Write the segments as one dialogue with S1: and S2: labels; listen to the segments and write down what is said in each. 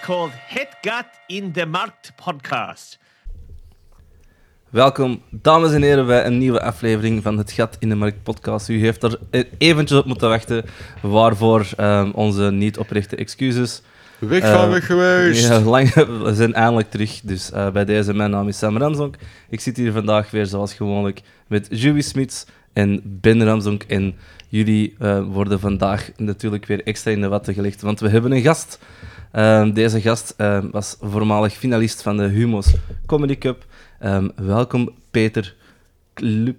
S1: called Hetgat in the Markt podcast.
S2: Welkom, dames en heren, bij een nieuwe aflevering van het Gat in de Markt podcast. U heeft er e- eventjes op moeten wachten, waarvoor ehm, onze niet oprechte excuses.
S3: Weg van
S2: Eh,
S3: weg geweest.
S2: Ja, lang, we zijn eindelijk terug, dus eh, bij deze, mijn naam is Sam Ramsonk. Ik zit hier vandaag weer zoals gewoonlijk met Julie Smits en Ben Ramsonk. En jullie eh, worden vandaag natuurlijk weer extra in de watten gelegd, want we hebben een gast. Ehm, deze gast ehm, was voormalig finalist van de Humo's Comedy Cup. Ehm, welkom Peter Klu-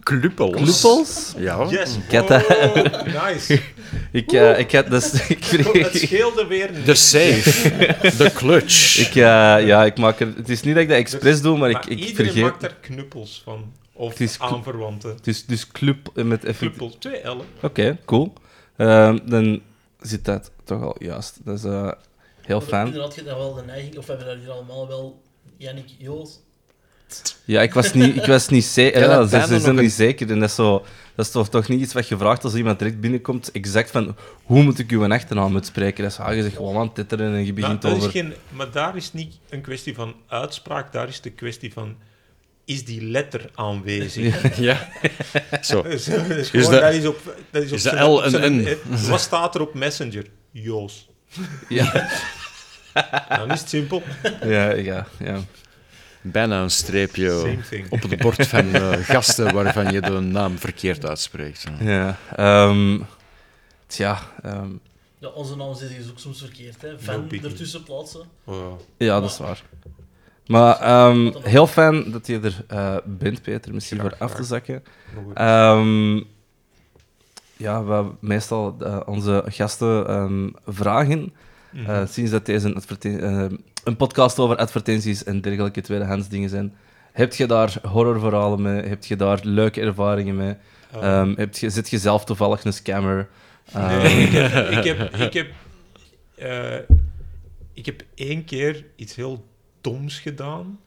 S3: Kluppels.
S2: Kluppels.
S3: Ja.
S2: Oh.
S4: Yes. Oh,
S2: Ik had dat-
S4: nice.
S2: Ik, eh, ik had dus, ik,
S4: Het scheelde weer niet.
S3: De
S2: Dus
S3: safe. De clutch.
S2: ik, eh, ja, ik maak er, het is niet dat ik dat expres doe, maar, ik, ik
S4: Dus- iedereen
S2: vergeet.
S4: maakt daar knuppels van. Of
S2: Het is kn-
S4: aanverwanten.
S2: Dus, dus club met effect.
S4: Knuppels, twee L'en.
S2: Oké, cool. Ehm, dan zit dat toch al juist. Dat is eh, heel fijn.
S5: Inderdaad, je hebt daar wel de neiging, of we hebben daar hier allemaal wel Yannick Joos.
S2: Ja, ik was niet, ik was niet zeker.
S3: Ja,
S2: Ja,
S3: dat
S2: ze eh, ze
S3: bijna
S2: zijn
S3: nog
S2: niet zeker. En dat is, zo, dat is toch, toch niet iets wat je vraagt als iemand direct binnenkomt. Exact van hoe moet ik uw achternaam uitspreken? Dat is ah, je zegt gewoon aan het titteren en je
S4: Maar,
S2: begint
S4: Nou, dat is
S2: over.
S4: geen, maar daar is niet een kwestie van uitspraak, daar is de kwestie van... Is die letter aanwezig?
S3: Ja. Zo.
S4: Dus, dus
S3: Is
S4: gewoon,
S3: de-
S4: dat is op, dat is op
S3: is de
S4: zijn-
S3: L
S4: op
S3: een
S4: zijn-
S3: N?
S4: eh, Wat staat er op Messenger? Joos.
S2: Ja,
S4: Dan is het simpel.
S2: ja, ja. ja.
S3: Bijna een streepje
S4: Same thing.
S3: op het bord van eh, gasten waarvan je de naam verkeerd uitspreekt.
S2: Ja, ehm, tja, ehm,
S5: Ja, onze naam zit hier ook soms verkeerd, hè.
S4: No
S5: Van
S4: biggie.
S5: ertussen plaatsen.
S4: Oh,
S2: ja, dat is waar. Maar ehm, heel fijn dat je er eh, bent, Peter, misschien
S4: Graag,
S2: voor af te
S4: graag.
S2: zakken.
S4: nog een-
S2: Ehm, ja, we meestal eh, onze gasten ehm, vragen,
S4: Mhm.
S2: eh, sinds dat deze een, adverte- eh, een podcast over advertenties en dergelijke tweedehands dingen zijn, heb je daar horrorverhalen mee? Heb je daar leuke ervaringen mee?
S4: Oh.
S2: Ehm, heb je, zit je zelf toevallig een scammer? Ehm,
S4: Nee, ik heb, ik heb, ik heb, eh, ik heb één keer iets heel doms gedaan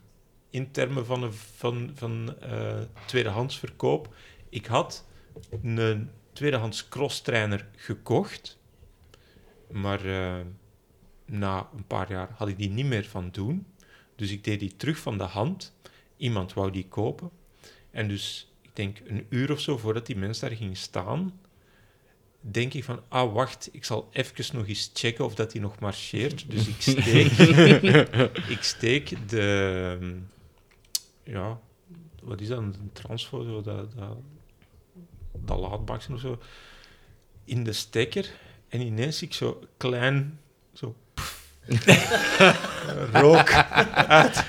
S4: in termen van, een, van, van eh, tweedehands verkoop. Ik had een tweedehands crosstrainer gekocht, maar eh, na een paar jaar had ik die niet meer van doen. Dus ik deed die terug van de hand. Iemand wou die kopen. En dus, ik denk een uur of zo voordat die mens daar ging staan, denk ik van, ah wacht, ik zal even nog eens checken of dat hij nog marcheert. Dus ik steek, ik steek de, ehm, ja, wat is dat, een transfer, zo, dat, dat, dat laadbakje of zo, in de stekker. En ineens zie ik zo klein, zo, pff, rook
S3: Het
S4: uit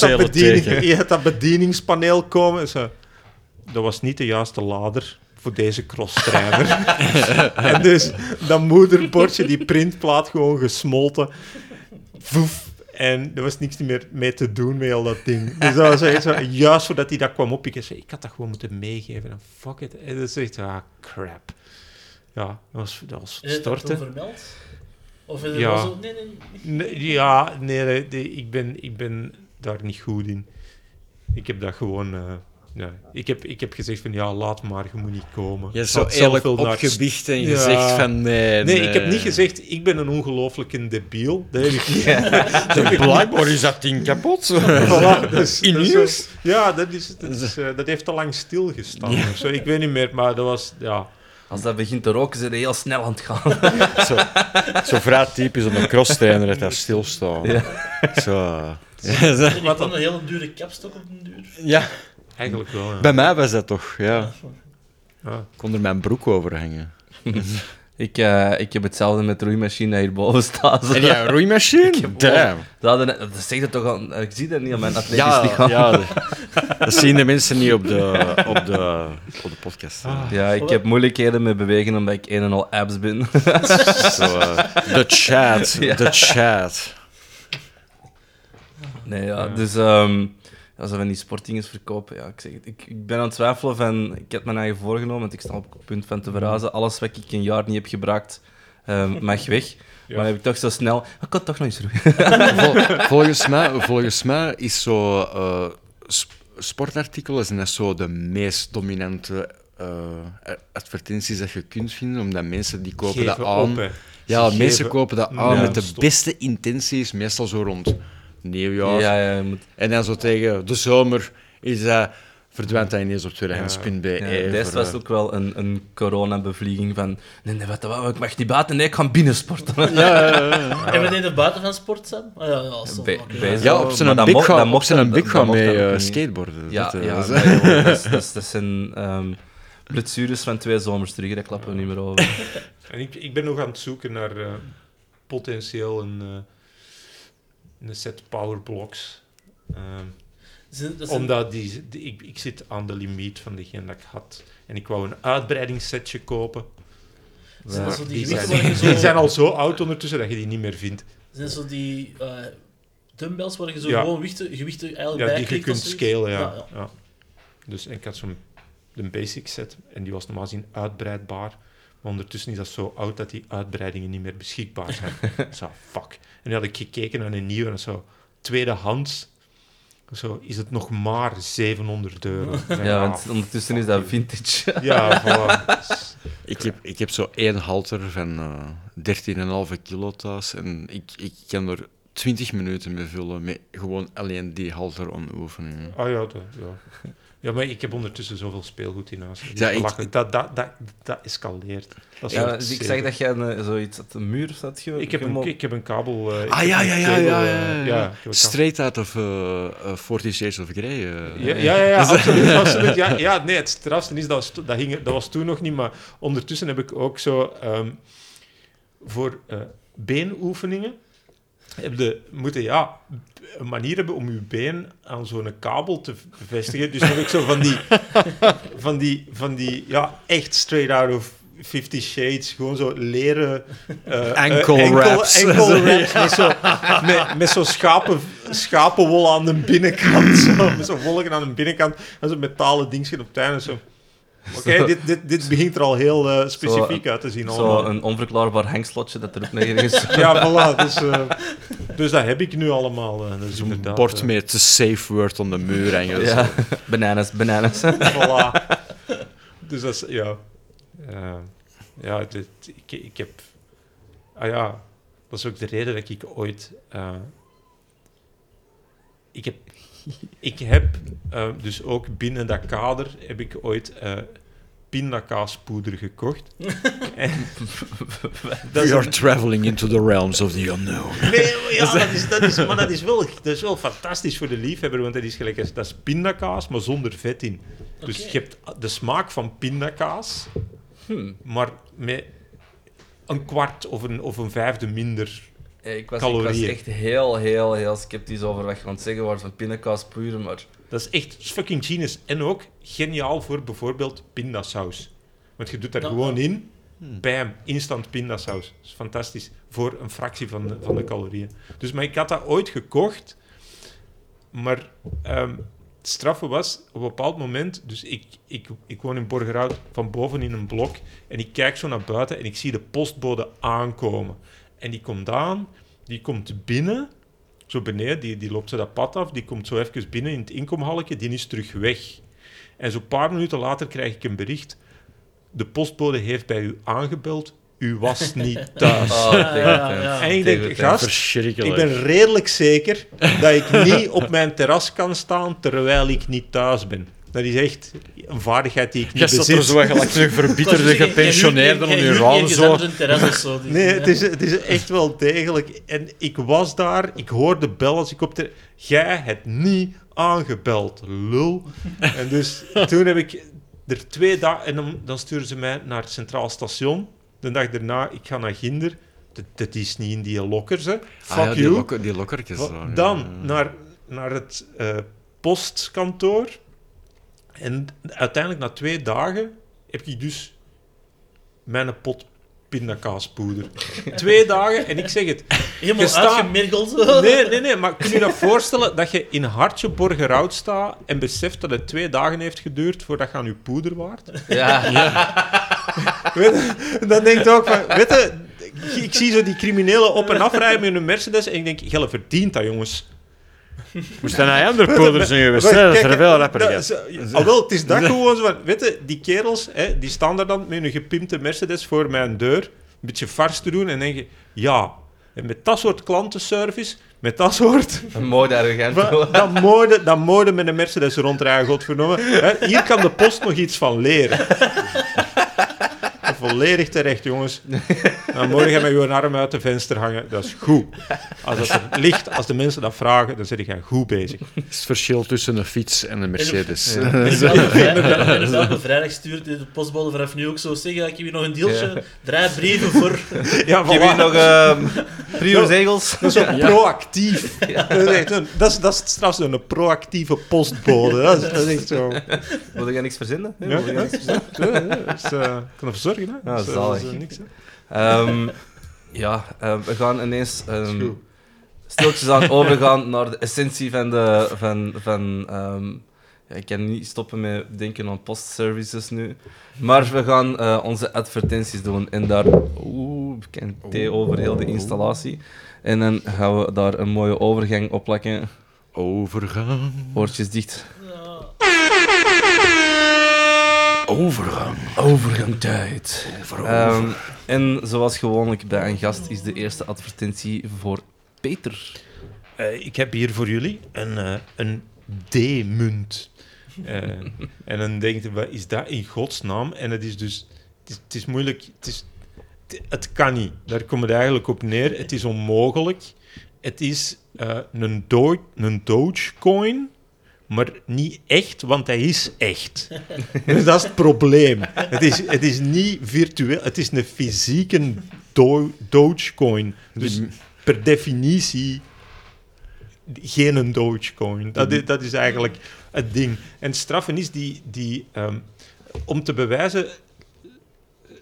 S4: dat, bediening- uit dat bedieningspaneel komen. en Zo. Dat was niet de juiste lader voor deze crosstrainer. en dus dat moederbordje, die printplaat, gewoon gesmolten. Voef. En er was niks meer mee te doen met al dat ding. Dus dat was echt zo, juist voordat hij dat kwam oppikken, zei ik had dat gewoon moeten meegeven. En fuck it. En dat is echt, ah, crap. Ja, dat was, dat was
S5: Is het
S4: storten.
S5: toen vermeld? Of is het
S4: Ja.
S5: wel zo... Nee, nee, nee.
S4: Nee, ja, nee, nee, nee, ik, ben, ik ben daar niet goed in. Ik heb dat gewoon. eh, nee. ik, heb, ik heb gezegd van ja, laat maar, je moet niet komen.
S6: Je
S4: Ik
S6: hebt zo
S4: had zelf
S6: eerlijk eh,
S4: wel naar het st-
S6: opgebiecht en
S4: Ja.
S6: gezegd van nee,
S4: Nee, ik heb niet gezegd, ik ben een ongelooflijke debiel. Dat heb ik niet.
S6: Blijkbaar is dat ding kapot.
S4: Voilà, dus-
S6: In
S4: dus,
S6: nieuws?
S4: eh, Ja, dat, is, dat, is, eh, dat heeft te lang stilgestaan. of zo. Ik weet niet meer, maar dat was. Ja,
S2: Als dat begint te roken, zijn ze heel snel aan het gaan.
S3: Zo, zo vrij typisch om een crosstrainer dat daar stilstaan. Zo. eh.
S5: Ik had een hele dure kapstok op den duur.
S6: ja,
S4: eigenlijk wel. Ja.
S6: bij mij was dat toch, ja.
S4: Ja.
S6: Ik kon er mijn broek over hangen.
S2: Ik, eh, ik heb hetzelfde met de roeimachine dat hierboven staat.
S6: En ja, roeimachine?
S2: heb-
S6: Damn.
S2: Ze hadden net- dat zegt het toch al, ik zie dat niet aan mijn atletisch
S6: Ja,
S2: lichaam. Ja.
S6: ja, dat zien de mensen niet op de, op de, op de podcast. hè.
S2: ik heb moeilijkheden met bewegen omdat ik een en al abs ben.
S6: Zo, eh, de chat, de chat.
S2: nee, ja, dus ehm als we van die sportdinges verkopen, ja, ik zeg het. Ik, ik ben aan het twijfelen van, ik heb mijn eigen voorgenomen, want ik sta op het punt van te verhuizen. Alles wat ik een jaar niet heb gebruikt, ehm, mag weg. Maar dan heb ik toch zo snel, ik kan toch nog eens roeien.
S6: Vol- volgens, mij, volgens mij is zo eh, sp- sportartikelen zijn dat zo de meest dominante eh, advertenties dat je kunt vinden, omdat mensen die kopen dat
S4: Geven
S6: aan.
S4: op, hè.
S6: Ja,
S4: Ze
S6: mensen
S4: geven-
S6: kopen dat aan
S4: Ja,
S6: met de
S4: stop.
S6: beste intenties, meestal zo rond nieuwjaar.
S2: Ja, ja, je moet...
S6: En dan zo tegen de zomer is dat, verdwijnt dat ineens op tweedehands.be.
S2: Ja,
S6: voor,
S2: deze was
S6: eh,
S2: ook wel een, een coronabevlieging van... Nee, nee, wat, wat, ik mag niet buiten. Nee, ik ga binnen sporten.
S5: En we deden buiten van sport, Sam? Ah, ja, ja, stop.
S2: Be-
S5: oké.
S2: bezig.
S6: Ja, op
S2: Maar
S6: zijn
S2: dat
S6: bik
S2: mocht- dat
S6: gaan, op
S2: mocht-
S6: zijn
S2: dat-
S6: bik
S2: dat
S6: gaan
S2: mocht
S6: mee
S2: dan ook
S6: eh,
S2: niet.
S6: skateboarden.
S2: Ja,
S6: Dat, eh,
S2: ja,
S6: dat is-
S2: maar joh, dat, is- dat, is- dat zijn ehm blessures van twee zomers terug. Daar klappen we niet meer over.
S4: En ik, ik ben nog aan het zoeken naar eh, potentieel een, eh, een set powerblocks. Ehm,
S5: Ze- dat zijn-
S4: omdat die, die- ik, ik zit aan de limiet van degene dat ik had. En ik wou een uitbreidingssetje kopen.
S5: zijn dat
S4: maar
S5: zo die
S4: die,
S5: gewichten
S4: zijn,
S5: waar je
S4: die zijn
S5: zo-
S4: al zo oud ondertussen dat je die niet meer vindt.
S5: zijn zo die eh, dumbbells waar je zo
S4: Ja.
S5: gewoon gewichten, gewichten eigenlijk
S4: Ja,
S5: bij
S4: die je
S5: klikt
S4: kunt
S5: of zoiets?
S4: scalen, ja.
S5: ja.
S4: ja. Dus en ik had zo'n een basic set en die was normaal gezien uitbreidbaar. Maar ondertussen is dat zo oud dat die uitbreidingen niet meer beschikbaar zijn. zo, fuck. En dan had ik gekeken naar een nieuwe en zo, tweedehands. Zo, is het nog maar 700 euro. Ik zei,
S2: Ja,
S4: ah,
S2: want ondertussen is dat vintage.
S4: Ja, voilà.
S6: Ik heb, ik heb zo één halter van eh 13,5 kilo thuis. En ik, ik kan er 20 minuten mee vullen. Met gewoon alleen die halter aan oefeningen.
S4: Ah ja, dat, ja. Ja, maar ik heb ondertussen zoveel speelgoed in huis.
S6: Ja, ik-
S4: Belachelijk. dat, dat, dat, dat escaleert. Dat is
S2: Ja,
S4: echt
S2: dus ik
S4: zeker.
S2: zeg dat jij een, zoiets had, een muur of zo had ge-
S4: Ik heb, een,
S2: gemol-
S4: ik heb een kabel. eh, ik
S6: Ah
S4: heb
S6: ja,
S4: een
S6: ja, ja,
S4: kabel,
S6: ja.
S4: eh,
S6: ja,
S4: ja,
S6: ja.
S4: ik heb een
S6: Straight out of eh, eh, 40 Shades of Grey. eh.
S4: Ja, ja, ja, ja, absoluut. absoluut ja, ja, nee, het strafste is, dat was, to- dat, hing, er- dat was toen nog niet, maar ondertussen heb ik ook zo ehm, voor eh, beenoefeningen heb je moeten ja, een manier hebben om je been aan zo'n kabel te v- vestigen. Dus heb ik zo van die, van die, van die ja, echt straight out of 50 Shades, gewoon zo leren... eh, eh,
S6: Ankle wraps.
S4: Ankle wraps met zo- met, met zo'n schapen, schapenwol aan de binnenkant. Zo, met zo'n wolken aan de binnenkant. En zo'n metalen dingetje op het einde. Zo. Oké, dit, dit, dit begint er al heel eh, specifiek uit te zien.
S2: Zo
S4: Allemaal.
S2: een onverklaarbaar hangslotje dat er ook nog ergens...
S4: Ja, voilà. Dus, eh, dus dat heb ik nu allemaal. eh, dus
S6: Zo'n
S4: inderdaad,
S6: bord
S4: eh,
S6: met de safe word aan de muur hangen.
S2: Ja, bananas, bananas.
S4: voilà. Dus dat is, ja. Eh, ja, dit, ik, ik heb... Ah ja, dat is ook de reden dat ik ooit... eh, ik heb... Ik heb eh, dus ook binnen dat kader heb ik ooit eh pindakaaspoeder gekocht. en, dat is
S6: We
S4: een-
S6: are traveling into the realms of the unknown.
S4: Nee, maar ja, dat is, dat is, maar dat is, wel, dat is wel fantastisch voor de liefhebber, want dat is gelijk als- dat is pindakaas, maar zonder vet in. Dus
S5: Oké.
S4: je hebt de smaak van pindakaas, maar met een kwart of een, of een vijfde minder.
S2: Ik was, ik was
S4: Calorieën.
S2: echt heel, heel, heel sceptisch over wat je aan het zeggen was van pindakaas puur, maar...
S4: Dat is echt fucking genius. En ook geniaal voor bijvoorbeeld pindasaus. Want je doet daar
S5: Dat-
S4: gewoon in, bam, instant pindasaus. Dat is fantastisch. Voor een fractie van de, van de calorieën. Dus, maar ik had dat ooit gekocht. Maar ehm het straffe was, op een bepaald moment... Dus ik, ik, ik woon in Borgerhout, van boven in een blok. En ik kijk zo naar buiten en ik zie de postbode aankomen. En die komt aan, die komt binnen zo beneden, die, die loopt zo dat pad af, die komt zo even binnen in het inkomhalletje, die is terug weg. En zo'n paar minuten later krijg ik een bericht. De postbode heeft bij u aangebeld, u was niet thuis.
S2: Oh, tegen
S5: ja,
S2: het,
S5: ja.
S2: hè.
S4: en
S2: Tegen
S4: ik denk,
S2: het, hè.
S4: gast, ik
S6: Verschrikkelijk.
S4: ben redelijk zeker dat ik niet op mijn terras kan staan terwijl ik niet thuis ben. Dat is echt een vaardigheid die ik niet
S6: Je zat er
S4: bezit.
S6: zo gelijk een verbitterde
S5: Ik wou zeggen, jij- jij
S6: gepensioneerde
S5: huurt-
S6: aan je
S5: jij huurt
S6: raam.
S5: ergens
S6: Zo.
S5: anders een terras of zo. dus-
S4: Nee, het
S5: ja.
S4: is, het is echt wel degelijk. En ik was daar, ik hoorde bel als ik op de... Jij hebt niet aangebeld, lul. En dus toen heb ik er twee dagen... En dan, dan sturen ze mij naar het Centraal Station. De dag daarna, ik ga naar Ginder. Dat, dat is niet in die lokkers, hè. Fuck
S6: Ah ja, die,
S4: you.
S6: lokker, die lokkertjes.
S4: Wa-
S6: daar, ja.
S4: Dan Nou- naar, naar het eh, postkantoor. En uiteindelijk na twee dagen heb ik dus mijn pot pindakaaspoeder. twee dagen, en ik zeg het.
S5: Helemaal
S4: Je staat-
S5: uitgemergeld.
S4: Nee, nee, nee, maar kun je dat voorstellen dat je in hartje Borgerhout staat en beseft dat het twee dagen heeft geduurd voordat je aan je poeder waart?
S2: Ja,
S4: Weet je, dan denk ik ook van, weet je, ik, ik zie zo die criminelen op en afrijden met hun Mercedes en ik denk, Gelle verdient dat, jongens.
S3: Moest dan naar andere poeders zijn geweest,
S4: Wacht,
S3: hè? dat
S4: kijk, eh,
S3: er veel rapper
S4: dat
S3: gaat.
S4: is- ah, wel, het is dat gewoon zo van... Weet je, die kerels, hè, die staan daar dan met hun gepimpte Mercedes voor mijn deur. beetje vars te doen en denk je, ja, en met dat soort klantenservice, met dat soort...
S2: Een mooi arrogant.
S4: Wa- Dat moorden, dat moorden met een Mercedes rondrijden, godverdomme. Hè, Hier kan de post nog iets van leren. Volledig terecht, jongens. Dan morgen met je arm uit de venster hangen, dat is goed. Als dat er ligt, als de mensen dat vragen, dan zit jij goed bezig.
S6: Het is het verschil tussen een fiets en een Mercedes.
S5: En dus elke vrijdag- en dus elke vrijdag stuurt de postbode vanaf nu ook zo zeggen, ik heb hier nog een deeltje, draai brieven voor...
S4: Ja,
S2: Heb je
S4: voilà.
S2: nog ehm prior zegels?
S4: Dat is ook proactief. Dat, is echt een- dat, is, dat is straks een proactieve postbode. Dat is, dat is echt zo.
S2: Wil jij niks verzinnen?
S4: Ja,
S2: Wil jij niks verzinnen?
S4: Dat is, eh, kan ervoor zorgen, hè?
S2: Ah,
S4: Dat is, eh,
S2: zalig.
S4: dat is, eh, niks, hè?
S2: Ehm, ja, ehm, we gaan ineens ehm stiltjes aan overgaan naar de essentie van de. Van, van, ehm, ja, ik kan niet stoppen met denken aan postservices nu. Maar we gaan eh, onze advertenties doen en daar. Oeh, ik ken thee over heel de installatie. En dan gaan we daar een mooie overgang op plakken.
S6: Overgang.
S2: Oortjes dicht.
S6: Overgang.
S2: Overgang tijd. Ehm, en zoals gewoonlijk bij een gast is de eerste advertentie voor Peter.
S4: Eh, ik heb hier voor jullie een, eh, een D-munt. Eh, en dan denkt je, wat is dat in godsnaam? En het is dus, het is, het is moeilijk, het, is, het, het kan niet. Daar komt het eigenlijk op neer. Het is onmogelijk. Het is eh, een, do een Dogecoin, maar niet echt, want hij is echt. dus dat is het probleem. Het is, het is niet virtueel, het is een fysieke do Dogecoin. Dus per definitie geen een Dogecoin. Dat is, dat is eigenlijk het ding. En straffen is die... die ehm, om te bewijzen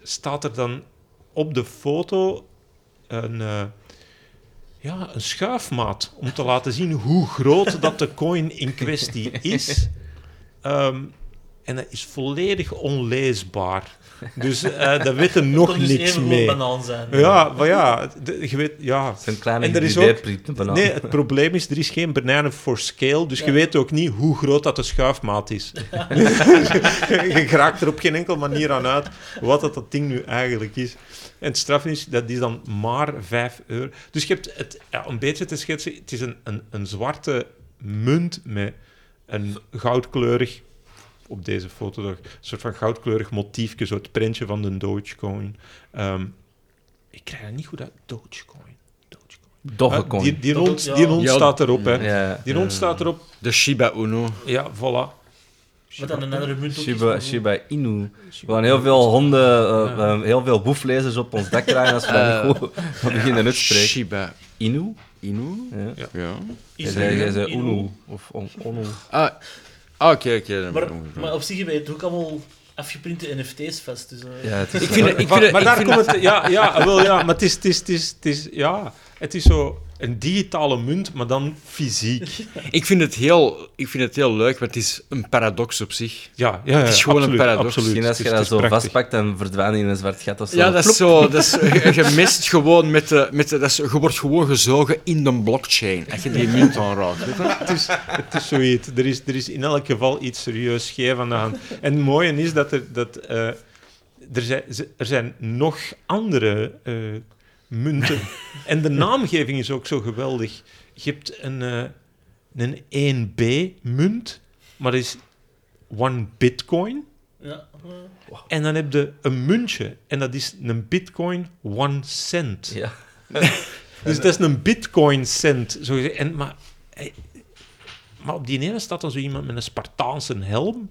S4: staat er dan op de foto een, eh, ja, een schuifmaat. Om te laten zien hoe groot dat de coin in kwestie is. Ehm, en dat is volledig onleesbaar. Dus eh daar weten nog
S5: Kon dus
S4: niks
S5: even goed
S4: mee.
S5: banaan zijn.
S4: Ja, maar ja, de- je weet, ja.
S2: Zijn kleine
S4: En er is ook-
S2: idee banaan.
S4: Nee, het probleem is, er is geen bananen voor scale, dus je weet ook niet hoe groot dat de schuifmaat is. je raakt er op geen enkele manier aan uit wat dat, dat ding nu eigenlijk is. En het straf is, dat is dan maar 5 euro. Dus je hebt het, ja, om een beetje te schetsen, het is een, een, een zwarte munt met een goudkleurig, op deze foto, toch, een soort van goudkleurig motiefje, zo het prentje van de Dogecoin. Ehm, ik krijg dat niet goed uit, Dogecoin. Dogecoin.
S2: Dogecoin.
S4: Ah, Die, die,
S5: Dat
S4: rond,
S5: ook, ja.
S4: die rond
S6: Ja,
S4: staat erop, hè.
S2: Ja.
S4: Die rond staat erop.
S6: De Shiba Uno.
S4: Ja, voilà.
S5: Wat dan een andere munt ook is,
S2: Shiba,
S5: maar-
S2: Shiba Inu. We gaan heel veel honden, eh, eh, heel veel boeflezers op ons dak krijgen als we dat
S4: Eh,
S2: niet goed gaan beginnen uitspreken.
S6: Shiba
S2: Inu?
S6: Inu?
S2: Ja.
S6: Ja.
S2: Jij
S5: Is
S2: zei- jij
S5: er-
S2: zei
S5: Inu.
S2: Unu. Of on- Onu.
S6: Ah, ah, oké, oké. dan
S5: Maar,
S6: ben ik
S5: maar op zich hebben het ook allemaal afgeprinte NFT's vast. Dus, eh,
S2: Ja, het is
S6: Ik vind het... Ik
S4: maar
S6: vind
S4: maar
S6: het-
S4: daar
S6: ik vind
S4: komt het... Ja, ja, wel, ja. Maar het is, het, is, het, is, het, is, ja, het is zo een digitale munt, maar dan fysiek.
S6: Ik vind, het heel, ik vind het heel leuk, want het is een paradox op zich.
S4: Ja, ja, ja
S6: Het is gewoon een
S4: absoluut,
S6: paradox.
S4: absoluut.
S2: Misschien als je
S4: Het is-
S2: dat zo
S4: het is prachtig.
S2: vastpakt en verdwijnt in een zwart gat of zo.
S6: Ja, dat is zo. Dat is, je, je mist gewoon met de... Met de dat is, je wordt gewoon gezogen in de blockchain. Als je die munt aanraakt. weet je.
S4: Het is, het is zoiets. Er is, er is in elk geval iets serieus scheef aan de hand. En het mooie is dat er... Dat, eh, er, zijn, ze- er zijn nog andere eh, munten. en de naamgeving is ook zo geweldig. Je hebt een, eh, een 1B-munt, maar dat is one bitcoin.
S5: ja.
S4: En dan heb je een muntje. En dat is een bitcoin one cent.
S2: Ja.
S4: Dus dat is een bitcoin cent. Zo gezegd. en, maar, eh, maar op die ene staat dan zo iemand met een Spartaanse helm.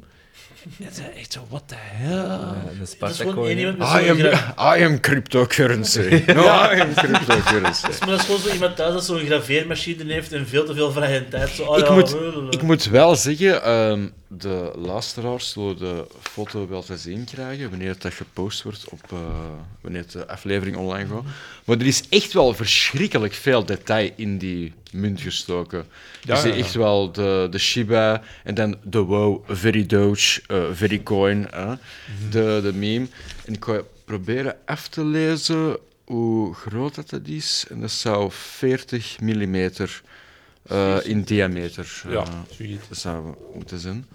S4: Het is echt zo, what the hell?
S2: Ja, een
S5: Dat is gewoon
S2: Spartacoin.
S5: één
S2: hè.
S5: iemand met
S4: Ah,
S5: zo'n
S6: I am,
S5: gra-
S6: I am cryptocurrency. No, I am cryptocurrency.
S5: Maar dat is gewoon zo iemand thuis dat zo'n graveermachine heeft en veel te veel vrije tijd. Zo, ah,
S6: Ik
S5: ja,
S6: moet-
S5: eh,
S6: Ik moet wel zeggen, ehm, de luisteraars zullen de foto wel te zien krijgen wanneer dat gepost wordt, op, eh, wanneer de aflevering online gaat. Maar er is echt wel verschrikkelijk veel detail in die munt gestoken.
S4: Ja,
S6: je ziet
S4: ja, ja.
S6: echt wel de, de Shiba en dan de Wow, Very Doge, eh Very Coin, eh,
S4: Mhm.
S6: de, de meme. En ik ga proberen af te lezen hoe groot dat, dat is. En dat zou 40 mm in diameter. eh,
S4: Ja, zoiets.
S6: dat zou moeten zijn.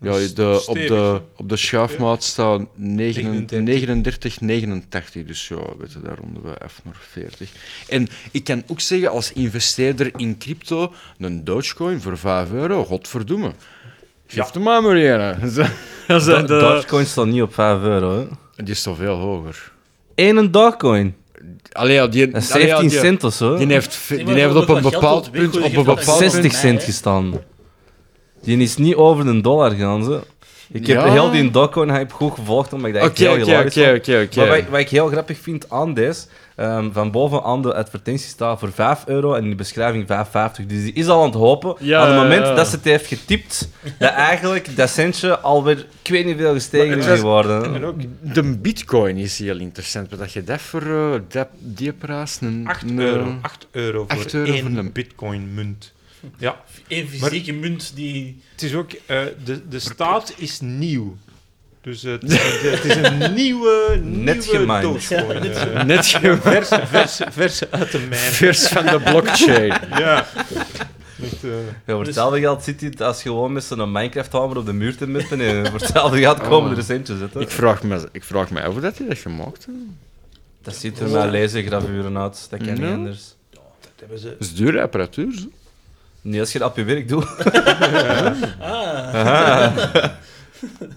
S6: Ja, de, op, de,
S4: stevig.
S6: op de schuifmaat staat 39,
S4: 39.
S6: 89. Dus ja, weet je, daar ronden we even naar 40. En ik kan ook zeggen, als investeerder in crypto, een Dogecoin voor 5 euro, godverdomme. Geef hem maar maar een. Dat zijn de-
S2: Dogecoin staat niet op 5 euro. Hè.
S6: Die is toch veel hoger.
S2: Eén Dogecoin.
S6: Allee, ja, die,
S2: Dat is
S6: allee, ja,
S2: 17
S6: die-
S2: cent of zo.
S6: Die
S2: Die
S6: heeft, ve-
S5: maar
S6: die heeft
S5: dat
S6: op een
S5: geld
S6: bepaald
S5: tot Bitcoin
S6: punt... Op een
S5: geeft, dat is
S6: bepaald
S2: 60
S6: punt...
S5: mij,
S2: cent
S5: hè.
S2: gestaan. Die is niet over een dollar gegaan. Zo. Ik heb
S6: Ja.
S2: heel die Dogecoin hype goed gevolgd, omdat ik dat echt
S6: Oké,
S2: heel
S6: oké,
S2: hilarisch
S6: oké,
S2: vond.
S6: oké, oké.
S2: Maar wat, wat ik heel grappig vind aan deze, ehm, van bovenaan de advertentie staat voor 5 euro en in de beschrijving 5,50. Dus die is al aan het hopen.
S6: Ja,
S2: aan het
S6: ja,
S2: moment
S6: ja.
S2: dat ze het heeft getipt, dat eigenlijk dat centje alweer, ik weet niet hoeveel gestegen
S6: het
S2: is
S6: was-
S2: geworden.
S4: En ook
S6: De bitcoin is heel interessant. Wat dat je dat voor eh, dat, die prijs... Een,
S4: 8
S6: een-
S4: euro. 8 euro voor
S6: 8 euro
S4: één
S6: voor een-
S4: bitcoin-munt. Ja,
S5: Eén fysieke munt die...
S4: het is ook... eh, de, de staat is nieuw. Dus eh, het, is- het is een nieuwe,
S2: Net
S4: nieuwe
S2: gemined.
S4: Dogecoin. eh,
S6: Net ge-
S4: vers, vers, vers uit de mijn.
S6: vers van de blockchain.
S4: Ja. Echt, eh,
S2: Ja, voor hetzelfde geld zit hij als gewoon met zo'n Minecraft-hamer op de muur te mippen en voor hetzelfde geld komen er centjes uit. hè.
S6: Ik vraag, me, ik vraag me af hoe dat hij dat gemaakt heeft.
S2: Dat ziet er met lasergravuren uit, dat kan niet
S6: Ja.
S2: anders.
S4: dat hebben ze...
S6: Dat is dure apparatuur. zo.
S2: Niet als je dat op je werk doet.
S5: Ah,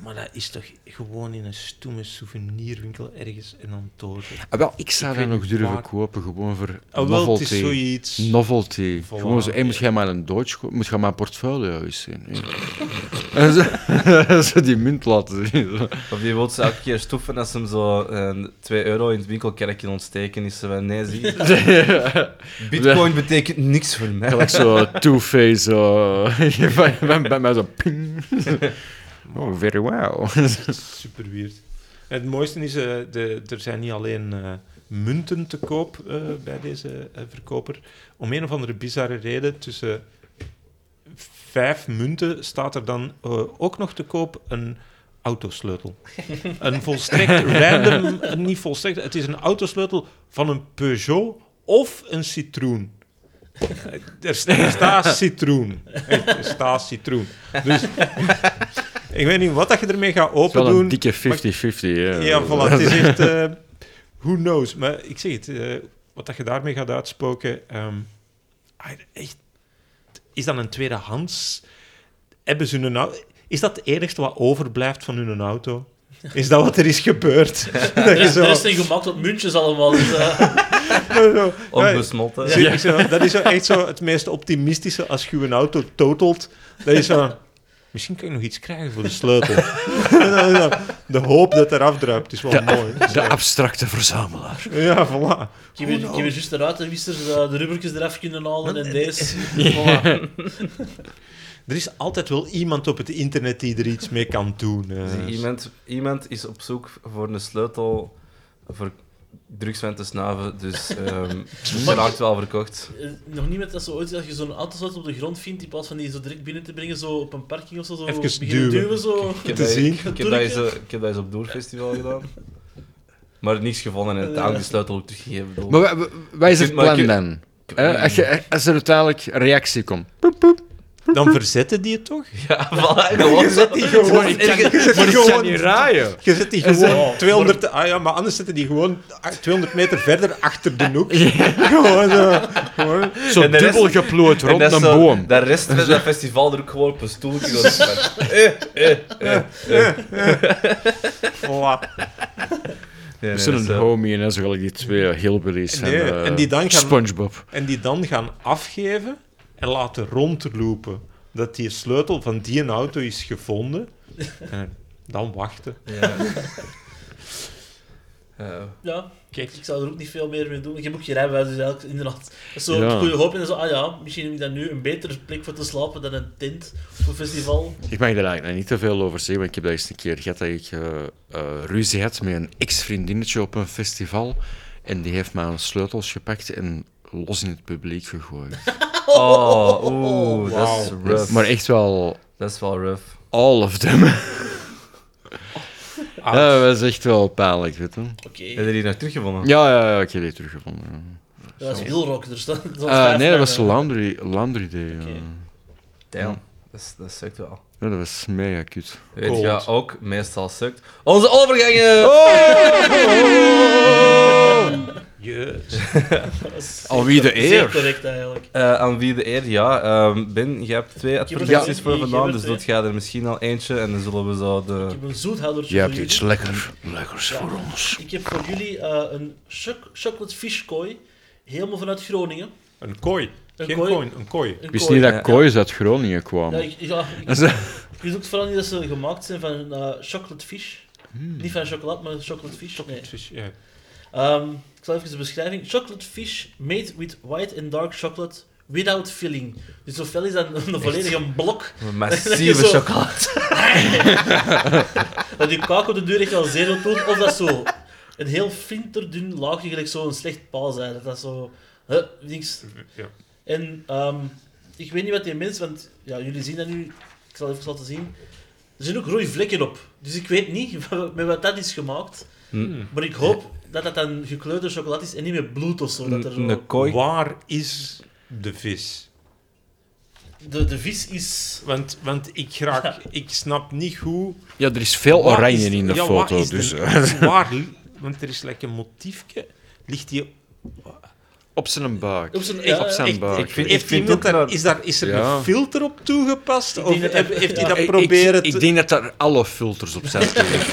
S4: Maar dat is toch gewoon in een stoeme souvenirwinkel ergens en dan door.
S6: Ah, wel, ik zou
S4: Ik
S6: dat
S4: weet
S6: nog
S4: niet
S6: durven
S4: waar.
S6: kopen, gewoon voor
S4: Ah, wel, het is
S6: novelty.
S4: zoiets...
S6: Novelty.
S4: Voilà.
S6: Gewoon zo, hey, moet jij maar een Deutsch kopen? Moet jij maar een portfolio eens zien? en zo, zo die munt laten zien. zo.
S2: Of je wilt ze elke keer stoeven als ze hem zo eh, 2 euro in het winkelkerkje ontsteken. Is ze van, nee, zie je. Bitcoin betekent niks voor mij.
S6: Gelijk zo Two-Face. Zo. Bij- bij- bij mij zo ping. Oh, very well.
S4: Super weird. Het mooiste is, eh, de, er zijn niet alleen eh, munten te koop eh, bij deze eh, verkoper. Om een of andere bizarre reden, tussen vijf munten staat er dan eh, ook nog te koop een autosleutel. een volstrekt random, eh, niet volstrekt, het is een autosleutel van een Peugeot of een citroen. Er sta- er staat citroen. Echt, Er staat citroen. Dus ik weet niet wat dat je ermee gaat
S6: Het is wel een
S4: opendoen.
S6: dikke 50-50. hè.
S4: Ja, voilà. Het is echt... eh, who knows? Maar ik zeg het, eh, wat dat je daarmee gaat uitspoken... ehm, ah, echt, is dat een tweedehands? Hebben ze hun auto... Is dat het enigste wat overblijft van hun auto? Is dat wat er is gebeurd? dat
S5: er
S4: je
S5: is,
S4: zo...
S5: er is een gemaakt op muntjes allemaal. Dus, eh,
S4: zo-
S2: Onbesmolten.
S4: Zie ik zo, dat is zo echt zo het meest optimistische als je een auto totelt. Dat is zo... Misschien kan ik nog iets krijgen voor de sleutel. de hoop dat er afdruipt is wel mooi.
S6: De abstracte verzamelaar.
S4: Ja, voilà.
S5: ik heb hier- ik heb hier juist eruit de wissers eh, de rubbertjes eraf kunnen halen en deze.
S4: Er is altijd wel iemand op het internet die er iets mee kan doen. eh.
S2: Dus iemand, iemand is op zoek voor een sleutel voor drugs van te snuiven. Dus ehm ze raakt wel verkocht.
S5: Eh, Nog niet met dat zo ooit, als je zo'n autoslot op de grond vindt, in plaats van die zo direct binnen te brengen, zo op een parking of zo, zo
S4: Even
S5: beginnen
S4: duwen.
S5: zo.
S2: Ik heb,
S4: Te
S2: dat,
S4: zien.
S2: ik, heb dat eens, eh, ik heb dat eens op Doorfestival gedaan. Maar niks gevonden en uiteindelijk die sleutel ook teruggegeven. Ik bedoel,
S6: Maar wa- wa- wat is het
S2: Maar
S6: plan
S2: ik-
S6: dan?
S2: ik-
S6: Eh, Als, je, als er uiteindelijk een reactie komt. Poep, poep.
S4: Dan verzetten die het toch?
S2: Ja, voilà, gewoon zo.
S4: gewoon-
S2: Het was ergens-
S4: Maar ik kan niet
S6: raaien.
S4: Je zet die gewoon 200... Ah ja, maar anders zetten die gewoon a- 200 meter verder achter de noek. Gewoon zo. Gewoon.
S6: Zo
S2: En de rest-
S6: dubbel geploot
S2: En
S6: rond
S2: dat
S6: een
S2: is zo-
S6: boom.
S2: De rest van dat festival er ook gewoon op een stoeltje. zo van, eh,
S6: Eh,
S4: Voilà.
S2: nee,
S6: Er
S2: nee,
S6: zit
S2: dat is,
S6: een
S2: eh,
S6: homie en dan zo gelijk die twee hillbillies en,
S4: Nee,
S6: eh,
S4: en die dan gaan-
S6: Spongebob.
S4: En die dan gaan afgeven en laten rondlopen. Dat die sleutel van die auto is gevonden. En dan wachten.
S2: ja. Eh,
S5: Ja,
S4: Kijk.
S5: ik zou er ook niet veel meer mee doen. Ik heb ook geen rijbewijs, dus eigenlijk inderdaad. Zo
S6: Ja.
S5: het goede hoop en zo, ah ja, misschien heb ik dan nu een betere plek voor te slapen dan een tent op een festival.
S6: Ik mag daar eigenlijk niet te veel over zeggen, want ik heb dat eens een keer gehad dat ik eh, eh, ruzie had met een ex-vriendinnetje op een festival. En die heeft mij aan sleutels gepakt en los in het publiek gegooid.
S2: Oh, oeh, dat is rough.
S6: Maar echt wel
S2: Dat is wel rough.
S6: all of them.
S5: Ah.
S6: Dat was echt wel pijnlijk, weet je.
S5: Oké,
S2: Heb je die nog teruggevonden?
S6: Ja, ja, ja, ik heb die teruggevonden. ja.
S5: dat is heel rock, er staat er staat
S6: Eh,
S5: vijf
S6: nee, dat was Mm.
S5: namen.
S6: Laundry, laundry Day. ja.
S5: Oké.
S2: Damn. Dat, is- dat sukt wel.
S6: eh, Ja, dat was mega kut.
S2: Weet
S4: Cold.
S2: je ook meestal sukt? Onze overgangen!
S6: Oh!
S4: Yes.
S5: Dat is
S6: Al wie de
S5: zeer
S6: eer.
S5: correct eigenlijk.
S2: Eh, aan wie de eer? Ja, ehm, Ben, jij hebt twee advertenties
S5: er-
S2: voor
S5: ik heb
S2: vandaan,
S5: er
S2: dus
S5: twee.
S2: doet jij er misschien al eentje en dan zullen we zo de...
S5: Ik heb een zoethoudertje
S6: Je
S5: voor
S6: hebt
S5: jullie.
S6: iets lekker, lekkers
S5: Ja.
S6: voor ons.
S5: Ik heb voor jullie eh, een choc chocolate fish kooi, helemaal vanuit Groningen.
S4: Een kooi.
S5: Een
S4: Geen
S5: kooi.
S4: kooi, een kooi.
S5: Een
S6: Ik wist
S5: kooi.
S6: niet
S2: Ja.
S6: dat koois uit Groningen
S5: Ja,
S6: kwamen.
S5: ik, ja, ik,
S6: Dat is-
S5: ik wist ook vooral niet dat ze gemaakt zijn van eh chocolate fish. Niet van chocolade, maar chocolate fish. Nee.
S4: Dus, ja.
S5: Ehm, ik zal even de beschrijving. Chocolate fish made with white and dark chocolate without filling. Dus ofwel is dat een, een volledige blok
S2: Een
S5: Dat
S2: massieve
S5: je zo-
S2: chocolade.
S5: dat je kaak op de deur echt wel zeer wilt doen, of dat zo een heel flinterdun laagje, gelijk zo'n slecht paal zijn. Dat dat zo... Huh, niks.
S4: Ja.
S5: En ehm, ik weet niet wat die mensen, want ja, jullie zien dat nu, ik zal even laten zien. Er zijn ook rode vlekken op, dus ik weet niet met wat dat is gemaakt.
S4: Hmm.
S2: Mm.
S5: Maar ik hoop dat dat dan gekleurde chocolade is en niet met bloed of zo. Dat er zo...
S2: Een een kooi.
S4: Waar is de vis?
S5: De, de vis is.
S4: Want, want ik, raak, ik snap niet hoe...
S6: Ja, er is veel
S4: waar
S6: oranje
S4: is-
S6: in de
S4: ja, waar
S6: foto,
S4: is de-
S6: dus... eh,
S4: waar, li- want er is lekker een motiefje. Ligt die...
S6: Op zijn buik.
S5: Op zijn-
S6: Echt
S5: ja,
S6: op zijn
S4: echt-
S6: buik.
S2: ik vind-
S4: Heeft iemand
S2: ook
S4: daar,
S2: dat-
S4: is, daar, is er
S6: Ja.
S4: een filter op toegepast?
S5: Ik
S4: Of
S5: denk dat
S4: heb-
S5: dat-
S4: heeft
S5: ja.
S4: hij dat
S6: Ik-
S4: proberen
S6: ik,
S4: te...
S6: ik denk dat daar alle filters op zijn.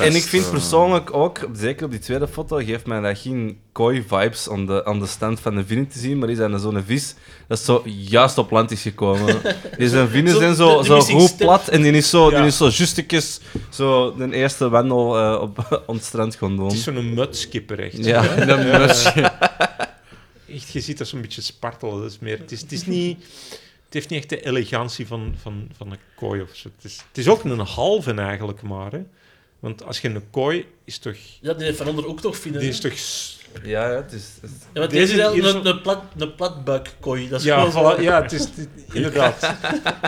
S2: En ik
S6: Eh.
S2: vind persoonlijk ook, zeker op die tweede foto, geeft mij dat geen kooi-vibes aan de, aan de stand van de vin te zien, maar is dat een- zo'n vis dat zo juist op land is gekomen. Die zijn vin
S5: Zo-
S2: zijn
S5: de-
S2: zo,
S5: de
S2: zo
S5: missing
S2: goed
S5: step.
S2: plat en die is zo,
S4: Ja.
S2: die is zo justekjes zo de eerste wendel eh, op, op het strand gaan doen.
S4: Het is zo'n mutskipper, echt.
S2: Ja.
S4: Echt, je ziet dat zo'n beetje spartelen. Dat is meer, het, is, het, is niet, het heeft niet echt de elegantie van, van, van een kooi of zo. Het is, het is ook een halve eigenlijk maar. Hè. Want als je een kooi is toch.
S5: Ja, die van onder ook toch vinden.
S4: Die is toch. s-
S2: Ja, ja, het is... het is-
S5: Ja, want
S4: deze
S5: deze is wel
S4: hier is
S5: een,
S4: zo-
S5: een, plat, een platbuikkooi. Dat is
S4: Ja,
S5: gewoon zo-
S4: voilà, ja, het is. het- inderdaad.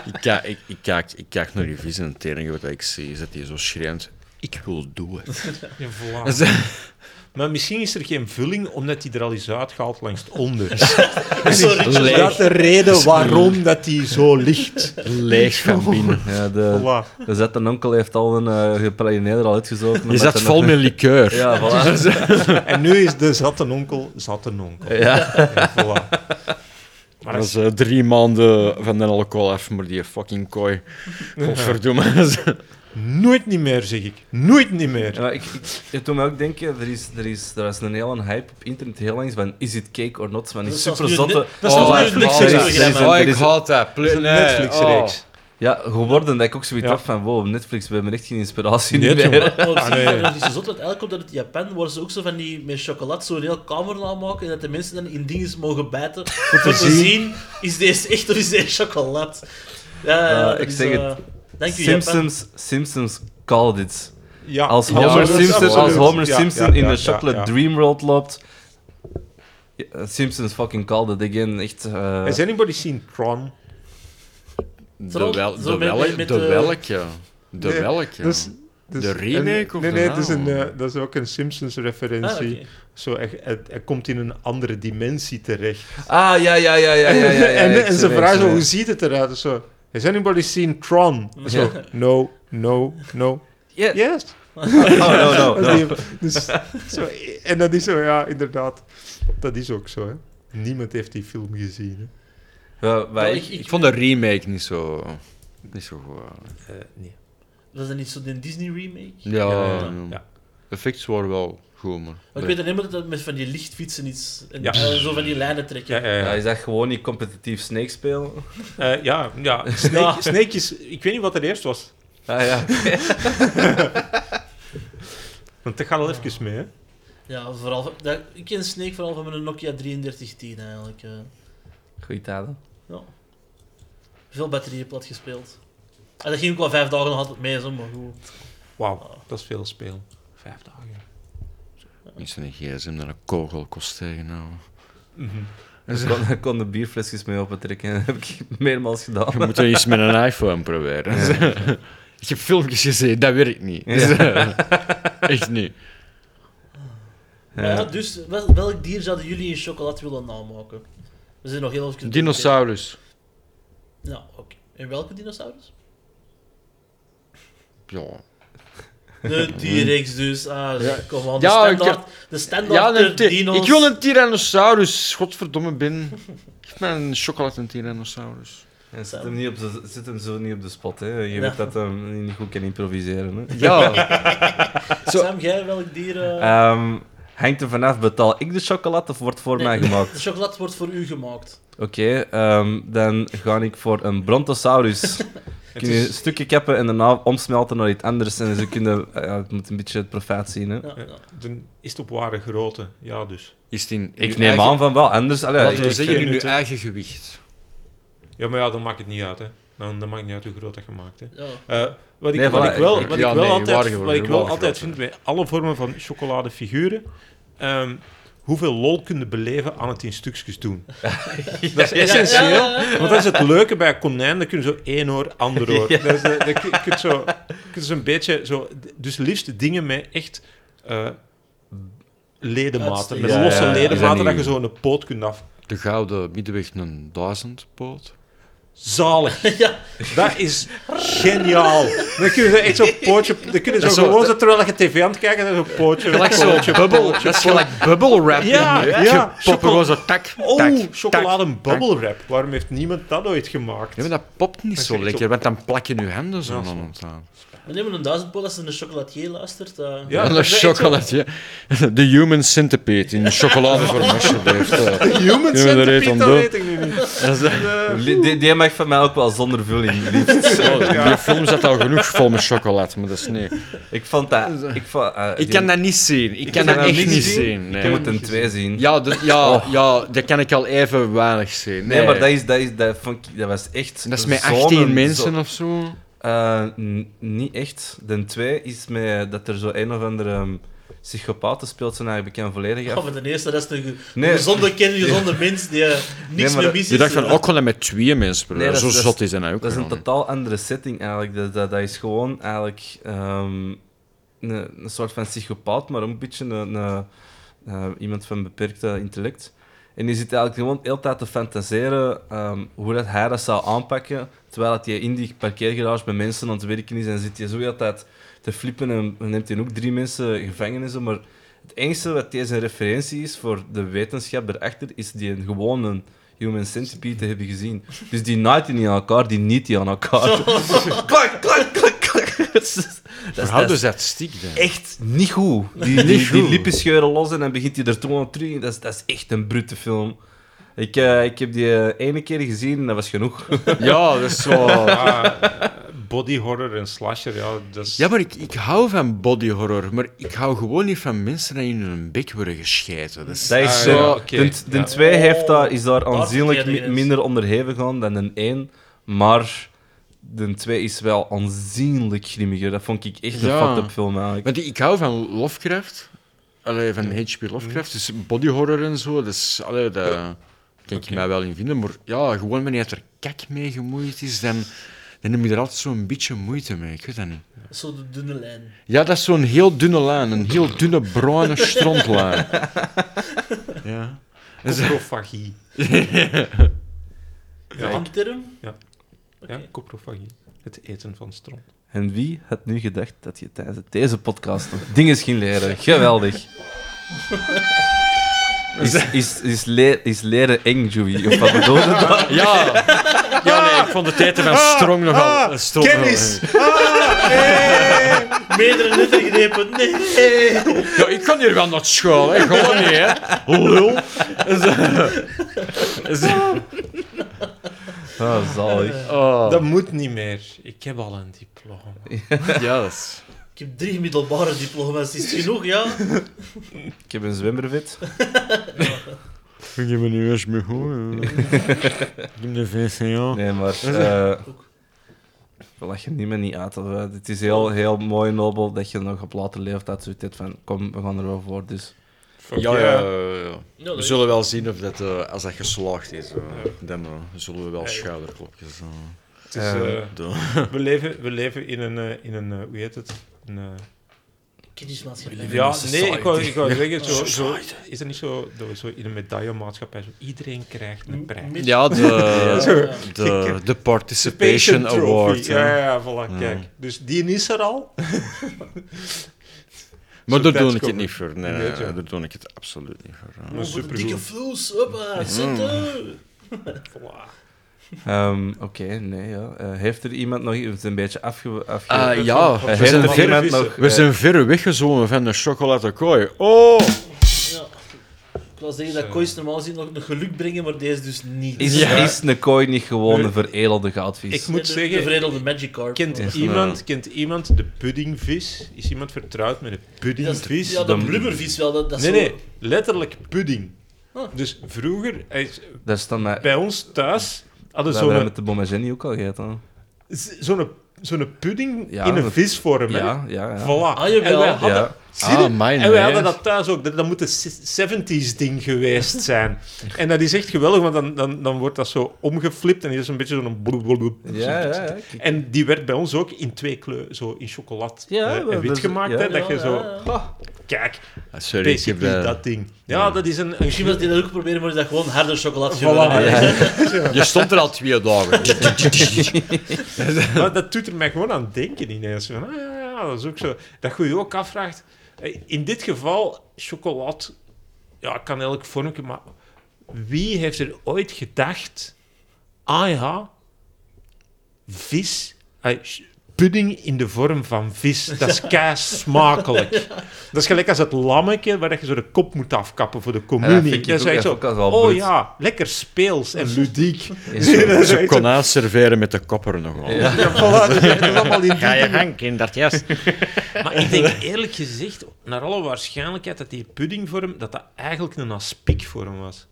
S6: Ik, kijk, ik, ik, kijk, ik kijk naar die vis en het enige wat ik zie is dat hij zo schreeuwt. Ik wil doen.
S4: Ja,
S2: Dus,
S4: voilà.
S2: eh,
S4: Maar misschien is er geen vulling omdat die er al is uitgehaald langs het onder.
S5: Zo
S6: Leeg.
S5: Richard Leigh.
S4: de reden waarom dat die zo ligt.
S6: Leeg van binnen.
S2: Ja, de,
S4: Voilà.
S2: de zet en onkel heeft al een eh gepralineerder al uitgezocht.
S6: Je zat vol met liqueur.
S2: Ja, voilà.
S4: En nu is de zatte onkel zatte onkel.
S2: Ja.
S4: Ja, voilà. Maar
S6: Dat
S4: dat is
S6: is eh, drie maanden van de alcohol af, maar die fucking kooi. Godverdomme. Oh,
S4: nooit niet meer, zeg ik. Nooit niet meer.
S2: Ja, maar ik, ik, het doet me ook denken, er is, er, is, er is een hele hype op internet heel langs van is it cake or not, van die
S5: Dat is zelfs
S2: super zotte... Oh,
S5: nu- dat is zelfs nu een Netflix-serie.
S2: er is een-
S6: Oh,
S2: er
S6: ik
S2: is een-
S6: haat dat. Ple-
S4: Dat is een
S6: nee,
S4: Netflix-reeks.
S6: oh.
S2: Ja, geworden dat ik ook zoiets
S4: Ja.
S2: af van wow, Netflix, we hebben echt geen inspiratie
S4: Nee,
S2: meer.
S4: jongen.
S5: Maar op zich,
S4: nee.
S5: dat is zo zot, want elke keer dat het Japan worden ze ook zo van die met chocolade zo'n heel kamer aanmaken en dat de mensen dan in dinges mogen bijten om te zien is deze echt of is deze chocolade. Ja,
S2: Eh,
S5: ja, dat
S2: ik
S5: is,
S2: zeg
S5: eh,
S2: het.
S5: Dank u, Japan.
S2: Simpsons, Simpsons called it.
S4: Ja,
S2: Als
S4: ja,
S2: Homer
S6: dat is
S2: Simpson, als
S6: absoluut.
S2: Homer
S4: Ja,
S2: Simpson
S4: ja,
S2: in
S4: ja,
S2: de
S4: ja,
S2: chocolate
S4: ja.
S2: dream world loopt... Ja, Simpsons fucking called it again, echt... eh,
S4: Has anybody seen Tron?
S6: De,
S5: Zo-
S6: wel,
S5: zo
S6: de,
S5: met-
S6: welk,
S5: met
S6: de
S5: de-
S6: welke? De
S4: Nee,
S6: welke?
S4: dus-
S6: De remake
S4: een-
S6: of
S4: Nee,
S6: de
S4: nee, dat is, een,
S6: oude?
S4: eh, dat is ook een Simpsons-referentie.
S5: Ah, oké.
S4: Zo, hij, hij- hij komt in een andere dimensie terecht.
S2: Ah, ja, ja, ja, ja, ja, ja, ja,
S4: en eh,
S2: ik
S4: en
S2: zie
S4: ze
S2: het,
S4: vragen
S2: ik
S4: zo,
S2: zie
S4: hoe
S2: het.
S4: ziet het eruit? Dus Zo, has anybody seen Tron? Zo, no, no, no.
S2: Yeah.
S4: Yes.
S2: Oh, no, no,
S4: Dat
S2: no.
S4: is die- dus, zo, en dat is zo, ja, inderdaad. Dat is ook zo, hè. Niemand heeft die film gezien. Hè.
S2: Ja, maar
S5: Nou,
S2: ik-
S5: ik-
S6: Ik vond de remake niet zo... Niet zo goed. eh.
S5: Was dat niet zo de Disney remake?
S6: Ja,
S4: ja,
S6: ja.
S4: ja.
S6: effects waren wel goed, maar...
S5: Want ik weet alleen maar dat dat met van die lichtfietsen iets en
S4: Ja.
S5: eh, zo van die lijnen trekken.
S2: Ja, is dat gewoon niet competitief Snake spelen?
S4: Eh, ja, ja. Snake,
S5: Ja.
S4: Snake is... Ik weet niet wat het eerst was.
S2: Ah ja.
S4: Want dat gaat al even mee, hè.
S5: Ja, vooral van- dat, ik ken Snake vooral van mijn Nokia 3310 eigenlijk. eh.
S2: Goeie talen.
S5: Ja. Veel batterijen plat gespeeld. En dat ging ook wel vijf dagen nog altijd mee, zo, maar goed.
S4: Wauw, dat is veel spelen. Vijf dagen.
S6: Niet zo'n gsm dat een kogel kost tegenhouden.
S2: Ik kon, ik kon de bierflesjes mee opentrekken. Dat heb ik meermaals gedaan.
S6: Je moet er iets met een iPhone proberen. Ik heb filmpjes gezien, dat werkt niet. Echt niet.
S5: Maar ja,
S6: Eh,
S5: dus wel- welk dier zouden jullie in chocolade willen namaken? We zijn nog heel even...
S6: Dinosaurus.
S5: Ja, oké. En welke dinosaurus?
S6: ja.
S5: De T-Rex dus. Ah,
S6: Ja.
S5: kom aan. De
S6: Ja, ik-
S5: standaard, de
S6: Ja,
S5: standaard
S6: een
S5: ter
S6: ty-
S5: dino's.
S6: ik wil een Tyrannosaurus. Godverdomme, Ben. Geef mij een chocolade en Tyrannosaurus.
S2: En zet, hem niet op de, zet hem zo niet op de spot, hè. Je weet dat hij niet goed kan improviseren. Hè.
S6: Ja.
S5: Sam, jij welk dier... eh,
S2: Ehm, hangt er vanaf, betaal ik de chocolade of wordt voor
S5: Nee.
S2: mij gemaakt?
S5: De chocolade wordt voor u gemaakt.
S2: Oké, ehm, dan ga ik voor een brontosaurus. Kun je stukken kappen en daarna omsmelten naar iets anders. En ze kunnen, eh, ja, het moet een beetje het profijt zien. Hè.
S5: Ja, ja.
S4: Dan is het op ware grootte. Ja, dus.
S6: Is het in
S2: Ik neem aan van wel, anders. allee,
S6: Laten we
S2: ik-
S6: zeggen, in
S4: vind
S6: uw
S4: het, hè.
S6: eigen gewicht.
S4: Ja, maar ja, dan maakt het niet uit, hè. Dan, dan maakt het niet uit hoe groot dat je maakt, hè.
S5: Ja.
S4: Eh, wat ik,
S2: Nee,
S4: wat
S2: voilà,
S4: ik wel,
S6: ik-
S4: wat
S6: ja,
S4: ik wel
S6: nee,
S4: altijd,
S6: waardige-
S4: wat ik wel
S6: waardige
S4: altijd
S6: grote.
S4: vind bij alle vormen van chocoladefiguren, ehm, hoeveel lol kunnen beleven aan het in stukjes doen. Dat is essentieel.
S5: Ja, ja, ja, ja.
S4: Want dat is het leuke bij konijn, dan kun je zo één oor, ander oor. Dat is, eh, dat kun- kun je zo, kun je zo'n beetje zo... Dus liefst dingen met echt eh, ledenmaten,
S5: Uitsteken.
S4: met
S2: Ja,
S4: losse
S2: ja, ja.
S4: ledematen,
S6: Is dat
S4: dat je
S6: niet-
S4: zo een poot kunt af.
S6: De gouden middenweg een duizendpoot.
S4: Zalig.
S5: Ja.
S4: Dat is geniaal. Dan kunnen ze echt zo'n pootje... Dan kunnen ze
S6: Dat is
S4: zo
S6: zo-
S4: gewoon zo, terwijl je tv aan het kijken en zo'n pootje...
S6: Gelijk zo
S4: pootje,
S6: bubble.
S4: pootje,
S6: Dat is
S4: pootje.
S6: gelijk bubble wrap.
S4: Ja, ja.
S6: Poppen
S4: Chocola-
S6: was dat tak, tak,
S4: Oh,
S6: tak,
S4: chocolade
S6: tak.
S4: bubble wrap. Waarom heeft niemand dat ooit gemaakt?
S6: Ja, maar dat popt niet
S4: Dat
S6: zo
S4: vind ik
S6: lekker,
S4: zo-
S6: want dan plak je je handen zo
S4: Ja, zo.
S6: aan ontstaan.
S5: We nemen een duizendpoot als er een chocolatier luistert. eh.
S4: Ja,
S6: en
S4: dat
S6: dat
S4: is echt zo.
S6: chocolade. De human centipede in chocoladevorm, alsjeblieft. Eh,
S4: Human
S6: Kunnen we er iets
S4: centipede,
S6: aan
S4: dat
S6: doen?
S4: weet ik nu niet.
S6: dat is-
S2: Li- Die, die mag van mij ook wel zonder vulling, liefst.
S6: Die film zat al genoeg vol met chocolade, maar dat is niet.
S2: Ik vond dat... Ik, vond, eh, die-
S6: Ik kan dat niet zien. Ik kan
S2: kan
S6: dat
S2: dat
S6: echt
S2: niet
S6: niet
S2: zien.
S6: zien.
S2: Je
S6: Nee.
S2: moet een twee zien.
S6: Ja, dat, ja, ja, dat kan ik al even weinig zien.
S2: Nee, maar dat, is, dat, is, dat, vond ik, dat was echt...
S6: Dat is met
S2: zo'n-
S6: 18
S2: zo-
S6: mensen of zo.
S2: Eh, n- niet echt. De twee is met, dat er zo een of andere ehm, psychopaat speelt zijn eigen bekend volledig
S5: Oh,
S2: af.
S5: maar ten eerste, dat is een ge-
S2: Nee.
S5: gezonde kind, een gezonde mens die eh, niks
S2: maar
S5: meer
S2: dat-
S5: mis is.
S6: Je dacht van,
S5: eh.
S6: ook gewoon met twee mensen. bro.
S2: Nee, dat is-
S6: zo
S2: dat is-
S6: zot is dat nou ook.
S2: Dat is een
S6: wel, hè.
S2: totaal andere setting eigenlijk. Dat, dat, dat is gewoon eigenlijk ehm, een, een soort van psychopaat, maar ook een beetje een, een, eh, iemand van beperkt eh, intellect. En die zit eigenlijk gewoon de hele tijd te fantaseren ehm, hoe dat hij dat zou aanpakken, terwijl dat hij in die parkeergarage bij mensen aan het werken is en zit hij zo de hele tijd te flippen en neemt hij ook drie mensen gevangen en zo. Maar het enige wat deze referentie is voor de wetenschap erachter, is die een gewone human centipede te hebben gezien. Dus die naait die niet aan elkaar, die niet die aan elkaar. klak, klak, klak, klak. Dat is- dat is-
S6: Verhoud
S2: dat
S6: dus
S2: is
S6: dat stiek dan.
S2: echt niet goed. Die, die, die lippen scheuren los en dan begint hij er toen aan terug. Dat is, dat is echt een brute film. Ik, eh, ik heb die eh, ene keer gezien en dat was genoeg.
S6: Ja, dat is zo...
S4: Ja, body horror en slasher, ja, dat is...
S6: Ja, maar ik, ik hou van body horror, maar ik hou gewoon niet van mensen die in hun bek worden gescheten. Dat is...
S2: Dat is
S4: Ah,
S2: zo.
S4: ja, oké.
S2: De, de twee heeft dat, is daar
S5: Oh,
S2: aanzienlijk
S5: verkeerde
S2: mi-
S5: grens.
S2: minder onderhevig aan dan de één. Maar de twee is wel aanzienlijk grimmiger. Dat vond ik echt een
S6: Ja.
S2: fucked-up film eigenlijk.
S6: Want ik hou van Lovecraft, allee, van H.P. Lovecraft, dus body horror en zo, dus, allee, daar kan ik mij wel in vinden. Maar ja, gewoon wanneer het er kak mee gemoeid is, dan, dan heb je er altijd zo'n beetje moeite mee. Ik weet dat niet.
S5: Zo de dunne lijn.
S6: Ja, dat is zo'n heel dunne lijn, een heel dunne bruine strontlijn. Ja.
S4: Coprofagie.
S5: Ja.
S4: ja,
S5: Een term?
S4: ja, coprofagie. Het eten van stront.
S2: En wie had nu gedacht dat je tijdens deze podcast nog dingen ging leren? Geweldig. Is, is, is, le- is leren eng, Joey? Of wat bedoel je dat?
S6: Ja. ja, nee, ik vond de tijd van strong nogal... strong nogal-
S5: Meerdere lettergrepen. Nee.
S6: Ja, ik kan hier wel naar school, hè. Gewoon niet, hè. Lul.
S2: Ah, zalig.
S6: Oh.
S4: Dat moet niet meer. Ik heb al een diploma.
S6: Ja, dat is-
S5: Ik heb drie middelbare diploma's, is het genoeg, ja?
S2: Ik heb een zwemmervet.
S6: Ik heb een US mee hoor. Ik heb de VCO.
S2: Nee, maar... eh we lachen niet meer niet uit. of, eh, Het is heel, heel mooi nobel dat je nog op later leeftijd zoiets hebt van... Kom, we gaan er wel voor, dus...
S6: Ja, ja, ja.
S5: Ja, dat
S6: We
S5: is-
S6: zullen wel zien of dat, eh, als dat geslaagd is, eh, dan eh, zullen we wel schouderklopjes eh,
S4: Het is, eh,
S6: doen.
S4: we, leven, we leven in een, eh, in een eh, hoe heet het? Een eh,
S5: kennismaatschappij.
S4: Ja, nee, ik wou, ik wou zeggen, zo, zo, is er niet zo, dat we zo in een medaillemaatschappij, zo, iedereen krijgt een prijs.
S5: Mid-
S6: Ja, de,
S5: Ja.
S6: de, de Participation
S4: Patient Trophy.
S6: Award. hè.
S4: Ja, ja, ja, voilà, kijk. Dus die is er al.
S6: Maar daar doe ik het
S4: tijdskomen.
S6: niet voor. Nee,
S4: Nee,
S6: nee,
S4: ja.
S6: daar doe ik het absoluut niet voor.
S4: Dat is
S5: Over de
S4: supergoed. Mm.
S5: dikke vloes, hoppa, zitten.
S4: Voilà.
S2: Ehm, Oké, nee, ja. Eh, heeft er iemand nog... Het is een beetje afge... afge
S6: Ah
S2: Eh,
S6: ja,
S4: we
S6: we
S2: heeft
S6: zijn,
S2: er
S4: verder
S6: ver,
S2: iemand
S4: vissen.
S2: nog...
S6: we
S2: eh,
S6: zijn verre weggezwommen van de chocoladekooi. Oh!
S5: Ja. Ik was zeggen dat koois normaal gezien nog een geluk brengen, maar deze dus niet.
S2: Is,
S4: Ja.
S2: is een kooi niet gewoon een veredelde
S4: Ik
S2: goudvis?
S4: moet
S5: de,
S4: zeggen-
S5: De veredelde Magic Card.
S4: Kent,
S5: Ja.
S4: iemand, kent iemand de puddingvis? Is iemand vertrouwd met een
S5: Dat is-
S4: puddingvis?
S5: Ja, de
S2: Dan-
S5: blubbervis wel. Dat, dat is
S4: nee,
S5: zo-
S4: nee, letterlijk pudding.
S5: Ah.
S4: Dus vroeger, hij is-
S2: Daar staan mij...
S4: bij ons thuis, hadden
S2: We hebben
S4: ze
S2: dat
S4: zo'n
S2: met de Bomageni ook al gegeten. hoor.
S4: z- zo'n zo'n pudding
S2: Ja,
S4: in een
S2: dat-
S4: visvorm. hè.
S2: Ja, ja, ja.
S4: Voilà.
S5: Ah, jawel.
S4: en wij hadden,
S2: Ja.
S4: Zie je?
S6: Ah, mijn
S4: en wij
S6: hè.
S4: hadden dat thuis ook. Dat, dat moet een 70s ding geweest zijn. en dat is echt geweldig, want dan, dan, dan wordt dat zo omgeflipt en is een beetje zo'n bloep, bloep, bloep.
S2: Ja, ja, ja.
S4: En die werd bij ons ook in twee kleuren, zo in chocolat
S2: Ja,
S4: eh,
S2: wel,
S4: en wit
S2: dus-
S4: gemaakt.
S2: ja.
S4: hè, dat
S5: Ja,
S4: je zo,
S5: ja, ja.
S2: Ah,
S4: kijk,
S6: Ah, Sorry, ik heb
S4: basically
S6: eh,
S4: dat ding. Ja, dat is een... een
S5: Misschien was die dat ook proberen, maar is dat gewoon harde chocolade.
S6: Je stond er al twee dagen.
S4: Maar dat doet er mij gewoon aan denken ineens. Van, ah, ja, ja, dat is ook zo. Dat je je ook afvraagt. eh, In dit geval, chocolade, ja, kan elk vormpje, maar wie heeft er ooit gedacht, ah ja, vis, eh, sh- pudding in de vorm van vis, dat is keis smakelijk. Dat is gelijk als het lammetje waar dat je zo de kop moet afkappen voor de
S2: Ja, dat vind
S4: communie.
S2: ik
S4: dat is
S2: ook- dat
S4: echt zo,
S2: vind ik ook wel
S4: oh
S2: brut.
S4: ja, lekker speels en ludiek.
S2: is-
S6: Ze kon aanserveren met de kopper nogal.
S4: Ja, voilà, dat is allemaal in
S6: Ga je gang, kindert, yes.
S4: Maar ik denk eerlijk gezegd, naar alle waarschijnlijkheid, dat die puddingvorm, dat dat eigenlijk een aspiekvorm was.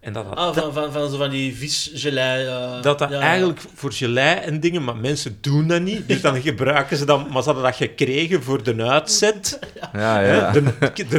S4: En dat dat,
S5: Ah, van, van, van, zo van die visgelei. eh,
S4: dat, dat
S5: ja.
S4: eigenlijk voor gelei en dingen, maar mensen doen dat niet. Dus dan gebruiken ze dat, maar ze hadden dat gekregen voor de uitzet.
S2: Ja,
S4: hè,
S2: ja.
S4: De,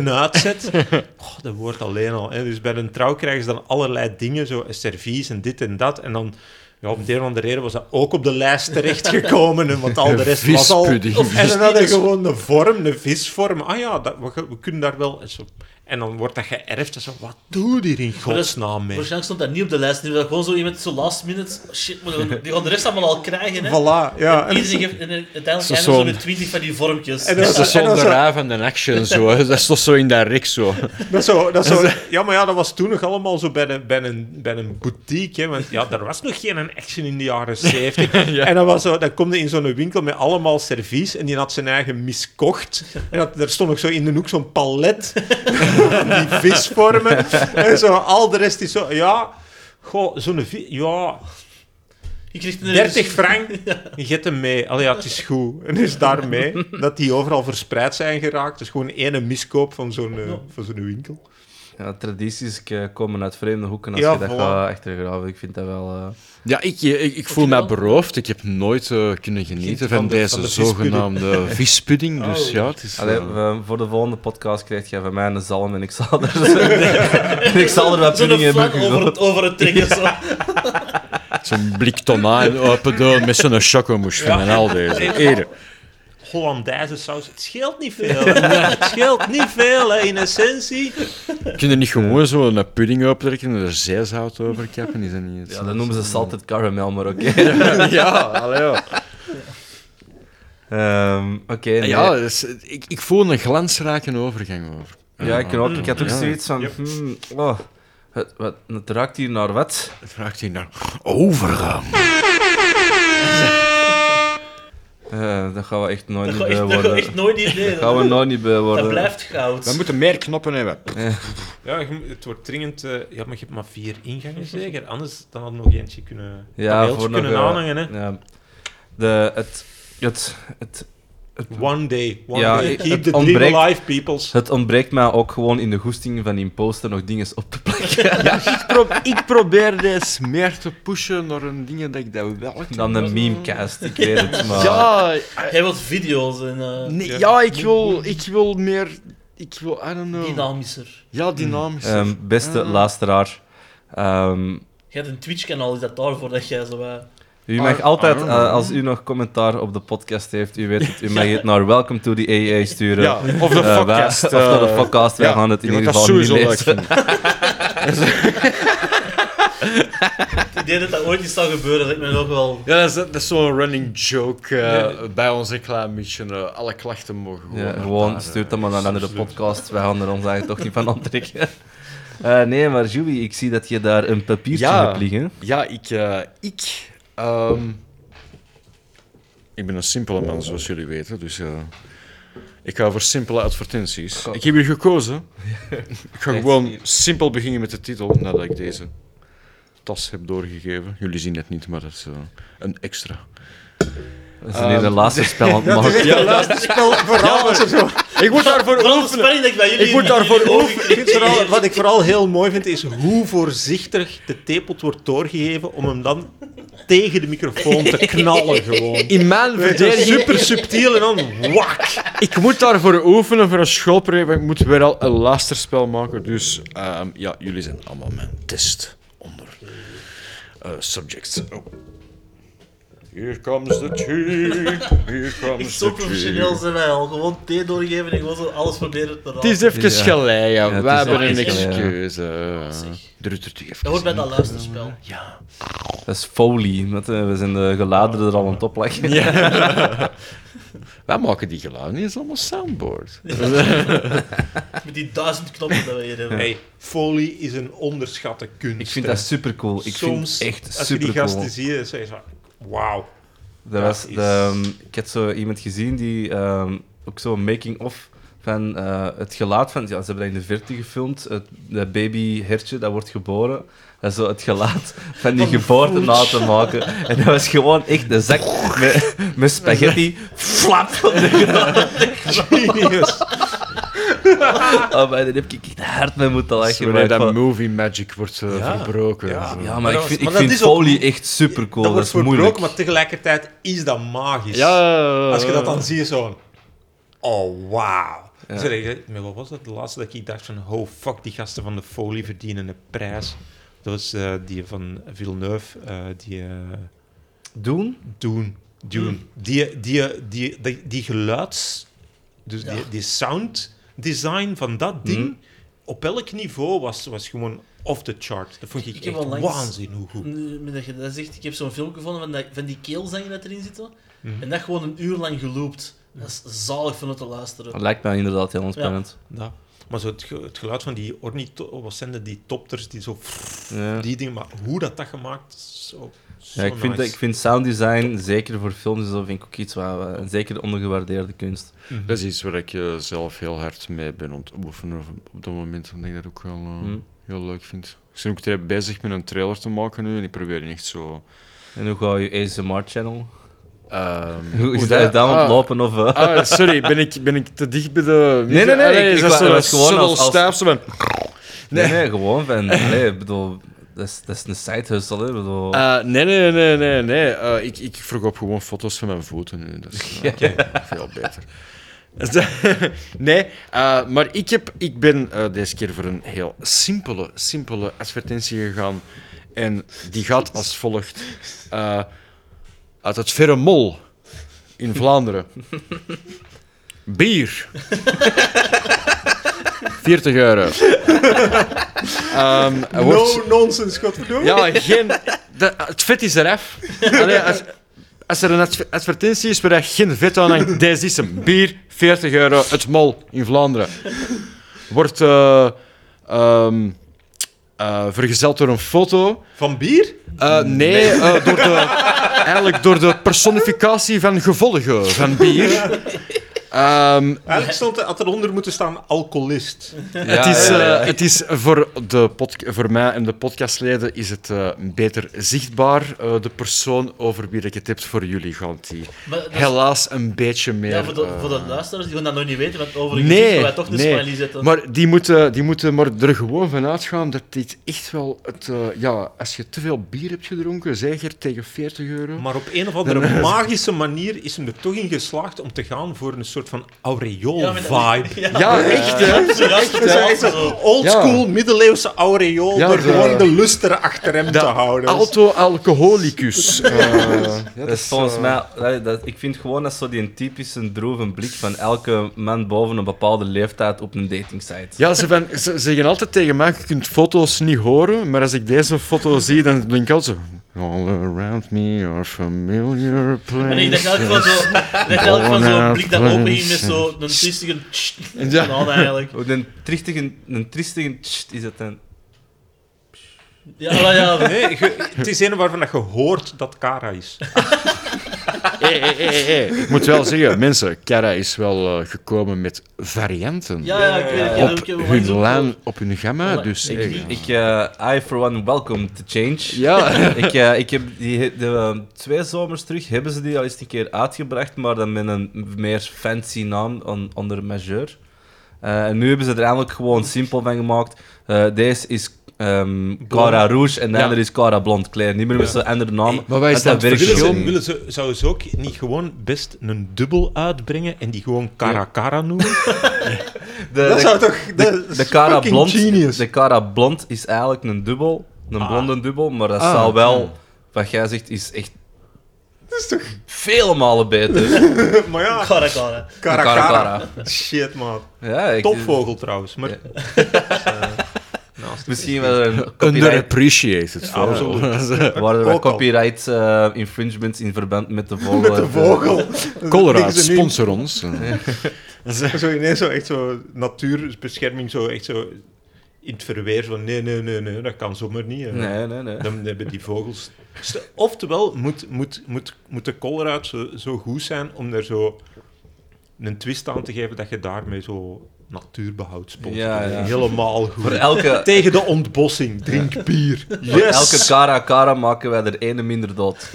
S4: de uitzet. Oh, dat wordt alleen al. Hè. Dus bij een trouw krijgen ze dan allerlei dingen, zo een servies en dit en dat. En dan, ja, om de een of andere reden was dat ook op de lijst terechtgekomen, hè, want al de rest was al...
S6: Vispudding.
S4: En dan hadden gewoon een vorm, een visvorm. Ah ja, dat, we, we kunnen daar wel... en zo- En dan wordt dat geërfd. En zo, wat doe je hier in
S5: Maar dat-
S4: godsnaam mee?
S5: Waarschijnlijk stond dat niet op de lijst. Nu dat gewoon zo iemand zo last minute. Shit, maar die gaan- die gaan de rest allemaal al krijgen. Hè.
S4: Voilà, ja. En,
S5: Iedereen geeft en uiteindelijk eindigen ze
S6: zo'n-
S5: zo met 20 van die vormpjes.
S4: En
S6: Dat
S4: dat-
S6: is zo'n de raaf van de action, zo. hè. Dat stond zo in dat rek, zo.
S4: dat zo, dat zo, ja, maar ja, dat was toen nog allemaal zo bij een, bij een, bij een boutique. Hè, want ja, er was nog geen action in de jaren 70. En dan, was zo, dan kom je in zo'n winkel met allemaal servies. En die had zijn eigen miskocht. En dat, er stond ook zo in de hoek zo'n palet. van die visvormen. En zo, al de rest is zo... Ja, goh, zo'n... vi- Ja,
S5: je krijgt een
S4: 30 frank, je hebt hem mee. Allee, ja, het is goed. En dus daarmee dat die overal verspreid zijn geraakt. Dus gewoon één miskoop van zo'n eh, van zo'n winkel.
S2: ja. Tradities eh, komen uit vreemde hoeken als
S4: Ja,
S2: je dat
S4: voilà.
S2: gaat achtergraven. Ik vind dat wel... eh,
S6: Ja, ik, ik, ik voel mij beroofd. Ik heb nooit eh, kunnen genieten
S4: Van
S6: van
S4: de-
S6: deze
S4: van de vispudding.
S6: zogenaamde vispudding. Dus ja, het is... eh,
S2: Allee, we- voor de volgende podcast krijg jij van mij een zalm en ik zal er, en ik zal er wat
S5: Zo'n
S2: pudding in
S5: flan over
S2: doen.
S5: het, over het trekken. Zo.
S6: Zo'n blik tonijn open doen met zo'n chocomousse van en al deze. Ere.
S4: Hollandaise saus, het scheelt niet veel. hè. Het scheelt niet veel, hè, in essentie.
S6: Kun je niet gewoon zo'n pudding optrekken en er zeeshout over kappen? Is dat niet
S2: Ja, dat noemen ze salted caramel, maar oké.
S6: Ja, allee, ja.
S2: Ehm, oké, nee.
S6: ja
S2: ja,
S6: dus, ik, ik voel een glansrijke overgang over.
S2: ik, ook, ik had ook
S6: Ja.
S2: zoiets van... hmm, oh, het, wat, het ruikt hier naar wat?
S6: Het vraagt hij naar overgang.
S2: Eh, dat gaan we echt nooit
S5: Dat
S2: niet
S5: gaat echt,
S2: bij
S5: dat gaat
S2: worden.
S5: echt nooit niet
S2: Dat gaan we
S5: leren.
S2: nooit niet bij worden.
S5: Dat blijft goud.
S6: We moeten meer knoppen hebben.
S4: Ja, je moet- het wordt dringend... eh, ja, maar je hebt maar vier ingangen zeker. Anders dan had nog eentje kunnen...
S2: Ja,
S4: een beeldje
S2: voor nog,
S4: kunnen
S2: eh,
S4: aanhangen, hè.
S2: Ja. De, het, het, het,
S4: One day, one
S2: Ja,
S4: day.
S2: het
S4: Keep the
S2: ontbreekt-
S4: dream alive, peoples.
S2: het ontbreekt mij ook gewoon in de goesting van die poster nog dingen op te plakken.
S6: ik, pro- ik probeer deze meer te pushen naar een ding dat ik dat wel kan.
S2: Dan een memecast, ik weet het, maar...
S6: Ja,
S5: Hij wil video's en eh
S6: nee, ja ik, wil, ik wil meer... Ik wil, I don't know.
S5: dynamischer.
S6: Ja, dynamisch.
S2: Ehm, beste luisteraar, ehm,
S5: Je hebt een Twitch-kanaal, is dat daarvoor dat jij zo... eh,
S2: U mag
S6: Ah,
S2: altijd,
S6: ah,
S2: eh, als u nog commentaar op de podcast heeft, u weet het, u mag het naar Welcome to the AA sturen.
S6: Ja, of de
S2: Eh, wij-
S6: podcast.
S2: of naar de
S6: eh,
S2: podcast, wij
S6: ja,
S2: gaan het in
S6: je
S2: ieder
S6: gaat
S2: geval niet
S6: dat sowieso
S2: lezen.
S6: leuk
S5: Het idee dat dat ooit niet zou gebeuren, dat ik me ook wel...
S6: Ja, dat is, dat is zo'n running joke eh,
S4: Ja.
S6: bij ons een klein beetje. eh, alle klachten mogen gewoon.
S2: Ja,
S6: naar
S2: gewoon
S6: daar,
S2: stuurt
S6: eh,
S2: dat maar naar een andere podcast. Wij gaan er ons eigenlijk toch niet van aantrekken. Eh, nee, maar Julie, ik zie dat je daar een papiertje
S6: Ja.
S2: hebt liggen.
S6: Ja, ik. eh, ik, ehm, ik ben een simpele man, zoals jullie weten. Dus eh, ik ga voor simpele advertenties. Ik heb hier gekozen. ik ga gewoon simpel beginnen met de titel nadat ik deze tas heb doorgegeven. Jullie zien het niet, maar dat is eh, een extra.
S2: Dat is nu de laatste spel aan het maken.
S6: Ja, Ik moet daarvoor
S5: Vooral de
S6: oefenen.
S5: spanning dat ik bij jullie...
S6: Ik moet daarvoor
S5: jullie ogen-
S6: oefenen.
S1: Ik vind vooral- wat ik vooral heel mooi vind, is hoe voorzichtig de tepelt wordt doorgegeven om hem dan tegen de microfoon te knallen gewoon.
S6: In mijn verdediging,
S1: Super subtiel en dan wak.
S6: ik moet daarvoor oefenen voor een schoolproject, maar ik moet weer al een lasterspel maken. Dus ehm, ja, jullie zijn allemaal mijn test onder eh, subjects. Oh. Here comes the tea, here
S5: Ik
S6: comes
S5: zo
S6: the
S5: professioneel
S6: tea.
S5: zijn wij al. Gewoon thee doorgeven en gewoon zo alles proberen te raden.
S6: Het is even
S2: Ja.
S6: gelei, ja.
S2: Ja, het
S6: wij
S2: is
S6: hebben
S5: echt
S6: een eh.
S5: gelei, ja.
S6: excuse. Doe het er toch even
S5: Dat hoort bij
S6: in.
S5: dat luisterspel.
S2: Dat is folie. want, eh, we zijn de geladeren er al aan het opleggen.
S6: Wij maken die geluiden niet, het is allemaal soundboard.
S5: Met die duizend knoppen dat we hier hebben.
S4: Hey, Foley is een onderschatte kunst.
S2: Ik vind
S4: hè.
S2: dat super cool. Ik
S4: Soms,
S2: vind het echt
S4: als je die
S2: super
S4: gasten
S2: cool.
S4: ziet, dan zeg je zo, wauw.
S2: Er was
S4: Dat is-
S2: de, ehm, ik had zo iemand gezien die ehm, ook zo'n making-of van eh, het gelaat van... Ja, ze hebben dat in de verte gefilmd. Het dat babyhertje dat wordt geboren. En zo het gelaat van die geboorte na te maken. En dat was gewoon echt de zak met, met spaghetti. Flap! op de grond. Oh, maar daar heb ik echt hard mee moeten
S6: Als
S2: lachen. maar
S6: wanneer
S2: ik
S6: dat
S2: vond-
S6: movie magic wordt eh, verbroken.
S4: Ja.
S6: Zo.
S2: Ja, maar ik
S4: dat
S2: vind,
S4: was-
S2: ik
S4: maar dat
S2: vind
S4: is ook-
S2: folie echt super cool.
S4: dat
S2: Dat,
S4: wordt
S2: is moeilijk.
S4: verbroken, maar tegelijkertijd is dat magisch.
S6: Ja.
S4: Als je dat dan ziet, zo'n... Oh, wauw. Dus dan denk je, maar wat was dat de laatste dat ik dacht van... Oh, fuck, die gasten van de folie verdienen een prijs. Dat was eh, die van Villeneuve, eh, die... eh,
S2: Doen?
S4: Doen. Doen. Die, die, die, die, die geluids... Dus die, die sound design van dat ding... Op elk niveau was, was gewoon off the chart. Dat vond ik,
S5: Ik heb
S4: echt
S5: onlangs-
S4: waanzin hoe goed.
S5: Nu, met dat je dat zegt, ik heb zo'n filmpje gevonden van, dat, van die keelzangen dat erin zitten.
S6: Mhm.
S5: En dat gewoon een uur lang geloopt. Dat is zalig van het te luisteren.
S2: Dat lijkt mij inderdaad heel ontspannend.
S4: Ja. Maar zo het, ge- het geluid van die ornito... Wat zijn dat? Die topters die zo...
S2: Ja.
S4: Die dingen. Maar hoe dat dat gemaakt is, zo... zo
S2: Ja, ik, vind,
S4: nice.
S2: ik vind sounddesign, zeker voor films, en zo, vind ik ook iets waar we- een zeker ondergewaardeerde kunst.
S6: Dat is iets waar ik eh, zelf heel hard mee ben aan het oefenen op- op dat moment. Omdat ik dat ook wel eh,
S2: Hmm.
S6: heel leuk vind. Ik ben ook te- bezig met een trailer te maken nu. En ik probeer die echt zo...
S2: En hoe ga je ASMR-channel?
S6: ehm,
S2: Hoe is
S6: hoe
S2: dat aan het
S6: ah,
S2: lopen? Of, eh?
S6: ah, sorry, ben ik, ben ik te dicht bij de...
S2: Nee, nee, nee,
S6: Allee,
S2: ik-
S6: is
S2: ik
S6: dat
S2: wa-
S6: zo'n
S2: was gewoon
S6: subtle
S2: als- als-
S6: staaf, zo van-
S2: nee. nee, gewoon van... Nee, ik bedoel, dat is, dat is een side hustle, hè. ik Bedoel,
S6: Eh, nee, nee, nee, nee, nee. Eh, ik, ik verkoop gewoon foto's van mijn voeten nu. Dat is eh, veel beter. nee, eh, maar ik, heb, ik ben eh, deze keer voor een heel simpele, simpele advertentie gegaan. En die gaat als volgt. Eh, uit het verre Mol in Vlaanderen. Bier. 40 euro. Ehm, er wordt-
S1: No nonsense, godverdomme.
S6: ja, geen, dat- het vet is eraf. Allee, als, als er een adver- advertentie is waar je geen vet aan hangt, deze is een bier, 40 euro, het mol in Vlaanderen. Wordt eh, ehm, eh, vergezeld door een foto.
S4: Van bier?
S6: Eh, nee, eh, door de, eigenlijk door de personificatie van gevolgen van bier. Ehm,
S4: Eigenlijk stond er, had eronder moeten staan alcoholist.
S6: het, is,
S2: ja, ja.
S6: eh, het is voor, de podca- voor mij en de podcastleden is het eh, beter zichtbaar. Eh, de persoon over wie ik het heb voor jullie gaat die
S5: Maar dat is-
S6: helaas een beetje meer...
S5: ja, voor, de,
S6: eh,
S5: voor de luisteraars, die gaan dat nog niet weten, want overigens gaan
S6: Nee,
S5: wij toch een
S6: nee.
S5: smiley zetten.
S6: Maar die moeten, die moeten maar er gewoon van uitgaan dat dit echt wel... Het, eh, ja, als je te veel bier hebt gedronken, zeker tegen 40 euro...
S4: Maar op een of andere magische manier is hem er toch in geslaagd om te gaan voor een
S7: soort van
S5: Ja, met dat-
S7: aureool-vibe.
S5: Ja,
S6: Ja, echt, hè?
S5: Zo, ja, zo,
S4: Het is echt
S5: zo.
S4: zo'n oldschool middeleeuwse aureool
S6: Ja,
S4: door
S6: de-
S4: gewoon de luster achter hem te houden.
S6: Alto alcoholicus. Eh, ja,
S2: Dat is volgens mij, allee, dat, ik vind gewoon dat is zo die typische droeve blik van elke man boven een bepaalde leeftijd op een datingsite.
S6: Ja, ze, van, ze zeggen altijd tegen mij, je kunt foto's niet horen, maar als ik deze foto zie, dan denk ik altijd zo... All around me are familiar
S5: En ik dacht
S6: places.
S5: eigenlijk van zo- ik dacht eigenlijk van zo'n blik dat openging met zo'n tristige...
S6: Ja.
S5: Ja. eigenlijk.
S2: Oh, Een tristige, een tristige tst is dat dan.
S5: Ja, maar ja.
S7: Nee, ge- het is een waarvan dat je hoort dat Kara is.
S6: Hey, hey, hey, hey. Ik moet wel zeggen, mensen, Kara is wel eh, gekomen met varianten
S5: Ja, ja, ik weet het. ik heb-
S6: op
S5: ik heb-
S6: hun lijn, op hun gamma.
S5: Voilà.
S6: Dus,
S2: Ik,
S6: eh,
S2: ik eh, I for one welcome to change.
S6: ja.
S2: ik, eh, ik heb die de, eh, twee zomers terug hebben ze die al eens een keer uitgebracht, maar dan met een meer fancy naam on- onder majeur. Eh, en nu hebben ze er eigenlijk gewoon simpel van gemaakt. Eh, deze is ehm Cara Rouge en de
S6: Ja.
S2: andere is Cara Blond Claire. Niet meer met zo'n andere naam.
S6: Maar wij
S2: Want
S6: staan het
S2: werkt
S7: Willen
S6: verschil.
S2: gewoon.
S7: ze, willen ze, zouden ze ook niet gewoon best een dubbel uitbrengen en die gewoon Kara Kara noemen?
S2: De,
S4: dat
S2: de-
S4: zou toch... De,
S2: de Cara
S4: fucking
S2: Blond,
S4: Genius.
S2: de Cara Blond is eigenlijk een dubbel, een blonde dubbel, maar dat zou wel, wat jij zegt, is echt
S4: Dat is toch...
S2: vele malen beter.
S4: Maar ja,
S5: Kara, Kara.
S4: Cara
S2: Cara,
S4: Cara. Shit, man.
S2: ja, ik,
S7: Topvogel trouwens, maar
S2: Misschien wel een copyright,
S6: Underappreciated. vooral.
S2: waren er wat
S4: Ook al.
S2: copyright eh, infringements in verband met de vogel. eh,
S4: Met de vogel.
S6: Colorado,
S4: Liggen ze nu-
S6: sponsor ons.
S4: Zo ineens zo echt zo natuurbescherming, zo echt zo in het verweer. Zo, nee, nee, nee, nee, dat kan zomaar niet. hè.
S2: Nee, nee, nee.
S4: Dan hebben die vogels... St- Oftewel, moet, moet, moet, moet de Colruyt zo, zo goed zijn om er zo een twist aan te geven dat je daarmee zo natuurbehoud sponsort.
S2: Ja, ja.
S4: Helemaal goed.
S2: Voor elke,
S4: Tegen de ontbossing, drink bier.
S2: voor
S4: Yes!
S2: elke cara cara maken wij er ene minder dood.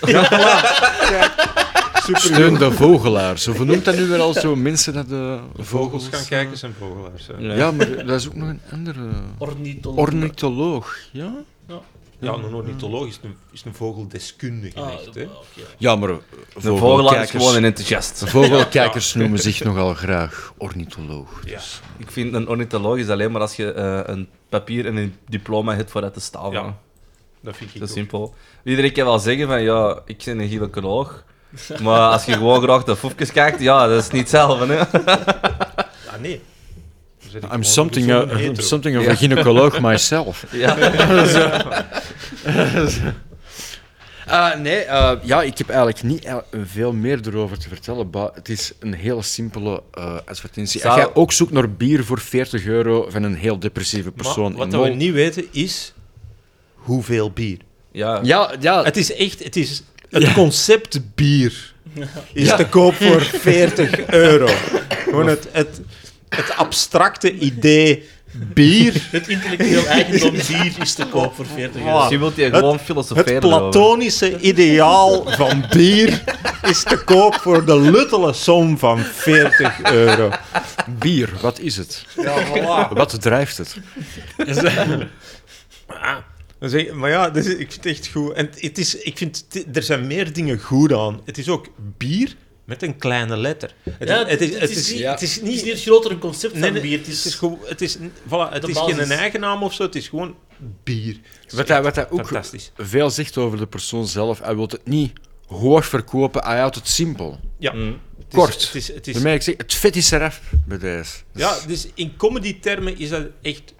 S4: Super
S6: Steun de vogelaars. Hoe noemt dat nu weer al zo? Mensen dat de
S7: vogels
S6: vogels... eh,
S7: gaan kijken zijn vogelaars. hè.
S6: Ja, maar dat is ook nog een andere...
S5: Ornitholoog.
S6: Ornitholoog, ja?
S7: Ja, een ornitholoog is een, is een vogeldeskundige
S5: Ah,
S7: echt. Hè.
S5: oké, ja.
S6: Ja, maar
S2: De vogelaar is gewoon een enthousiast.
S6: vogelkijkers noemen zich nogal graag ornitholoog.
S2: Ik vind een ornitholoog is alleen maar als je eh, een papier en een diploma hebt voor uit de staal.
S7: Ja,
S2: man.
S7: Dat vind ik
S2: Zo
S7: ook.
S2: simpel. Iedereen kan wel zeggen van ja, ik ben een gynaecoloog. Maar als je gewoon graag de foefjes kijkt, ja, dat is niet hetzelfde. Hè?
S7: Ah, nee. Dan zet ik
S6: I'm
S7: gewoon
S6: something,
S7: gezond
S6: uh, I'm
S7: hetero.
S6: something of a gynaecoloog myself.
S2: Ja.
S6: Eh, nee, eh, ja, ik heb eigenlijk niet eh, veel meer erover te vertellen. Maar het is een hele simpele eh, advertentie.
S2: Zou-
S6: Als jij ook zoekt naar bier voor 40 euro van een heel depressieve persoon
S7: Maar wat
S6: in
S7: dat we
S6: Mol-
S7: niet weten is hoeveel bier.
S2: ja. Dus
S6: Ja, ja,
S7: Het is echt, het is het concept bier
S4: is te koop voor 40 euro. Gewoon het, het, het abstracte idee bier.
S5: Het intellectueel eigendom bier is te koop voor 40 euro.
S2: Misschien wilt je
S4: Het-
S2: gewoon
S4: Het
S2: filosoferen erover.
S4: platonische ideaal van bier is te koop voor de luttele som van 40 euro.
S6: bier, wat is het? Wat drijft het?
S4: Ah, Dan zeg je, maar ja, dus ik vind het echt goed. En het is, ik vind, t- er zijn meer dingen goed aan. Het is ook bier met een kleine letter. Het,
S5: Ja,
S4: het, is,
S5: het
S4: het,
S5: is
S4: is,
S5: niet-
S4: het is
S5: Het is
S4: niet...
S5: niet het grotere concept van
S4: Nee, nee,
S5: bier. Het
S4: Het is,
S5: is,
S4: gewoon, het is, voilà, het
S5: De
S4: is
S5: basis.
S4: geen eigen naam of zo, het is gewoon bier.
S6: Wat hij, wat hij ook
S7: Fantastisch.
S6: veel zegt over de persoon zelf, hij wil het niet hoog verkopen, hij houdt het simpel.
S7: Ja.
S5: Mm.
S7: Het is-
S6: Kort.
S7: Het is, het is,
S6: Daarmee ik zeg, het vet is eraf bij deze.
S7: ja, dus in comedy-termen is dat echt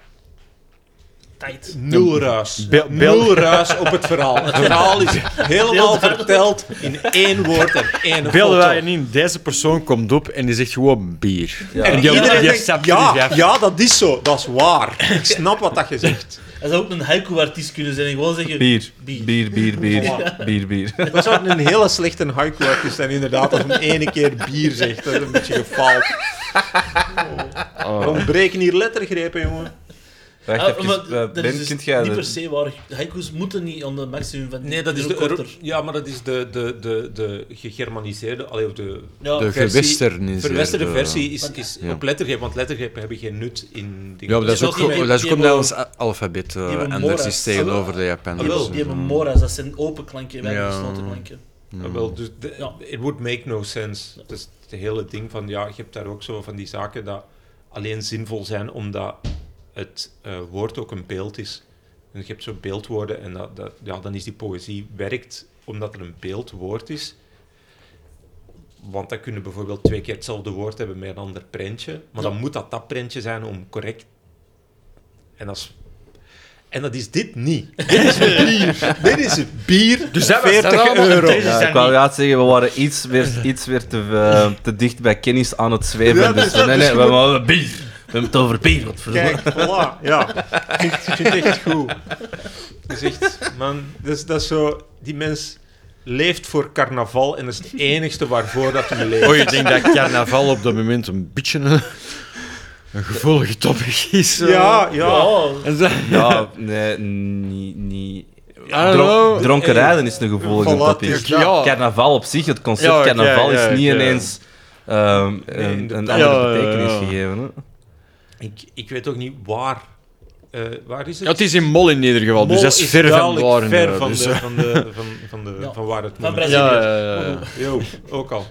S5: tijd.
S4: Nul ruis.
S6: Bel- Bel-
S4: Nul ruis op het verhaal. Het verhaal is helemaal verteld in één woord en één
S6: Beelden
S4: foto.
S6: wij niet, deze persoon komt op en die zegt gewoon bier.
S4: En
S6: die-
S4: iedereen
S6: die
S4: denkt,
S6: snapt er
S4: ja,
S6: niet
S4: ja, dat is zo. Dat is waar. Ik snap wat dat je zegt.
S5: Hij zou ook een haiku-artiest kunnen zijn en gewoon zeggen...
S2: Bier.
S5: Bier.
S2: Bier, bier, bier, bier,
S4: Voilà.
S2: bier. bier.
S4: Dat zou een hele slechte haiku is zijn, inderdaad. Als een ene keer bier zegt, dat is een beetje gefaald.
S7: Oh.
S4: Er ontbreken hier lettergrepen, jongen.
S2: Wacht
S5: Ah,
S2: even,
S5: maar
S2: eh,
S5: dat
S2: Ben,
S5: is
S2: kunt
S5: dus
S2: jij...
S5: niet
S2: de-
S5: per se waar. Haiku's moeten niet aan de maximum van...
S7: Nee, dat
S5: die
S7: is
S5: ook korter.
S7: de, ja, maar dat is de, de, de, de gegermaniseerde, allee, of de
S5: Ja,
S6: De
S7: versie-
S6: gewesterniseerde-
S7: verwesterde versie is, is
S6: Ja.
S7: op lettergreep, want lettergrepen hebben geen nut in dingen.
S6: Ja, maar dat is ook,
S5: Die- die-
S6: dat is ook
S5: die-
S6: omdat ons a- alfabet eh,
S5: die- die-
S6: anders
S5: moras.
S6: is tegenover de Dus- Japanners.
S5: Die hebben, die hebben moras, dat zijn open klanken, wij hebben
S6: Ja.
S5: gesloten klanken.
S4: Ah, wel, dus de- it would make no sense. Het is het hele ding van, ja, je hebt daar ook zo van die zaken dat alleen zinvol zijn omdat het eh, woord ook een beeld is. En je hebt zo beeldwoorden en dat, dat, ja, dan is die poëzie werkt omdat er een beeldwoord is. Want dan kunnen bijvoorbeeld twee keer hetzelfde woord hebben met een ander prentje. Maar dan moet dat dat prentje zijn om correct... En dat is... En dat is dit niet. Dit is bier. Dit is bier. Dus dat 40 euro.
S2: Ja, ik wou juist zeggen, we waren iets weer, iets weer te, eh, te dicht bij kennis aan het zweven.
S4: Ja, dat
S2: dus
S4: is dat,
S2: nee,
S4: dus
S2: nee,
S4: je
S2: we hebben bier. We hebben het over bier, wat
S4: Kijk, voilà. Ja. Ik vind het echt goed. Dat is echt, man, dat is, dat is zo... Die mens leeft voor carnaval en dat is het enigste waarvoor dat hij leeft.
S6: Oh, ik denk dat carnaval op dat moment een beetje een, een gevoelige topic is. eh.
S4: Ja, ja.
S5: Ja,
S6: En zo-
S2: Ja, nee, niet... niet.
S6: I don't know.
S2: dronken rijden is een gevoelige
S4: Voilà,
S2: topic.
S4: tuurlijk,
S6: ja.
S2: Carnaval op zich, het concept
S6: Ja, oké,
S2: carnaval,
S6: ja,
S2: is niet
S6: oké.
S2: ineens ehm, een, een
S4: inderdaad.
S2: andere
S6: Ja, ja,
S2: betekenis
S6: ja.
S2: gegeven. Hè?
S4: Ik, ik weet ook niet waar... eh, waar is het?
S6: Ja, het is in Mol in ieder geval, dus
S4: Mol
S6: dat is ver van
S4: duidelijk
S6: Waren.
S4: ver
S6: eh,
S4: van,
S6: dus,
S4: de,
S6: eh.
S4: van, de, van, van, de,
S5: Ja.
S4: van waar het
S5: van
S4: moment
S5: Brazilië.
S6: Ja, ja, ja, ja.
S4: is. Yo, ook al.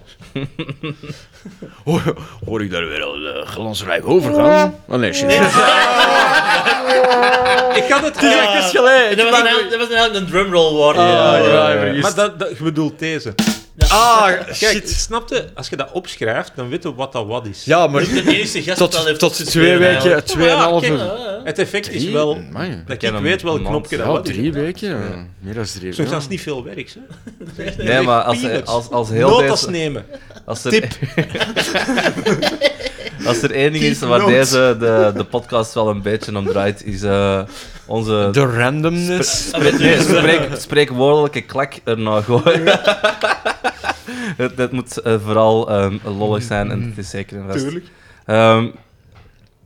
S6: Hoor, hoor ik daar weer al eh, glansrijk over gaan? Oh nee, shit.
S4: Ik had het...
S5: Ja.
S6: is gelijk.
S5: En dat was, nou- een, heel- dat was een, heel- een drumroll worden.
S6: Ja, ja, ja, vergist.
S4: Maar dat, dat, je bedoelt deze.
S6: Ah,
S4: Kijk,
S6: shit.
S4: snapte? Als je dat opschrijft, dan weet je wat dat wat is.
S6: Ja, maar
S5: De enige gast dat wel
S6: tot,
S5: heeft
S6: tot twee
S5: opgeschreven,
S6: weken, tweeënhalf
S4: kijk,
S6: uur.
S4: Het effect is
S6: Drie?
S4: wel...
S6: Amai.
S4: Dat ik
S2: ken hem
S4: weet wel
S2: een
S4: knopje dat
S6: Ja,
S4: wat is.
S6: drie weken. ja. Meer dan drie
S4: Soms
S6: weken.
S4: dat is niet veel werk, hè?
S2: Nee, maar als,
S4: peanuts.
S2: als, als heel
S4: Notas
S2: deze...
S4: nemen.
S2: Als er, als er één ding is waar
S4: Keep notes.
S2: deze de, de podcast wel een beetje om draait, is eh, onze
S6: De randomness.
S2: spre- nee, spreek, spreekwoordelijke klak erna gooien. dat, dat moet eh, vooral ehm, lollig zijn en dat is zeker een vast.
S4: Tuurlijk.
S2: Ehm,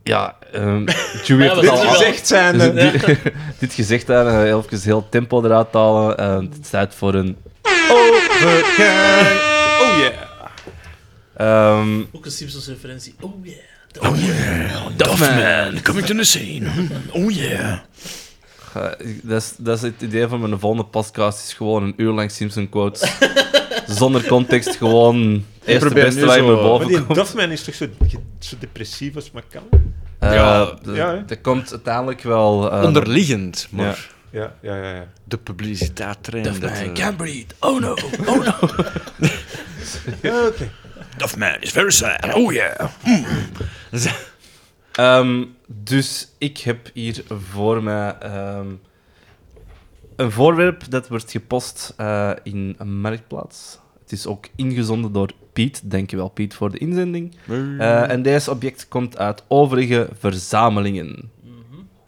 S2: ja, ehm Joey heeft
S5: Ja,
S2: het
S5: dit
S2: al
S5: is
S2: aan-
S5: wel-
S4: Gezegd zijn.
S2: dus
S4: eh,
S2: dit- dit gezegd daar, eh, even heel tempo eruit halen. eh, het staat voor een.
S4: Oh yeah.
S2: ehm,
S5: Ook een Simpsons-referentie. Oh yeah.
S6: Duffman, coming to the scene. Oh yeah.
S2: Ga- ik- eh, Dat is, dat is het idee van mijn volgende podcast, is gewoon een uur lang Simpson quotes. Zonder context, gewoon eerste
S6: probeer
S2: beste
S6: nu
S2: waar je
S6: zo,
S2: me
S4: Maar
S2: boven
S4: die
S2: komt.
S4: Duffman is toch zo, zo depressief als maar kan?
S2: Eh,
S6: Ja,
S2: de-
S4: ja, hè.
S2: Dat komt uiteindelijk wel... eh,
S6: Onderliggend, maar
S4: Ja, ja, ja. ja.
S6: de publiciteit traint.
S2: Duffman
S6: dat, eh,
S2: can breathe, oh no, oh no.
S6: Duffman is very sad. Oh yeah.
S2: Ehm, dus ik heb hier voor mij ehm, een voorwerp dat wordt gepost eh, in een marktplaats. Het is ook ingezonden door Piet. Dankjewel Piet voor de inzending.
S6: Mhm.
S2: Eh, en deze object komt uit overige verzamelingen.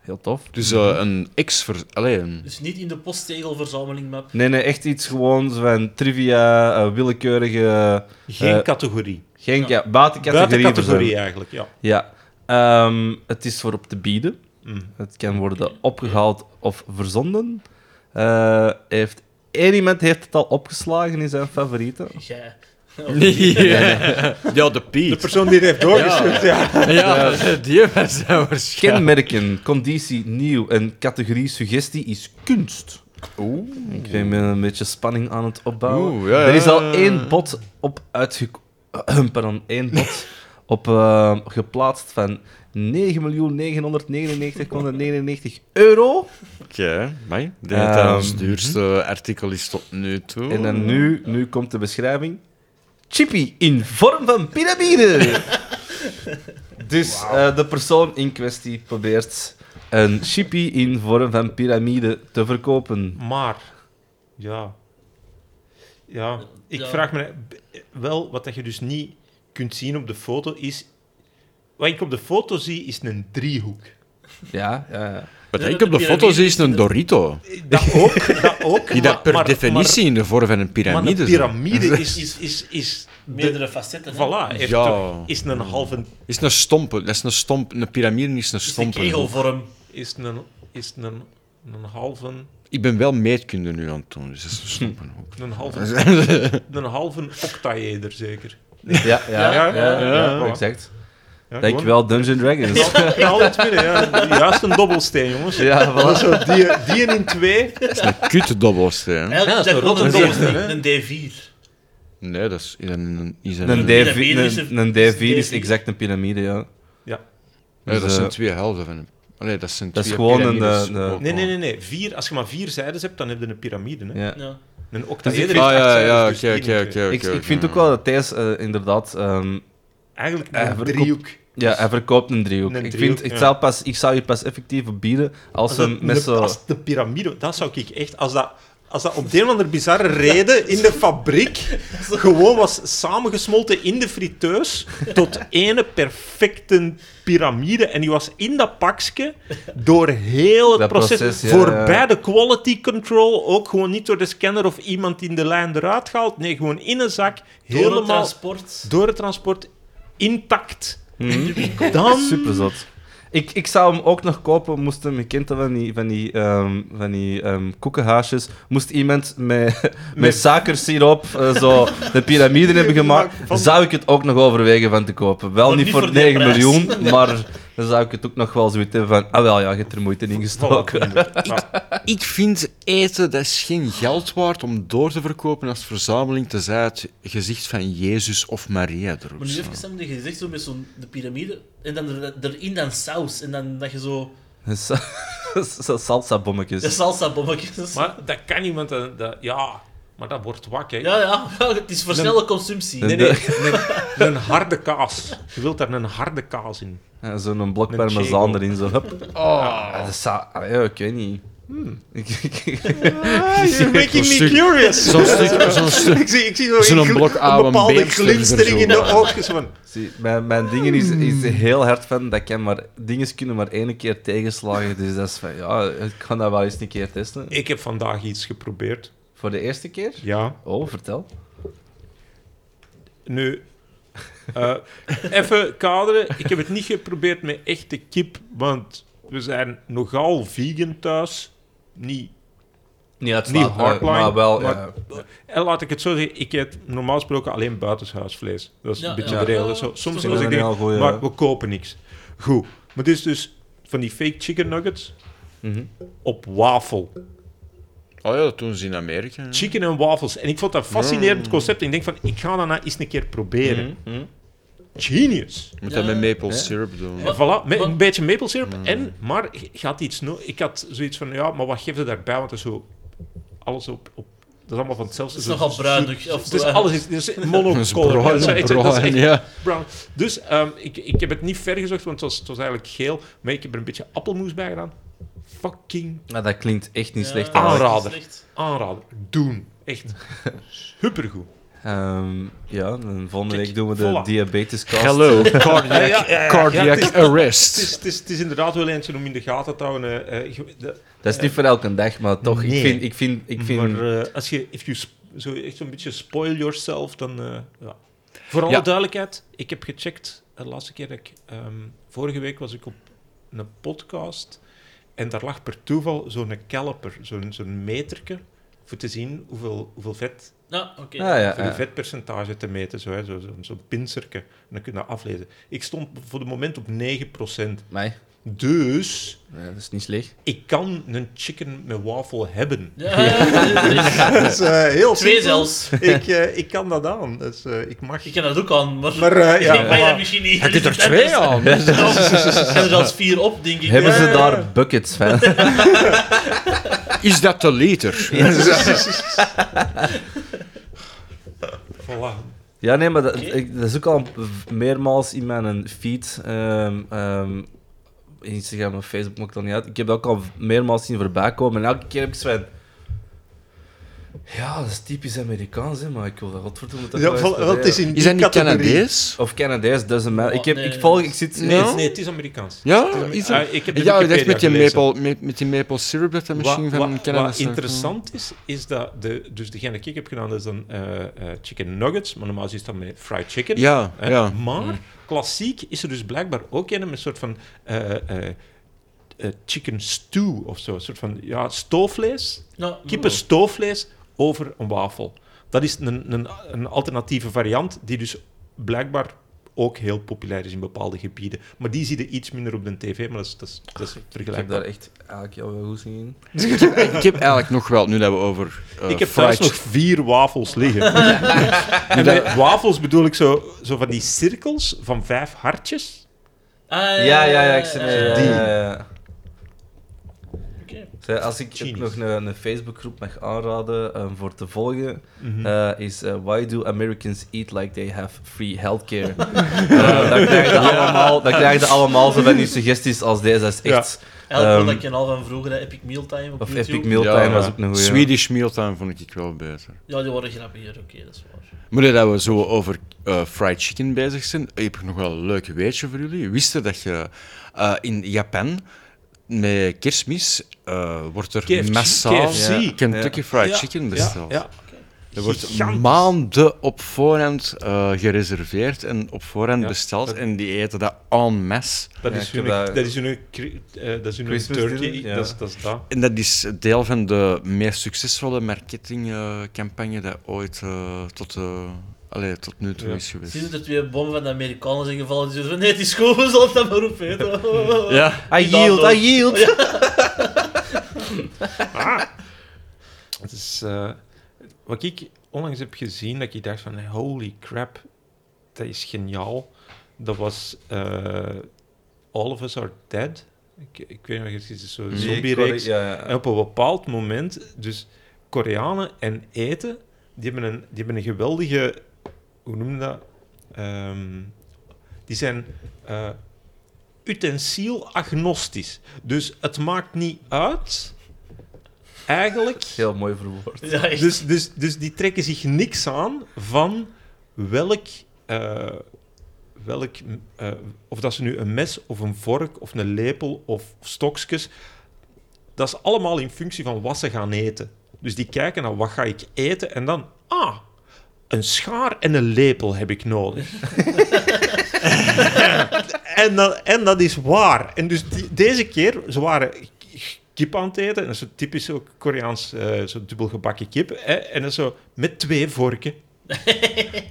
S2: Heel tof.
S6: Dus eh, een ex ver Allee, een-
S5: Dus niet in de postzegelverzameling map.
S2: Nee, nee, echt iets gewoon zo van trivia, eh, willekeurige...
S4: Geen
S2: Eh,
S4: categorie.
S2: Geen, ja, buitencategorie.
S4: Buiten
S2: verzameling.
S4: categorie eigenlijk, ja.
S2: Ja. Ehm, het is voor op te bieden.
S4: Mm.
S2: Het kan worden opgehaald of verzonden. Eh, heeft, één iemand heeft het al opgeslagen in zijn favorieten.
S5: Jij.
S6: Ja, de
S4: De
S6: Piet.
S4: persoon die het heeft doorgestuurd, ja.
S6: Ja, die was dat waarschijnlijk.
S2: Kenmerken, conditie, nieuw en categorie suggestie is kunst. Oeh. Ik ben met een beetje spanning aan het opbouwen.
S6: Oeh, ja,
S2: er is
S6: ja,
S2: al
S6: ja, ja.
S2: één bot op uitgeko- Pardon, één bot op eh, geplaatst van 9.999.999 euro.
S6: Oké, mij. Ik eh, denk dat dat
S2: Ehm,
S6: ons duurste artikel is tot nu toe.
S2: En dan nu, nu komt de beschrijving. Chippy in vorm van piramide. dus eh, de persoon in kwestie probeert een chippy in vorm van piramide te verkopen.
S4: Maar, ja. Ja, ik
S5: Ja.
S4: vraag me wel, wat dat je dus niet kunt zien op de foto is... Wat ik op de foto zie, is een driehoek.
S2: Ja, ja, ja.
S6: Wat
S5: Ja,
S6: ik
S5: de
S6: op de
S5: piramide
S6: foto zie is
S5: is
S6: een Dorito.
S4: Dat ook, dat ook.
S6: Die dat per definitie in de vorm van een
S4: Maar een
S6: piramide zit.
S4: piramide is, is, is, is de-
S5: Meerdere facetten. hè.
S4: voilà, heeft
S6: Ja.
S4: toch- is een halve,
S6: Is een stomp. Dat is een stomp. Een piramide is een
S5: Dus de
S6: stomp.
S5: kegelvorm.
S4: is een, is een, een halve,
S6: Ik ben wel meetkunde nu aan het doen, dus dat is een stompenhoek.
S4: een halve, een halve octaeder zeker.
S2: Ja, ja, ja,
S4: Ja, ja, ja.
S2: exact. dat ik wel Dungeon Dragons.
S4: Ik haal het binnen, ja. Juist een dobbelsteen, jongens.
S2: ja, voilà.
S4: Zo, die, die in twee.
S6: Kutdobbelsteen.
S5: Eigenlijk is
S1: dat is
S5: dat
S1: een
S5: gewoon een
S1: rotte
S5: D4.
S1: zin, hè?
S5: Een D4.
S6: Nee, dat is... Een, is een,
S2: Een
S5: Nee,
S2: D4,
S5: een D4 is een-
S2: een, een D4 is
S5: D4.
S2: exact een piramide, ja.
S6: Nee, dat
S2: Dus,
S6: zijn
S2: eh,
S6: twee helden van een... Nee, dat zijn
S2: dat is
S6: twee
S2: gewoon een,
S6: piramides
S2: eh, de-
S6: ook
S4: Nee,
S6: al.
S4: nee, nee, nee. Vier, als je maar vier zijdes hebt, dan heb je een piramide. Hè?
S2: ja.
S5: Ja.
S4: Een
S6: Ah,
S4: octaeder heeft
S6: ja,
S4: acht
S6: ja,
S4: zijdes,
S6: ja,
S4: dus
S6: oké,
S4: vier in
S6: oké,
S4: twee.
S6: oké.
S2: Ik,
S6: oké,
S2: ik vind
S6: ja.
S2: ook wel dat Thijs eh, inderdaad... ehm,
S4: Eigenlijk
S2: Hij
S4: een
S2: verkoopt-
S4: driehoek.
S2: ja, hij verkoopt een driehoek.
S4: Dus Een
S2: ik,
S4: driehoek,
S2: vind, ik,
S4: ja.
S2: zou pas, ik zou je pas effectief op bieden als,
S4: Als,
S2: ze
S4: dat-
S2: met
S4: een-
S2: zo...
S4: als de piramide, dat zou ik echt... Als dat, als dat op de een of andere bizarre reden in de fabriek gewoon was samengesmolten in de friteus tot ene perfecte piramide. En die was in dat pakje door heel het
S2: Dat
S4: proces,
S2: proces, ja,
S4: voorbij
S2: ja.
S4: de quality control, ook gewoon niet door de scanner of iemand in de lijn eruit gehaald. Nee, gewoon in een zak,
S5: Door het
S4: helemaal
S5: transport.
S4: door het transport, intact.
S2: Mhm.
S4: Dan...
S2: Super zot. Ik, ik zou hem ook nog kopen, moest hem, je kent dat van die, van die, ehm, van die ehm, koekenhaasjes, moest iemand met, met, suikersiroop eh, zo de piramide hebben gemaakt, zou ik het ook nog overwegen van te kopen. Wel
S5: Maar
S2: niet
S5: niet
S2: voor
S5: voor die
S2: 9
S5: prijs.
S2: miljoen, maar dan zou ik het ook nog wel zoiets hebben van, ah wel ja, je hebt er moeite in
S4: Voilà,
S2: gestoken.
S4: inderdaad. Ja.
S6: Ik vind eten, dat is geen geld waard om door te verkopen als verzameling, tenzij het gezicht van Jezus of Maria erop
S5: Maar nu even
S6: staat.
S5: samen je gezicht zo met zo'n de piramide. En dan er- erin dan saus. En dan dat je zo.
S2: Sa- sa- Salsa-bommetjes.
S5: De salsa bommetjes.
S4: Maar dat kan iemand... Dat, dat- ja, maar dat wordt wakker.
S5: Ja, ja, ja, het is voor snelle consumptie.
S2: Nee,
S4: Nee, nee, een, een harde kaas. Je wilt daar een harde kaas in.
S2: Ja, Zo'n blok
S4: Een Oh.
S2: parmezaan
S4: chego.
S2: erin, zo. Hup. Ah, dat zou- ah, ja, ik weet niet.
S4: Hmm. you're making
S6: me
S4: curious.
S6: Zo'n stuk, zo'n stuk.
S4: ik, zie, ik zie zo
S6: Zo'n een gl- blok een oude bepaalde beemster glinstering er in zo. de
S4: oogjes van...
S2: Zie, mijn, mijn dingen is,
S4: Hmm.
S2: is heel hard van dat ik hem maar dingen kunnen maar één keer tegenslagen. Dus dat is van ja, ik kan dat wel eens een keer testen.
S4: Ik heb vandaag iets geprobeerd.
S2: Voor de eerste keer?
S4: Ja.
S2: Oh, vertel.
S4: Nu, eh, even kaderen. Ik heb het niet geprobeerd met echte kip, want we zijn nogal vegan thuis. Niet
S2: Niet, het
S4: Niet slaat, eh, hardline,
S2: maar
S4: maar
S2: wel.
S4: wel, maar- ja. En Eh, laat ik het zo zeggen, ik eet normaal gesproken alleen buitenshuisvlees. Dat is
S5: Ja,
S4: een beetje
S5: ja.
S4: de regel.
S5: Ja,
S4: Zo, soms
S5: dat
S2: is
S4: als
S2: een
S4: ik denk,
S2: heel goeie-
S4: maar we kopen niks. Goed, maar dit is dus van die fake chicken nuggets
S2: Mhm.
S4: op wafel.
S6: Oh ja, dat doen ze in Amerika. ja.
S4: Chicken en wafels. En ik vond dat een fascinerend
S2: Mm.
S4: concept. Ik denk van, ik ga dat nou eens een keer proberen.
S2: Mhm.
S4: Genius.
S6: Je moet
S5: Ja.
S6: dat met maple
S2: Ja.
S6: syrup doen.
S4: En voilà, met
S5: wat-
S4: een beetje maple syrup.
S6: Hmm.
S4: En, maar je had iets no ik had zoiets van, ja, maar wat geeft het daarbij? Want dat is zo, alles op, op dat is allemaal van hetzelfde.
S5: Het is
S4: Zo-
S5: nogal bruinig. Of
S4: Het is
S5: bruin.
S4: alles, het is
S6: Dat is
S4: monocolor.
S6: bruin,
S4: Dat is echt- dat is
S6: bruin,
S4: echt
S6: ja.
S4: Brown. Dus ehm, ik, ik heb het niet ver gezocht, want het was, het was eigenlijk geel. Maar ik heb er een beetje appelmoes bij gedaan. Fucking
S2: Maar dat klinkt echt niet
S5: Ja,
S2: slecht.
S5: dat is
S2: eigenlijk.
S4: Aanrader.
S5: niet slecht.
S4: aanrader. Doen. Echt. Supergoed.
S2: Ehm, ja, dan volgende
S4: Ah, Kijk,
S2: week doen we de
S4: voilà.
S2: diabetescast.
S6: Hello, cardiac,
S4: Ja,
S6: cardiac
S4: het is-
S6: arrest.
S4: Het is, het, is, het is inderdaad wel eentje om in de gaten te houden. eh, eh, je- de-
S2: Dat is niet voor elke dag, maar toch. Ik
S4: Nee.
S2: vind, ik vind, ik vind
S4: maar eh, als je if you sp- zo echt zo'n beetje spoil yourself, dan... eh, ja. Voor alle
S6: Ja.
S4: duidelijkheid, ik heb gecheckt de laatste keer dat ik... ehm, vorige week was ik op een podcast en daar lag per toeval zo'n caliper, zo'n zo'n meterke, voor te zien hoeveel, hoeveel vet
S5: Ja, Nou, oké.
S2: Ah, ja,
S4: eh, voor je
S2: ja.
S4: vetpercentage te meten, zo, hè, zo, zo, zo'n pincerke. En dan kun je dat aflezen. Ik stond voor de moment op 9%.
S2: Mij.
S4: Dus
S2: Ja, dat is niet slecht.
S4: ik kan een chicken met wafel hebben.
S5: Ja, ja, ja, ja, ja.
S4: Dat is eh, heel
S5: Twee
S4: simpel.
S5: zelfs.
S4: Ik, eh, ik kan dat aan. Dus, eh, ik mag...
S5: Ik ken dat ook aan, maar,
S4: Maar, eh, ja,
S5: ik ben
S4: voilà.
S5: er misschien niet.
S6: Heb je er twee aan?
S5: Ik heb er zelfs vier op, denk ik.
S2: Hebben ze
S4: ja, ja.
S2: daar buckets van?
S6: Is dat de liter?
S4: Voilà.
S2: Ja, nee, maar dat, ik- dat is ook al meermaals in mijn feed. ehm, ehm, Instagram of Facebook maakt dat niet uit. Ik heb dat ook al meermaals zien voorbij komen. En elke keer heb ik zo van... Ja, dat is typisch Amerikaans, hè, maar ik wil dat godverdomme toch
S4: Ja,
S2: wel eens
S4: voilà, wel, het is
S2: proberen.
S4: in
S6: Is dat
S4: die
S6: niet
S4: categorie.
S6: Canadees?
S2: Of Canadees, dat is een mij.
S5: Oh,
S2: Ik, heb,
S5: nee,
S2: ik
S5: nee,
S2: volg,
S5: nee.
S2: ik zit...
S6: Nee.
S4: Nee, het is Amerikaans.
S6: Ja, is dat?
S4: Ah, ik heb de
S6: Ja, ik dacht
S4: Wikipedia
S6: met die
S4: gelezen.
S6: maple, met, met die maple syrup dat dat misschien
S4: Wat-
S6: van eh,
S4: wat-
S6: Canada
S4: wat
S6: staat.
S4: interessant is, is dat de, dus degene die ik heb gedaan, dat is dan eh, eh, chicken nuggets, maar normaal is dat met fried chicken.
S6: Ja,
S4: Hè?
S6: ja. Mm.
S4: Maar klassiek is er dus blijkbaar ook een met een soort van eh, eh, eh, chicken stew of zo. Een soort van ja, stoofvlees,
S5: Ja,
S4: kippenstoofvlees over een wafel. Dat is een, een, een alternatieve variant die dus blijkbaar ook heel populair is in bepaalde gebieden. Maar die zie je iets minder op de tv, maar dat is, dat is, dat is
S2: Ik heb
S4: vergelijkbaar.
S2: daar echt eigenlijk heel veel goed in.
S6: Ik heb eigenlijk nog wel, nu dat we over. eh,
S4: ik heb
S6: fried
S4: thuis nog vier wafels liggen. en bij wafels bedoel ik zo, zo van die cirkels van vijf hartjes.
S5: Ah,
S2: Ja, ja, ja, ik zit
S5: ja, ja.
S2: ja, ja, ja.
S5: Oké.
S2: Zo, Als ik
S4: Genius.
S2: nog een, een Facebookgroep mag aanraden eh, voor te volgen,
S4: Mhm.
S2: eh, is eh, Why Do Americans Eat Like They Have Free Healthcare? Eh, dan, krijg je allemaal, dan krijg je allemaal zo van die suggesties als deze. Dat is echt...
S5: Eigenlijk
S2: Ehm,
S5: dat je al van vroeger, hè, Epic Mealtime op
S2: Of
S5: YouTube.
S2: Epic Mealtime
S6: Ja, ja.
S2: was ook een goeie.
S6: Swedish mealtime vond ik wel beter.
S5: Ja, die worden grappiger, oké, dat is waar.
S6: Maar nu dat we zo over eh, fried chicken bezig zijn, heb ik nog wel een leuk weetje voor jullie. Wist je dat je eh, in Japan met kerstmis eh, wordt er
S4: KFC
S6: massaal
S4: Ja.
S6: Kentucky Fried
S4: Ja,
S6: Chicken
S4: Ja,
S6: besteld?
S4: ja.
S6: Er wordt
S4: Gigantisch.
S6: maanden op voorhand eh, gereserveerd en op voorhand
S4: Ja,
S6: besteld.
S4: dat-
S6: En die eten dat en masse.
S4: Dat
S2: Ja,
S4: is
S2: ik heb
S4: hun,
S2: daar-
S4: dat is hun, cri- eh, dat is hun
S2: Christmas
S4: turkey.
S2: dinner, ja.
S4: Dat, is, dat is dat.
S6: En dat is deel van de meest succesvolle marketingcampagne dat ooit eh, tot, eh, allee, tot nu toe
S4: Ja.
S6: is
S2: Dus-
S6: geweest.
S5: Sinds er twee bommen van de Amerikanen zijn gevallen, die zeggen van, nee, het is goed, we zullen dat maar opeten.
S6: Ja,
S2: I yield, I yield!
S4: Het is, eh, wat ik onlangs heb gezien, dat ik dacht van holy crap, dat is geniaal. Dat was eh, All of Us Are Dead. Ik, ik weet nog eens, het is zo'n zombie-reeks.
S2: Ja, ja.
S4: En op een bepaald moment, dus Koreanen en eten, die hebben een, die hebben een geweldige, hoe noem je dat? Ehm, die zijn eh utensiel agnostisch. Dus het maakt niet uit, eigenlijk.
S2: Heel mooi verwoord.
S5: Ja, echt.
S4: Dus, dus, dus die trekken zich niks aan van welk. eh, welk eh, of dat ze nu een mes of een vork of een lepel of stokjes. Dat is allemaal in functie van wat ze gaan eten. Dus die kijken naar wat ga ik eten en dan. Ah, een schaar en een lepel heb ik nodig. en, dan, en dat is waar. En dus die- deze keer, ze waren kip aan het eten. En dat is zo typisch ook Koreaans, eh zo dubbelgebakken kip. Hè? En dat is zo met twee vorken.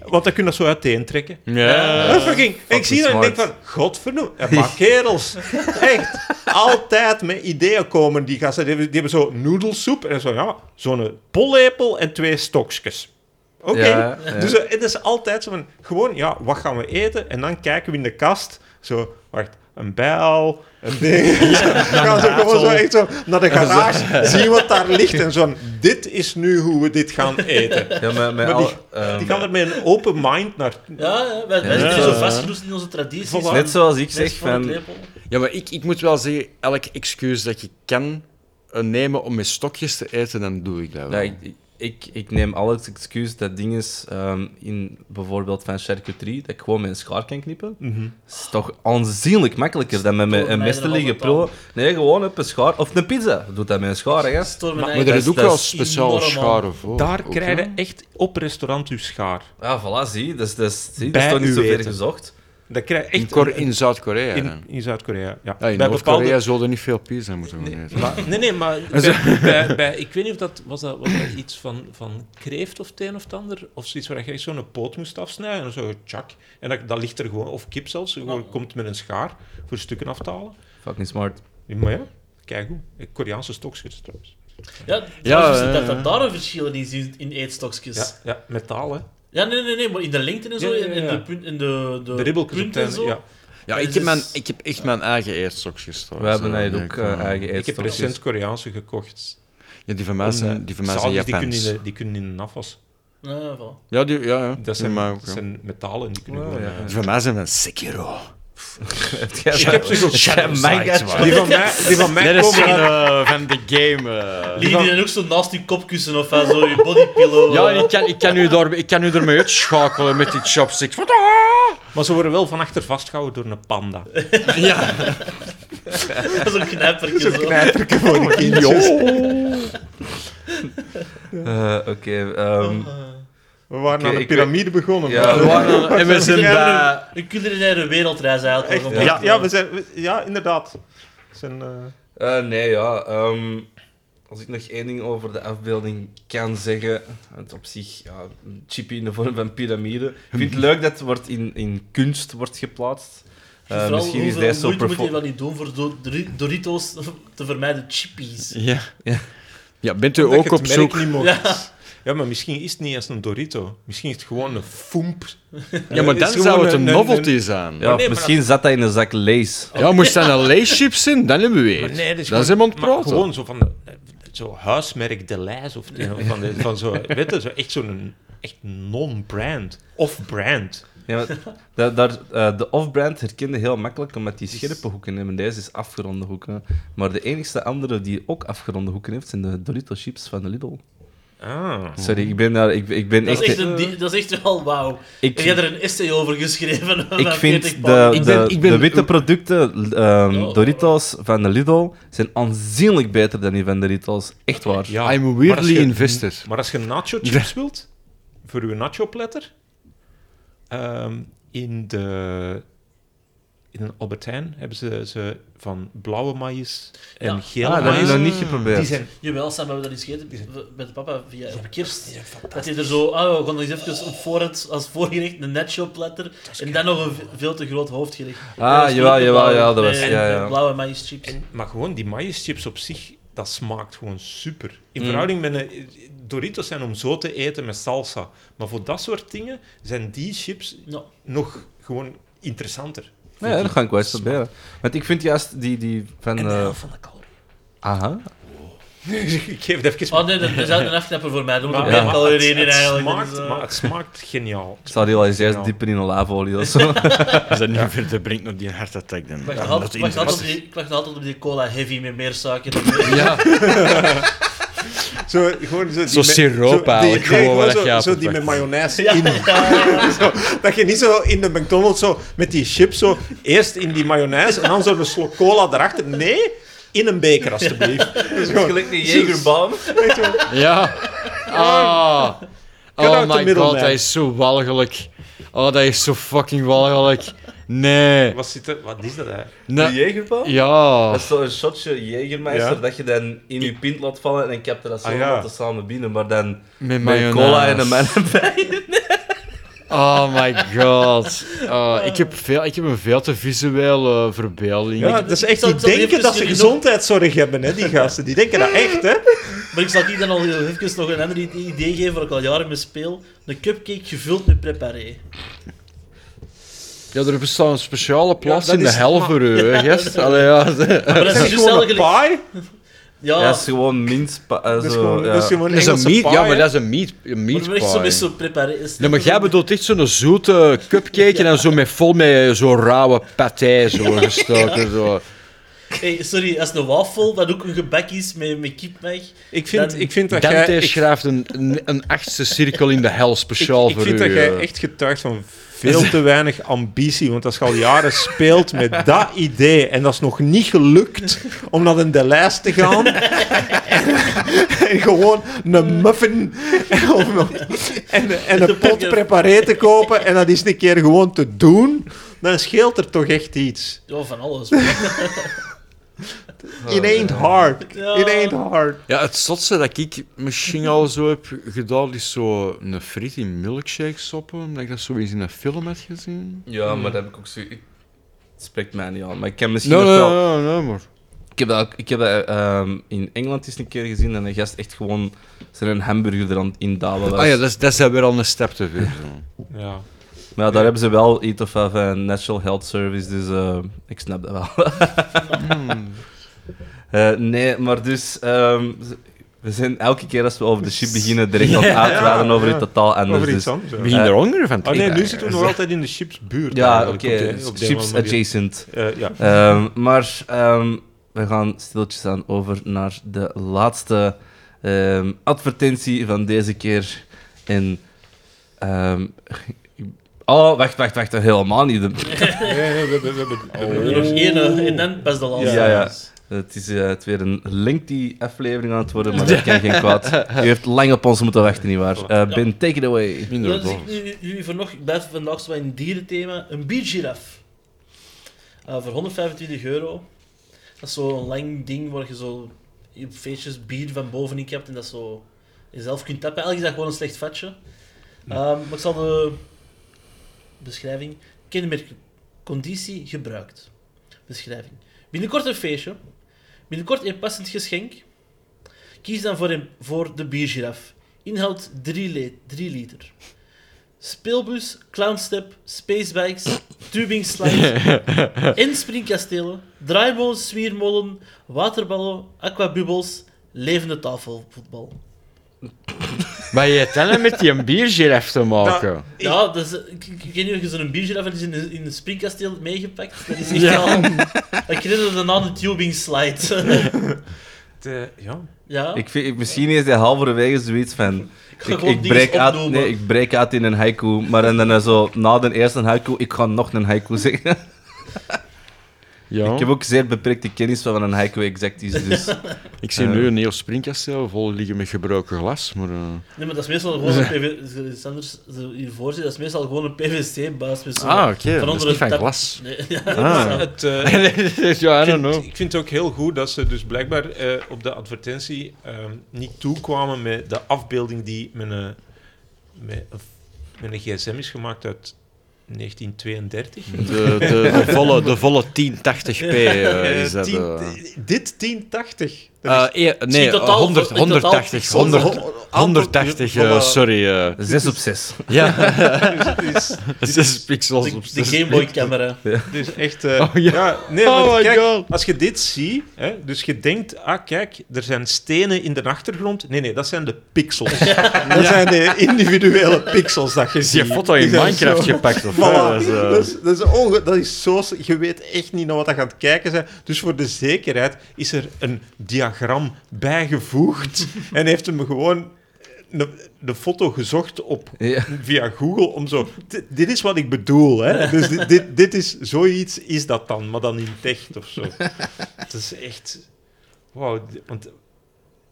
S4: Want dan kun je dat zo uiteen trekken.
S2: Eh,
S6: ja.
S4: Ah, fucking. En ik zie dat en ik denk van, godverdomme, eh, maar kerels. Echt, altijd met ideeën komen die gasten. Die hebben, die hebben zo noedelsoep en zo, ja, zo'n pollepel en twee stokjes. Oké.
S2: Ja, ja.
S4: Dus eh, het is altijd zo van, gewoon, ja, wat gaan we eten? En dan kijken we in de kast, zo, wacht, een bijl, een ding. Dan gaan ze gewoon zo echt zo naar de garage, zien wat daar ligt en zo. Dit is nu hoe we dit gaan eten.
S2: Ja, maar, maar
S4: Maar
S2: al,
S4: die-
S2: ehm,
S4: Die gaan er met een open mind naar.
S5: Ja, ja, wij, wij
S2: Ja.
S5: zitten zo
S2: Ja.
S5: vastgeroest in onze tradities.
S4: Voilà.
S5: van-
S2: Net zoals ik
S5: Mes
S2: zeg,
S5: voor het
S2: van...
S5: lepel.
S6: ja, maar ik, ik moet wel zeggen, elk excuus dat je kan eh, nemen om met stokjes te eten, dan doe ik dat
S2: Ja,
S6: wel.
S2: ik, ik- ik, ik neem al het excuus dat ding is ehm, in bijvoorbeeld van charcuterie, dat ik gewoon met een schaar kan knippen.
S4: Mhm.
S2: is toch aanzienlijk makkelijker dan met
S5: Stoor
S2: mijn
S5: mij
S2: mes te
S5: er wel
S2: liggen
S5: wat aan.
S2: pro. Nee, gewoon op een schaar of een pizza. Doe dat met een schaar, hè, gast.
S5: Stormen
S6: maar er
S5: eigenlijk.
S6: is ook
S2: dat
S6: wel
S2: is
S6: speciaal
S5: enorm,
S6: scharen voor.
S4: Daar
S6: ook,
S4: krijg
S6: hè?
S4: je echt op restaurant uw schaar.
S2: Ja, voilà, zie. Dat is, dat is, zie, dat
S4: Bij
S2: is toch niet
S4: uw
S2: zo ver
S4: eten.
S2: gezocht.
S4: Dat krijg je
S6: In,
S4: echt
S6: Kor- in Zuid-Korea. hè.
S4: in, in Zuid-Korea. Ja.
S6: Ja, in
S4: Bij
S6: Noord-Korea
S4: bepaalde-
S6: zullen er niet veel pizza moeten gaan eten.
S4: Maar- nee, nee, maar bij, bij, bij- ik weet niet of dat was, dat, was dat iets van, van kreeft of het een of het ander, of zoiets waar je echt zo'n poot moest afsnijden en zo, tjak. En dat, dat ligt er gewoon, of kip zelfs, gewoon
S5: Oh.
S4: komt met een schaar voor stukken af te halen.
S2: Fucking smart.
S4: Maar ja, kijk hoe. Koreaanse stokjes trouwens.
S5: Ja,
S6: Ja,
S5: ja, dat
S6: eh,
S5: er daar een verschil in is in- in eetstokjes.
S4: Ja, ja metaal hè.
S5: Ja, nee, nee, nee, maar in de lengte en zo,
S4: Ja, ja, ja.
S5: en de, punt, en de, de,
S4: De ribbeltjes op
S5: punten en
S4: het
S5: zo.
S4: einde,
S6: Ja,
S4: ja.
S5: Ja,
S6: ik
S5: dus
S6: heb, mijn,
S5: is-
S6: ik heb echt mijn eigen eetstokjes gestoord.
S2: We hebben
S6: Zo,
S2: eigenlijk ook
S6: nee, ik,
S2: eh,
S6: eh,
S2: eigen
S4: Ik heb
S2: eetstokjes.
S4: recent Koreaanse gekocht.
S6: Ja, die van mij zijn, die van mij zijn
S4: Zaadjes, eh, die kunnen, in
S6: Japans.
S4: de, die kunnen in de afwas.
S5: Ja, voilà.
S6: Ja, die, ja, ja.
S4: Dat
S6: die
S4: zijn,
S6: mij ook,
S4: dat
S6: ja.
S4: zijn metalen, die kunnen
S2: Oh,
S4: gewoon,
S2: ja.
S4: eh,
S6: Die van mij zijn van Sekiro.
S2: Heb jij
S4: Ik heb ze
S2: Shadow Sides, man.
S4: Die van mij, die van mij
S6: Nee, dat is
S4: komen
S6: van,
S4: uit-
S6: eh, van de game. eh.
S5: Liggen die dan ook zo naast je kopkussen of eh, zo, je bodypillow?
S6: Ja,
S5: eh?
S6: ik kan, ik, kan u daar, ik kan u ermee uitschakelen met die chopsticks. Wat?
S4: Maar ze worden wel van achter vastgehouden door een panda.
S6: Ja.
S5: Zo'n knijpertje zo.
S6: Oh,
S4: Knijperke voor de
S2: Eh, Oké, ehm,
S5: Eh,
S4: We waren
S2: Oké,
S4: aan de
S2: ik
S4: piramide begonnen.
S2: Ja,
S4: maar-
S2: we
S6: En we zijn bij...
S5: Een culinaire wereldreis eigenlijk.
S4: Echt,
S5: wel
S4: ja,
S5: zo'n
S4: ja,
S5: beetje.
S4: we zijn, we- ja, inderdaad. We Zijn, eh,
S2: eh, nee, ja. ehm, Als ik nog één ding over de afbeelding kan zeggen, het op zich ja, een chippy in de vorm van piramide. Ik vind het leuk dat het wordt in, in kunst wordt geplaatst. Eh,
S5: Vooral
S2: misschien is
S5: hoeveel
S2: deze zo
S5: moeite moet je
S2: perform-
S5: dat niet doen voor do- Dori- Doritos te vermijden chippies.
S6: Ja.
S2: Ja.
S6: ja, bent u
S4: Omdat je
S6: ook
S4: het
S6: op
S4: merk
S6: zoek...
S4: niet mocht.
S5: Ja.
S4: Ja, maar misschien is het niet eens een Dorito. Misschien is het gewoon een foemp.
S6: Ja, maar
S4: is
S6: dan
S4: gewoon
S6: zou het een
S4: een-
S6: novelty zijn.
S5: Oh,
S2: Ja, of misschien zat dat in een zak lees.
S6: Ja, moest dat een leeschips in? Dan hebben we
S4: Maar
S6: het.
S4: nee, dat is
S6: dan
S4: gewoon-
S6: zijn we aan het
S4: maar
S6: praten.
S4: Gewoon zo van de, zo huismerk De Lijs of die- van, de, van zo, weet je, zo echt zo'n echt non-brand. Off-brand.
S2: Ja, maar da- daar, eh, de off-brand herkende heel makkelijk omdat die scherpe hoeken hebben. Deze is afgeronde hoeken. Maar de enigste andere die ook afgeronde hoeken heeft, zijn de Dorito chips van de Lidl.
S4: Ah.
S2: Sorry, ik ben daar. Ik, ik ben
S5: Oh. Dat is echt,
S2: echt.
S5: een, di- dat is echt wel wauw.
S2: Ik,
S5: Ik heb er een essay over geschreven.
S2: ik
S5: van
S2: vind
S5: 40
S2: de,
S5: pagina's.
S2: de,
S6: ben- ik ben-
S2: de witte producten, ehm,
S5: Oh.
S2: Doritos van de Lidl, zijn aanzienlijk beter dan die van de Doritos. Echt waar.
S4: Ja,
S6: I'm
S4: maar als
S6: weirdly
S4: je-
S6: invested.
S4: Maar als je nacho chips wilt, voor je nacho platter, ehm, in de in een Albert Heijn hebben ze, ze van blauwe maïs en
S5: Ja.
S4: gele
S2: Ah, dat heb ik
S4: maïs.
S2: nog niet geprobeerd.
S4: Die zijn
S5: Jawel, Sam, we hebben dat eens gegeten met de papa via op kerst. dat hij er zo, ah, we gaan nog eens even op voorhand als voorgerecht een nacho platter en dan nog een ve- veel te groot hoofdgerecht.
S2: Ah,
S5: Ja,
S2: jawel, jawel, ja, dat was-
S5: met-
S2: ja, ja.
S5: met Blauwe maïs chips.
S4: En, maar gewoon die maïschips op zich, dat smaakt gewoon super.
S2: Mm.
S4: In verhouding met een, Doritos zijn om zo te eten met salsa. Maar voor dat soort dingen zijn die chips
S5: Nou,
S4: nog gewoon interessanter.
S2: Nee, Nou ja, dat ga ik wel eens proberen. Want ik vind juist die, die van
S4: En de
S2: de...
S4: helft van de calorieën.
S2: Aha.
S4: Ik geef het even...
S5: Oh nee, dat is een afknapper voor mij. Er moet
S4: Maar-
S5: ook meer
S4: maar
S5: calorieën in
S4: het
S5: eigenlijk.
S4: Smaakt,
S5: Dus, eh,
S4: Maar het smaakt geniaal.
S2: Ik zou die al eens eerst
S4: Ja.
S2: dieper in olijfolie of zo.
S6: Als dat niet verder brengt nog die hard attack dan.
S5: Ik
S6: Ja, dat
S5: wacht altijd-
S6: is
S5: wacht altijd op
S6: interessant.
S5: die- ik wacht altijd op die cola heavy met meer suiker. en-
S4: Zo, gewoon zo die
S6: Zo
S4: met-
S6: siroop
S4: die-
S6: eigenlijk,
S4: nee,
S6: gewoon waar
S4: zo,
S6: dat je
S4: zo die
S6: appelpakt.
S4: met mayonaise
S5: Ja,
S4: in.
S5: ja.
S4: Zo, dat je niet zo in de McDonald's zo met die chips zo eerst in die mayonaise en dan zo een slok cola erachter. Nee, in een beker alstublieft. Dat is gewoon-
S2: Jägerbaan.
S6: Ja. Ah.
S4: Cut out
S6: Oh my
S4: the
S6: god,
S4: middleman.
S6: dat is zo walgelijk. Oh, dat is zo fucking walgelijk. Nee.
S4: Wat, zit er- wat is dat eigenlijk?
S2: De
S6: nee.
S2: Jägerbaan?
S6: Ja.
S2: Dat is zo'n shotje Jägermeister
S4: Ja.
S2: dat je dan in je pint laat vallen en dan kapt er dat zo
S4: Ah,
S2: ah,
S4: ja.
S2: samen binnen, maar dan
S6: Met
S2: met
S6: mayonaise.
S2: cola en een man
S6: Oh my god. Oh, ik, heb veel, ik heb een veel te visuele verbeelding.
S4: Ja, dat is echt,
S5: zal-
S4: die
S5: ik zal
S4: denken
S5: even
S4: dat ze
S5: jullie
S4: gezondheidszorg hebben, hè, die gasten. Die denken dat echt, hè.
S5: Maar ik zal hier dan al heel even nog een ander idee idee geven waar ik al jaren mee speel. Een cupcake gevuld met preparé.
S6: Ja, er bestaat een speciale plaats
S4: dat
S6: in de
S4: is-
S6: hel
S4: maar-
S6: voor u, hè, gast. Allee, ja.
S5: Maar dat is dus
S4: Gewoon een
S5: eigenlijk...
S4: pie.
S5: Ja,
S2: Ja, is gewoon minst... pa- eh,
S4: Dat is
S2: zo,
S4: gewoon,
S2: ja.
S4: dat is gewoon
S6: Dat is een
S4: Engelse
S6: meat,
S4: pie,
S6: ja, maar
S4: hè.
S6: dat is een meat, een meat
S5: maar wel echt zo
S6: pie.
S5: met zo'n preparé. is
S6: Nee, maar
S5: net
S6: jij
S5: zo-
S6: bedoelt echt zo'n zoete cupcake en dan zo met vol met zo'n rauwe patij zo gestoken. Zo.
S5: Hey, sorry, als een wafel, dat ook een gebak is met, met kipmeg.
S4: Ik vind,
S5: Dan-
S4: ik vind dat jij...
S6: Dante
S4: Ik,
S6: schrijft een, een, een achtste cirkel in de hel speciaal
S4: ik, ik
S6: voor
S4: vind
S6: u. eh.
S4: dat
S2: eh,
S4: jij echt getuigt van veel te weinig ambitie. Want als je al jaren speelt met dat idee en dat is nog niet gelukt om naar een de lijst te gaan. en, en gewoon een muffin of een- en, en een pot preparé te kopen en dat is een keer gewoon te doen. Dan scheelt er toch echt iets.
S5: Ja, van alles.
S2: Oh,
S4: It ain't hard. It ain't hard.
S6: Ja, het zotste dat ik misschien al zo heb gedaan, is zo een friet in milkshake soppen. Omdat ik dat zo eens in een film had gezien.
S2: Ja, maar dat heb ik ook zo... Ik... Het spreekt mij niet aan, maar ik kan misschien
S6: Nee,
S2: nog
S6: nee,
S2: wel...
S6: nee, nee, maar...
S2: Ik heb dat, ook- ik heb dat ehm, in Engeland eens een keer gezien en een gast echt gewoon zijn hamburger er aan het indalen was.
S6: Ah ja, dat is, dat is dan weer al een stap te ver. zo.
S4: Ja.
S2: Maar ja, daar hebben ze wel iets of even een National Health Service, dus eh, ik snap dat wel.
S4: Hmm.
S2: Eh, nee, maar dus... ehm, we zijn elke keer als we over de chip beginnen direct aan het uitraden over het totaal anders.
S4: Over iets
S2: dus.
S4: anders.
S6: Ik
S4: ja.
S6: begin er honger van te
S4: Ah nee, nu
S6: krijgen.
S4: zitten we nog altijd in de chipsbuurt.
S2: Ja, oké,
S4: eigenlijk, op de- op de
S2: chips
S4: manier.
S2: adjacent.
S4: Eh, ja.
S2: Ehm, maar ehm, we gaan stiltjes aan over naar de laatste ehm, advertentie van deze keer. En. ehm, oh, wacht, wacht, wacht, helemaal niet. De-
S4: Nee, nee, we, we, we, we-
S5: We hebben er
S6: Oh.
S5: nog één eh, en dan pas de laatste.
S2: Ja, ja. Het is eh, het weer een lengthy aflevering aan het worden, maar dat kan geen kwaad. U heeft lang op ons moeten wachten, nietwaar? Eh ben, take it away.
S5: Ja, dus ik- jullie- jullie voor nog, ik blijf vandaag zo in het dierenthema. Een biergiraf. Eh, voor 125 euro. Dat is zo'n lang ding waar je zo je op feestjes bier van boven niet hebt en dat zo jezelf kunt tappen. Eigenlijk is dat gewoon een slecht vatje. Ehm, maar ik zal de beschrijving. Kenmerken. Conditie gebruikt. Beschrijving. Binnenkort een feestje. Binnenkort een passend geschenk. Kies dan voor, een, voor de biergiraf. Inhoud 3 liter. Speelbus, clownstep, spacebikes, tubing slides en springkastelen, draaimolen, zwiermolen, waterballen, aquabubbels, levende tafelvoetbal.
S6: Maar je hebt dan met die een biergiraf te maken.
S5: Ja, dat is, ik, ik- ik weet niet of je zo'n biergiraf hebt, die is in, een- in een springkasteel meegepakt. Dat is echt al... Ik herinner me daarna de tubing slide.
S4: De, ja.
S5: ja,
S2: Ik vind, ik- misschien is hij halverwege zoiets van.
S5: ga
S2: Ik,
S5: gewoon
S2: ik,
S5: dingen
S2: breek uit,
S5: opnoemen.
S2: nee, ik breek uit in een haiku, maar en dan zo na de eerste haiku, ik ga nog een haiku zeggen.
S6: Ja.
S2: Ik heb ook zeer beperkte kennis van wat een haiku exact is, dus
S6: Ik zie nu een heel springkastel vol liggen met gebroken glas, maar... eh,
S5: Nee, maar dat is meestal gewoon een PVC... Sanders zo hiervoor zit, dat is meestal gewoon een PVC-buis. met zo'n-
S6: Ah, oké. Dat is
S5: onder
S6: niet
S5: het
S6: van
S5: tap-
S6: glas.
S5: Nee, ja,
S6: Ah.
S4: Het, eh,
S6: ja, I don't
S4: ik, vind,
S6: know.
S4: ik vind het ook heel goed dat ze dus blijkbaar eh, op de advertentie
S1: eh,
S4: ehm, niet toekwamen met de afbeelding die eh, met een, met, een- met een gsm is gemaakt uit 1932.
S6: De, de, de volle, de volle 1080p eh, is
S4: Eh,
S6: dat. eh.
S4: tien- dit 1080.
S6: Eh,
S4: Dat
S6: eh,
S5: zie
S6: nee,
S5: totaal-
S6: 100,
S5: in totaal
S6: 180.
S5: pixels.
S6: 100, 180, eh,
S4: Voilà.
S6: sorry. eh.
S2: 6 op 6.
S6: ja,
S4: is,
S6: 6 pixels op
S5: de, de
S6: zes.
S5: Game Boy-camera.
S4: dit is echt... eh,
S6: Oh,
S4: ja.
S6: ja.
S4: nee,
S6: Oh
S4: want
S6: my
S4: kijk,
S6: God.
S4: als je dit ziet, hè, dus je denkt, ah kijk, er zijn stenen in de achtergrond. Nee, nee, dat zijn de pixels. Dat zijn de individuele pixels dat je
S6: Is die
S4: ziet.
S6: foto
S4: Die
S6: in
S4: zijn
S6: Minecraft
S4: zo-
S6: gepakt of
S4: Voilà.
S6: wat? Dat is, eh,
S4: dat, is, dat, is onge- dat is zo... s- Je weet echt niet naar wat dat gaat kijken zijn. Dus voor de zekerheid is er een diagram bijgevoegd. en heeft hem gewoon de, de foto gezocht op,
S2: Ja.
S4: via Google om zo... "Di- Dit is wat ik bedoel, hè. Dus dit, dit, dit is... Zoiets is dat dan, maar dan in het echt of zo. Het is echt... Wauw, di- want...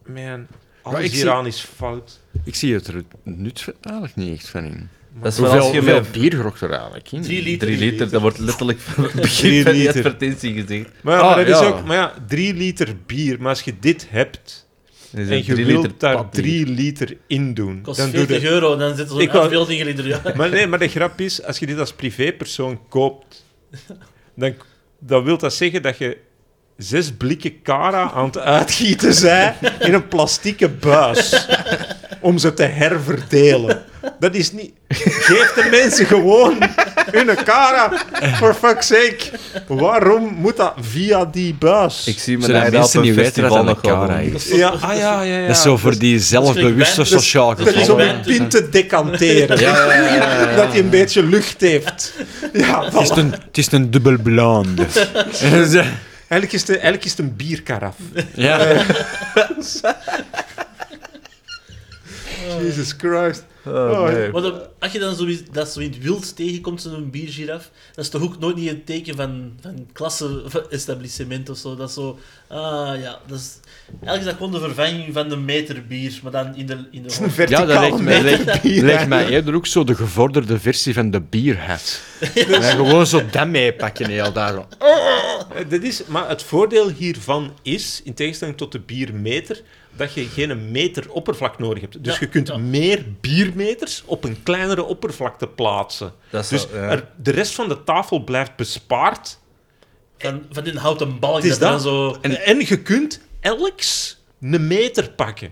S4: Man, alles
S6: ik zie-
S4: hieraan is fout.
S6: Ik zie het er nut van eigenlijk niet echt van in.
S2: Dat is wel
S6: Hoeveel,
S2: als je
S6: hoeveel
S2: met
S6: bier grokt er eigenlijk in?
S4: Mm.
S5: 3 liter.
S2: 3 liter, dat wordt letterlijk van het
S4: Drie
S2: begin van die
S4: liter.
S2: advertentie gezegd.
S4: Maar ja,
S6: Ah,
S4: maar dat
S6: ja.
S4: is ook... Maar ja, drie liter bier. Maar als je dit hebt...
S2: Dat is
S4: En
S2: Dus een
S4: je
S2: drie liter
S4: wilt daar
S2: pap hier.
S4: 3 liter in doen.
S5: kost
S4: Dan doe
S5: 40
S4: je...
S5: euro en dan zit er zo'n
S4: Ik wou-
S5: afbeelding in ieder jaar.
S4: Maar nee, maar de grap is, als je dit als privépersoon koopt, dan, dan wil dat zeggen dat je zes blikken Cara aan het uitgieten bent in een plastieke buis. Om ze te herverdelen. Dat is niet... Geef de mensen gewoon hun Cara. For fuck's sake. Waarom moet dat via die buis?
S2: Ik zie me
S6: Zodat
S2: daar op
S6: mensen
S2: een
S6: niet weten dat
S2: festival
S6: dat
S2: nog
S6: een
S2: wel
S6: cara
S2: doen.
S6: is.
S4: Ja, ah, ja, ja, ja.
S6: dat is zo voor die zelfbewuste
S5: dat is-
S6: sociaal
S4: Dat is om
S5: wel
S4: een
S5: een-
S4: pint te decanteren. Dat hij een beetje lucht heeft. Ja, voilà.
S6: Het is een, het is een dubbel blonde.
S4: Eigenlijk, is het, eigenlijk is het een bierkaraf.
S6: ja.
S4: Jesus Christ.
S2: Oh, nee.
S5: Maar dan- als je dan zoiets, dat zo in het wild tegenkomt, zo'n biergiraf, dat is toch ook nooit niet een teken van, van klasse van establishment of zo. Dat is zo, ah ja, dat is, eigenlijk is dat gewoon de vervanging van de meter bier, maar dan in de, in de
S4: Het is een
S5: hoogte.
S6: ja,
S4: verticaal
S6: dat lijkt mij, lijkt,
S4: bier,
S6: lijkt
S4: hè.
S6: mij eerder ook zo de gevorderde versie van de bierhat. Ja, gewoon zo dat meepakken heel daarom.
S4: Eh, Dat is, maar het voordeel hiervan is, in tegenstelling tot de biermeter, dat je geen meter oppervlak nodig hebt. Dus
S5: Ja,
S4: je kunt
S5: ja.
S4: meer biermeters op een kleinere oppervlakte plaatsen.
S2: Dat is
S4: Dus
S2: wel- ja.
S4: er- de rest van de tafel blijft bespaard.
S5: Van, van die houten balk,
S4: Het is
S5: dat dan
S4: dat.
S5: zo...
S4: En, en je kunt elks een meter pakken.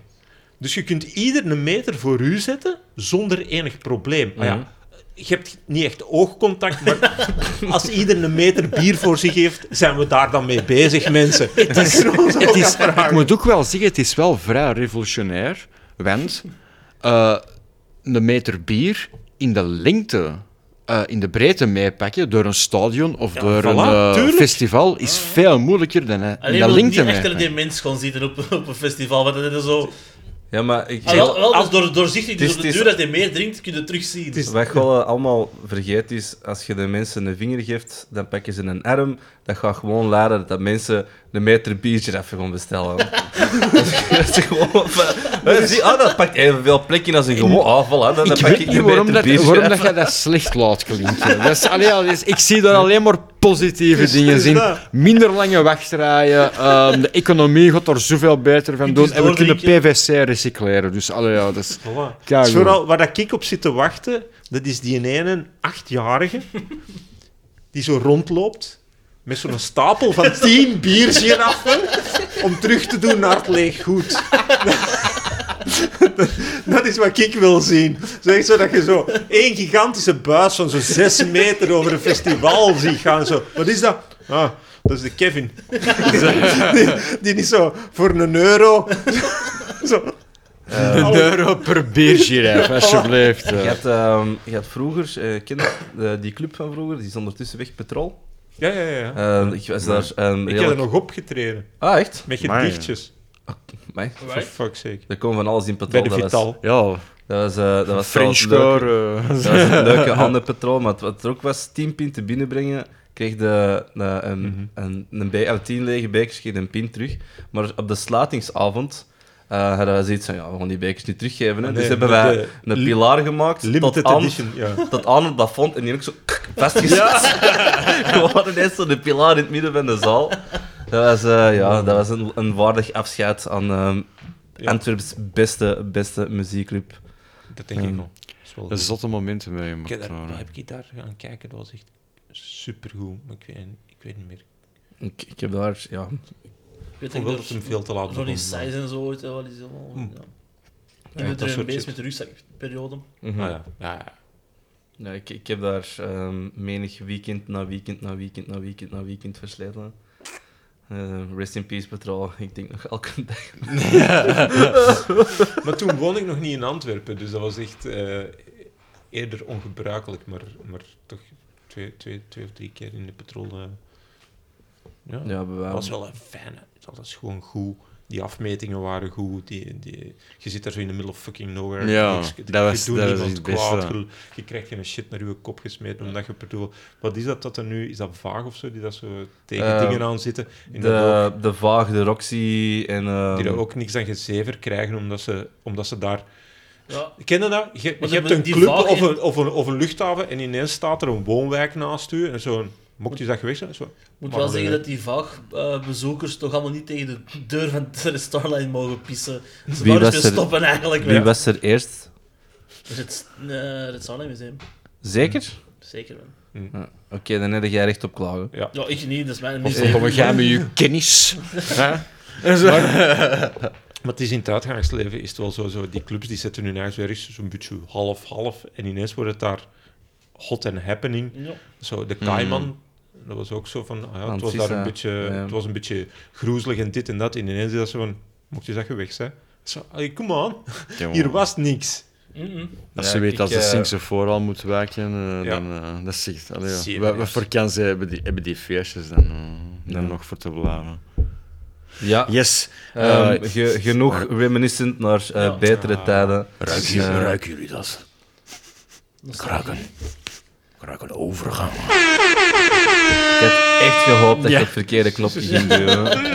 S4: Dus je kunt ieder een meter voor u zetten zonder enig probleem. Ah ja, je hebt niet echt oogcontact, maar als ieder een meter bier voor zich heeft, zijn we daar dan mee bezig, mensen. Het is,
S6: Het is, ik moet ook wel zeggen, het is wel vrij revolutionair. Want eh, een meter bier in de lengte, eh, in de breedte meepakken door een stadion of door
S4: voilà,
S6: een eh,
S4: tuurlijk.
S6: festival is veel moeilijker dan eh, in
S5: Alleen
S6: de
S5: wil niet
S6: lengte
S5: achter
S6: meepakken.
S5: die mens gewoon zitten op, op een festival, want dat is zo...
S2: Ja, maar ik...
S5: Ah, wel, wel, dat is door, doorzichtig,
S2: het
S5: dus
S2: is- het
S5: op de
S2: is-
S5: duur dat hij meer drinkt, kun je het terugzien.
S2: Wat je wel, eh, allemaal vergeet is, als je de mensen een vinger geeft, dan pakken ze een arm. Dat gaat gewoon leiden dat mensen een meter biertje even gewoon bestellen. dat is gewoon... eh, zie, ah, dat pakt evenveel plek in als een gewoon... Ah, voilà, dan, dan
S6: Ik
S2: pak
S6: weet
S2: ik
S6: niet
S2: een
S6: waarom,
S2: meter
S6: dat,
S2: biertje
S6: waarom
S2: even.
S6: dat jij dat slecht laat klinken. Dat is, allee, allee, ik zie daar alleen maar positieve dingen in. Minder lange wachtrijen. ehm, de economie gaat er zoveel beter van
S5: Kunt
S6: doen.
S5: eens
S6: En we kunnen
S5: doordrinken.
S6: PVC recycleren. Dus allee, ja, dat is...
S1: Voilà.
S6: Ja,
S1: Dus vooral waar dat ik op zit te wachten, dat is die ene achtjarige die zo rondloopt met zo'n stapel van tien biergiraffen om terug te doen naar het leeg goed. Dat is wat ik wil zien. Zo echt zo dat je zo één gigantische buis van zo'n zes meter over een festival ziet gaan. Zo. Wat is dat? Ah, dat is de Kevin. Die, die is zo voor een euro. Zo,
S6: Een euro per biergiraf, alsjeblieft. eh.
S2: Je hebt, ehm, je hebt vroeger, eh, ken je dat? Eh, die club van vroeger, die is ondertussen weg, Petrol.
S1: ja, ja, ja.
S2: Ehm, ik was daar... ehm,
S1: Ik heb
S2: redelijk-
S1: er nog opgetreden.
S2: Ah, echt?
S1: Met
S8: Maar, ja.
S1: gedichtjes.
S2: Mij?
S1: For fuck's sake.
S2: Er kwam van alles in Petrol.
S1: Bij de
S2: dat was-
S1: Vital.
S6: Ja,
S2: Dat was, eh, dat was
S6: French
S2: zelfs leuk.
S6: car, eh.
S2: Dat was een leuke handenpatroon, maar wat er ook was, 10 pinten binnenbrengen, kreeg de, de- een,
S1: Mhm.
S2: een, een, be- uit 10 lege bekers kreeg een pint terug. Maar op de slatingsavond eh, hadden wij zoiets van, ja, we gaan die bekers niet teruggeven. Hè.
S1: Ah,
S2: dus
S1: nee,
S2: hebben
S1: met
S2: wij
S1: de
S2: een
S1: li-
S2: pilaar gemaakt tot
S1: Limited
S2: aan,
S1: edition. Ja.
S2: tot aan het plafond en die heb ik zo vastgezet. Gewoon ineens zo'n pilaar in het midden van de zaal. Dat was, eh, ja, dat was een, een waardig afscheid aan ehm
S1: Oh. Ja.
S2: Antwerps beste, beste muziekclub.
S1: Dat denk
S2: Ja.
S1: ik nog. Dat is wel
S6: een
S1: goed.
S6: zotte momenten mee.
S1: Ik heb, daar,
S6: maar-
S1: heb ik daar gaan kijken, dat was echt supergoed. Maar ik weet, ik weet niet meer.
S2: Ik, ik heb daar, ja,
S5: Ik weet
S1: Ik wil dat
S5: dat
S1: hem
S5: ik
S1: veel te laat
S5: door Ronnie
S1: begon, maar-
S5: Size en zo ooit, eh, wat is dat allemaal?
S1: Hm.
S5: Ja.
S1: Ja,
S5: Ik ben
S1: dat
S5: er
S1: soort
S5: bezig
S1: shit.
S5: met de rugzakperiode.
S2: Mhm.
S1: Ah, ja. Ja, ja.
S2: Ja, ik, ik heb daar ehm, menig weekend na weekend na weekend na weekend na weekend versleten. Eh, rest in peace, Patrol. Ik denk nog elke dag.
S1: Maar toen woonde ik nog niet in Antwerpen, dus dat was echt eh, eerder ongebruikelijk. Maar, maar toch twee, twee, twee of drie keer in de patrol. eh. ja,
S2: Ja, bij
S1: Dat
S2: wij-
S6: Oh.
S1: was wel een fijne. Dat was gewoon goed. Die afmetingen waren goed. Die, die, je zit daar zo in de middle of fucking nowhere.
S6: Ja,
S1: Niks- je
S6: dat was-
S1: doet
S6: dat was
S1: niemand
S6: het beste.
S1: kwaad. Je, je krijgt geen shit naar je kop gesmeten omdat je bedoel... Wat is dat dat er nu... Is dat vaag of zo? Die dat zo tegen
S2: Eh,
S1: dingen aan zitten. En dat ook-
S2: de, de Vaag, de Roxy en... ehm,
S1: die daar ook niks aan gezever krijgen omdat ze, omdat ze daar...
S5: Ja,
S1: Ken je dat? Je,
S5: Maar de-
S1: je hebt een
S5: die
S1: club
S5: Vaag
S1: of
S5: in-
S1: een, of, een, of een luchthaven en ineens staat er een woonwijk naast u en zo'n... Mocht je dat geweest zijn? Zo,
S5: ik moet
S1: Maar
S5: wel
S1: nee.
S5: zeggen dat die vaag eh, bezoekers toch allemaal niet tegen de deur van de Starline mogen pissen. Ze
S2: Wie
S5: mogen
S2: was
S5: dus
S2: er-
S5: stoppen eigenlijk.
S2: Wie
S5: wel.
S2: was er eerst?
S5: Dus het, eh, het Starline Museum.
S2: Zeker?
S5: Zeker wel.
S2: Ja. Oké, dan heb jij recht op klagen.
S5: Ja, ik niet, dat is mijn
S6: Of
S5: museum.
S6: dan gaan met je kennis.
S1: Maar het is in het uitgangsleven is het wel zo, zo die clubs die zetten hun eigen ergens zo'n beetje half-half en ineens wordt het daar hot and happening.
S5: Ja.
S1: Zo, de
S2: Mm.
S1: Kaiman, dat was ook zo van, ah ja,
S2: Want
S1: het was
S2: het is,
S1: daar een
S2: eh,
S1: beetje,
S2: ja.
S1: het was een beetje groezelig en dit en dat. En ineens is dat zo van, mocht je zeggen weg zijn? Zo, allee, come on, hier was niks.
S5: Mhm.
S6: Als
S2: Ja,
S6: ze weet
S2: ik,
S6: dat ze
S2: eh,
S6: Sinkse vooral moet wijken, eh,
S1: Ja.
S6: dan eh, dat zegt. Allee, ja.
S1: Zeer
S6: Wat- Wat
S1: juist.
S6: voor kansen hebben die, hebben die feestjes dan, eh, dan
S2: Ja.
S6: nog voor te blijven?
S2: Ja,
S6: Yes.
S2: ehm,
S6: Eh,
S2: ge- genoeg reminiscent naar eh,
S5: Ja.
S2: betere
S1: Ah.
S2: tijden.
S4: Ruik,
S2: Dus, eh,
S4: ruiken jullie dat?
S5: Dat is-
S4: Kraken. Kraken overgaan.
S2: Ik had echt gehoopt dat
S6: Ja.
S2: je op het verkeerde knopje ging duwen.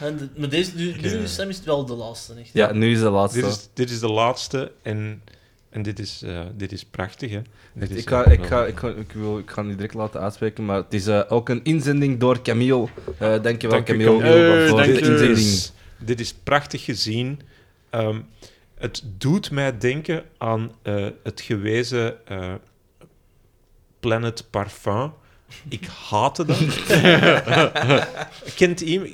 S5: En de- maar deze, nu, nu
S1: Ja.
S5: Sam is het wel de laatste, echt.
S2: Ja, nu is de laatste.
S1: Dit is, dit is de laatste en, en dit, is, eh, dit is prachtig, hè. Dit is,
S2: Ik ga,
S1: eh,
S2: ik,
S1: wel-
S2: ga, ik, ga, ik, wil, ik ga niet direct laten uitspreken, maar het is eh, ook een inzending door Camille. Eh dankjewel,
S1: Dank u,
S2: Camille,
S6: Camille.
S2: voor
S6: Hey,
S2: de
S6: dank u.
S2: inzending.
S1: is, dit is prachtig gezien. Ehm, het doet mij denken aan eh, het gewezen eh, Planet Parfum. Ik haatte dat. Kent iemand,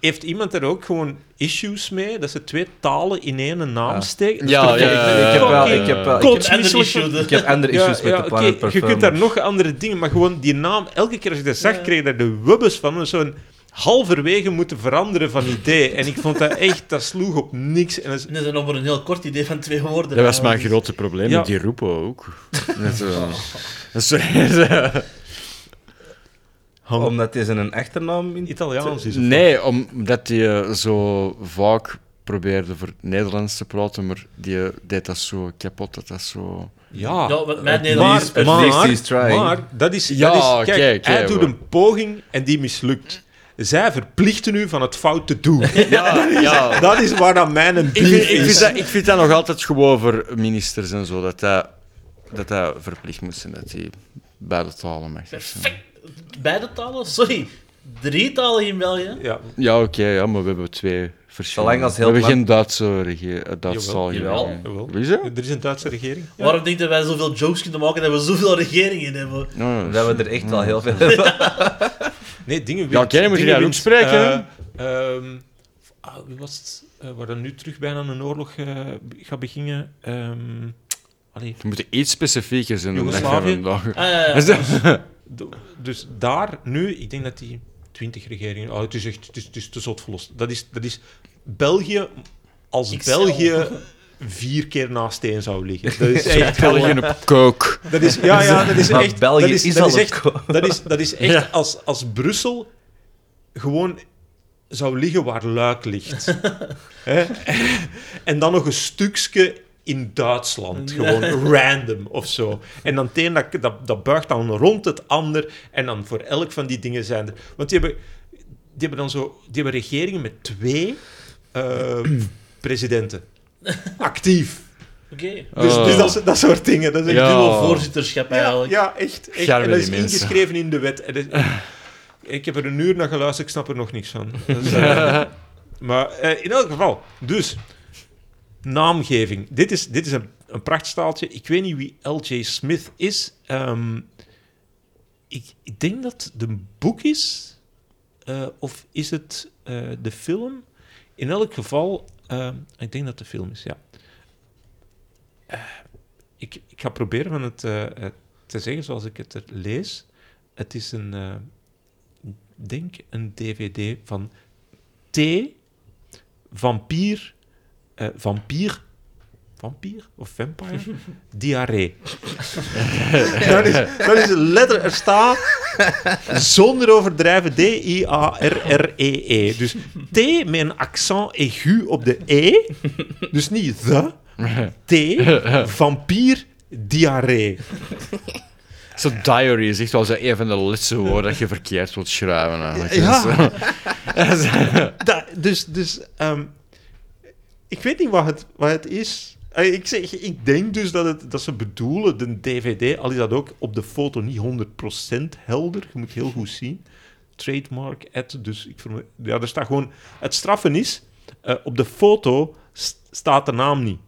S1: heeft iemand er ook gewoon issues mee? Dat ze twee talen in één naam
S2: Ah.
S1: steken? Dat is
S6: Ja,
S1: toch
S6: ja,
S1: echt
S6: ja, ja,
S2: Ik heb wel,
S1: fucking
S2: ik heb wel, ik
S5: Ik
S2: heb,
S5: heb andere
S1: Kotsmisselijk.
S5: issue.
S2: ik heb andere issues met de
S1: oké,
S2: Planet Parfum.
S1: Je kunt daar nog andere dingen, maar gewoon die naam, elke keer als ik dat zag,
S5: Ja.
S1: kreeg ik daar de wubbes van. en Zo'n halverwege moeten veranderen van idee. En ik vond dat echt, dat sloeg op niks. En dat is-
S5: En dat is nog maar een heel kort idee van twee woorden.
S6: dat was
S5: maar
S6: mijn grote probleem
S1: Ja.
S6: met die roepen ook. Dat is, eh, dat is, eh,
S1: Hang-
S2: Omdat deze een achternaam in...
S1: Italiaans is of
S6: nee, omdat die eh, zo vaak probeerde voor het Nederlands te praten, maar die eh, deed dat zo kapot dat dat zo.
S1: wat? Ja.
S5: Ja, want mijn
S1: Maar,
S5: Nederlands...
S2: least- at least
S1: maar,
S2: he's trying.
S1: maar dat is,
S6: Ja,
S1: dat is kijk,
S6: kijk,
S1: hij
S6: ja,
S1: doet
S6: maar-
S1: een poging en die mislukt.
S4: zij verplichten u van het fout te doen.
S6: Ja, ja.
S4: Dat is waar dan mijn een
S6: Ik, vind,
S4: beef
S6: ik,
S4: is.
S6: vind dat, ik vind dat nog altijd gewoon voor ministers en zo, dat dat, dat, dat verplicht moet zijn, dat die beide talen mag zijn.
S5: Beide talen? Sorry. Drie talen in België?
S4: Ja,
S6: Ja, oké, ja, maar we hebben twee verschillende.
S2: Zolang als heel
S6: we hebben
S2: lang-
S6: geen Duitse regering, Duitstalige
S2: Jawel,
S6: regering.
S4: jawel.
S6: Wie is dat?
S4: er is een Duitse regering. Ja.
S5: Waarom denken wij zoveel jokes kunnen maken dat we zoveel regeringen hebben?
S6: Nou, ja.
S2: Dat we er echt wel heel veel hebben.
S4: Nee, dingen
S6: Ja, oké, moet je daar ook spreken,
S1: Eh, ehm, ah,
S4: wie was het? eh, waar dan nu terug bijna een oorlog eh, gaat beginnen. Ehm allee,
S6: We moeten iets specifieker zijn dan dat jij
S4: Joegoslavië?
S6: vandaag-
S5: Ah, ja, ja.
S6: Is dat-
S4: Do- Dus daar nu, ik denk dat die 20 regeringen. Oh, het is echt het is, het is te zot verlost. Dat is, dat is België als
S5: XL.
S4: België vier keer naast één zou liggen. Dat is echt
S6: België op kook.
S4: Dat is, ja, ja, dat is
S2: Maar
S4: echt.
S2: België
S4: dat is,
S2: is
S4: dat
S2: al
S4: is
S2: een
S4: echt,
S2: ko-
S4: dat is, dat is echt
S6: Ja.
S4: als, als Brussel gewoon zou liggen waar Luik ligt. Hè? en dan nog een stukje in Duitsland, gewoon random of zo. En dan het een, dat, dat, dat buigt dan rond het ander. En dan voor elk van die dingen zijn er. Want die hebben, die hebben dan zo. Die hebben regeringen met twee eh, presidenten. Actief.
S5: Oké.
S4: Dus,
S6: Oh.
S4: dus dat, soort- dat soort dingen. Dat is echt
S6: Ja.
S5: Dubbel voorzitterschap
S4: ja,
S5: eigenlijk.
S4: ja, echt. echt.
S6: Garme
S4: En dat is
S6: die mensen.
S4: ingeschreven in de wet. En dat- ik heb er een uur naar geluisterd, ik snap er nog niks van. Dus, eh, maar eh, in elk geval, dus, naamgeving. Dit is, dit is een, een prachtstaaltje. Ik weet niet wie L.J. Smith is. Ehm, ik, ik denk dat het een boek is, eh, of is het eh, de film? In elk geval, ehm, ik denk dat het de film is, ja. Eh, ik, ik ga proberen van het eh, eh, te zeggen zoals ik het er lees. Het is een, eh, ik denk een dvd van T, vampier, eh, vampier, vampier of vampire, diarree. dat, is, dat is een letter, er staat zonder overdrijven D-I-A-R-R-E-E. Dus T met een accent aigu op de E, dus niet the, T, vampier, diarree.
S6: Zo'n diary is echt wel zo een van de laatste woorden dat je verkeerd wilt schrijven. Eigenlijk.
S4: Ja. Da- dus dus ehm, ik weet niet wat het, wat het is. Eh, Ik, zeg, ik denk dus dat, het, dat ze bedoelen, de DVD, al is dat ook op de foto niet 100% helder. Je moet heel goed zien. Trademark, ad, dus ik vermoed- Ja, er staat gewoon... Het straffen is, eh, op de foto s- staat de naam niet.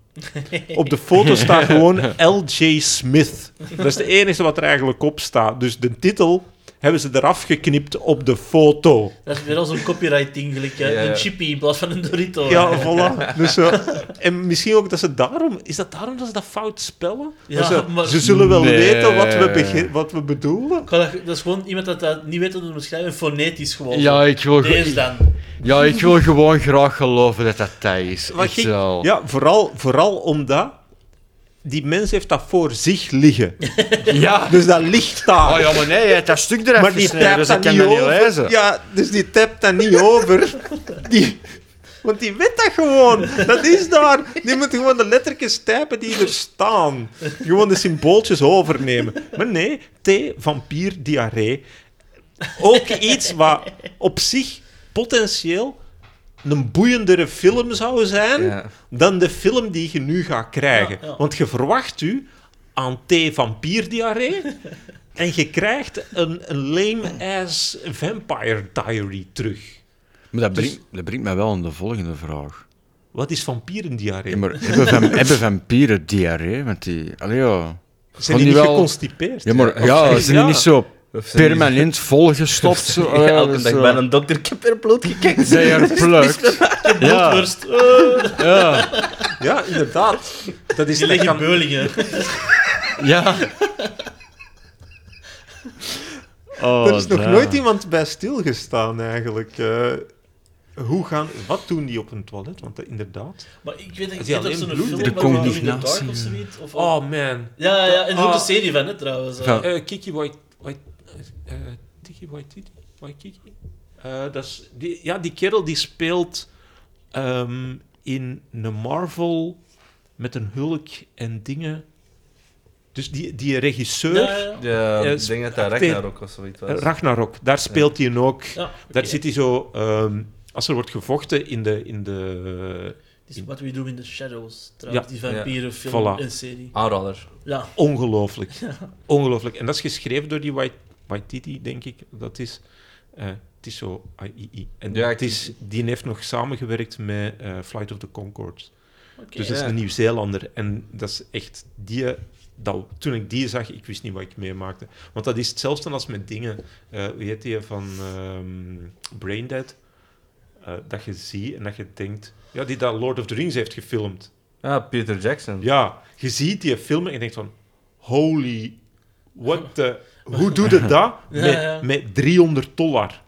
S4: Op de foto staat gewoon L.J. Smith. Dat is de enige wat er eigenlijk op staat. Dus de titel hebben ze eraf geknipt op de foto.
S5: Dat is weer al zo'n copyright ding, gelijk eh,
S2: Ja, ja.
S5: een chippy in plaats van een Dorito.
S4: Ja, voilà. Dus, zo. en misschien ook dat ze daarom... Is dat daarom dat ze dat fout spellen?
S5: Ja,
S4: ze,
S5: maar-
S4: ze zullen wel
S6: Nee.
S4: weten wat we, bege- wat we bedoelen.
S5: Ik wou Dat dat is gewoon iemand dat dat niet weet hoe te beschrijven, fonetisch gewoon.
S6: Ja, ik wil, ge-
S5: Deze dan.
S6: ja, ik wil gewoon graag geloven dat dat thij is.
S4: Wat
S6: Echt
S4: ik-
S6: wel.
S4: ja, vooral, vooral omdat... Die mens heeft dat voor zich liggen.
S6: Ja.
S4: Dus dat ligt daar.
S6: Oh ja, maar nee, hij heeft dat stuk eruit
S4: maar die
S6: gesneden, dus
S4: tapt
S6: ik
S4: dat
S6: kan
S4: niet
S6: dat niet
S4: over.
S6: lezen.
S4: Ja, dus die tapt dat niet over. Die... Want die weet dat gewoon. Dat is daar. Die moet gewoon de lettertjes typen die er staan. Gewoon de symbooltjes overnemen. Maar nee, thee, vampier, diarree. Ook iets wat op zich potentieel een boeiendere film zou zijn
S2: Ja.
S4: dan de film die je nu gaat krijgen.
S5: Ja, ja.
S4: Want je verwacht u aan T vampierdiarree en je krijgt een, een lame-ass vampire diary terug.
S6: Maar dat brengt, dat brengt mij wel aan de volgende vraag.
S4: Wat is vampierendiarree?
S6: Ja, maar hebben, vam- hebben vampieren diarree? Want die... Allee, ja.
S4: Zijn
S6: Gaan
S4: die
S6: die
S4: niet
S6: wel-
S4: geconstipeerd?
S6: Ja, maar ja, ze zijn
S4: Ja.
S6: niet zo
S2: Of ze
S6: permanent volgestopt. Zo,
S2: Ja,
S6: Allee,
S2: elke
S6: dus,
S2: dag
S6: eh,
S2: bij een dokter, ik heb er bloed gekeken.
S6: They are plucked. Ja,
S5: Bloedworst. eh,
S6: ja,
S4: Ja, inderdaad. Dat is
S5: die
S4: dat
S5: liggen in
S4: kan,
S5: Beulingen.
S6: ja. Oh,
S4: er is nog
S6: daar.
S4: nooit iemand bij stilgestaan eigenlijk. Eh, hoe gaan, wat doen die op een toilet? Want eh, inderdaad.
S5: Maar ik
S4: Is
S5: weet niet,
S4: die
S5: ik heb
S4: alleen
S5: zo'n
S4: bloed?
S5: film,
S4: Er
S5: maar
S6: komt
S5: Gloom
S6: niet
S5: in the
S6: na,
S5: Dark
S6: zie
S5: of
S6: je.
S5: zoiets. Of,
S4: Oh man.
S5: Ja, ja, en er is ook
S4: Ah.
S5: een serie van het trouwens. eh.
S6: Ja.
S4: Eh, Kiki Wait. Wait eh Tiki Waititi? Waikiki? Eh, dat is, die, ja, die kerel die speelt ehm, in een Marvel met een Hulk en dingen.
S1: Dus die, die regisseur,
S5: Ja, ja, ja.
S2: Ja,
S1: Ja,
S2: ik denk dat dat
S1: acteer-
S2: Ragnarok of zoiets was.
S1: Ragnarok, daar speelt hij ook.
S5: Ja,
S1: Daar
S5: oké.
S1: zit hij zo... ehm, als er wordt gevochten in de... In de
S5: Het is What We Do in the Shadows, trouwens,
S1: Ja.
S5: die vampieren film
S1: Voilà. Ah.
S5: en serie.
S2: Aanrader.
S5: Ja,
S1: Ongelooflijk. Ongelooflijk. En dat is geschreven door die Wai- Waititi, denk ik. Dat is... eh, het is zo III. En
S2: Ja,
S1: het
S2: ik-
S1: is, die heeft nog samengewerkt met eh, Flight of the Concords.
S5: oké.
S1: Dus dat is
S2: Ja.
S1: een Nieuw-Zeelander. En dat is echt... Die, dat, toen ik die zag, ik wist niet wat ik meemaakte. Want dat is hetzelfde als met dingen... eh hoe heet die van ehm Braindead? Eh, dat je ziet en dat je denkt... Ja, die dat Lord of the Rings heeft gefilmd.
S2: Ja, Peter Jackson.
S1: Ja, je ziet die film en je denkt van... Holy... What the... Hoe doe je dat?
S5: Ja,
S1: met,
S5: ja.
S1: met 300 dollar.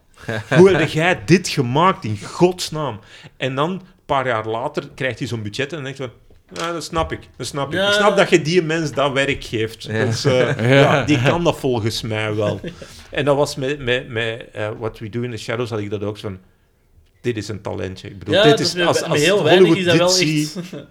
S1: Hoe heb jij dit gemaakt, in godsnaam? En dan, een paar jaar later, krijgt hij zo'n budget en denkt van... Ja, dat snap ik, dat snap ik.
S5: Ja.
S1: Ik snap dat je die mens dat werk geeft.
S2: Ja.
S1: Dat is, eh, ja, die kan dat volgens mij wel. En dat was met, met, met eh, What We Do in the Shadows, had ik dat ook zo van... Dit is een talentje. Ik bedoel,
S5: ja,
S1: dit
S5: dat
S1: is,
S5: is met-
S1: als,
S5: met
S1: als
S5: heel weinig
S1: Hollywood
S5: is dat
S1: dit
S5: wel
S1: ziet,
S5: echt...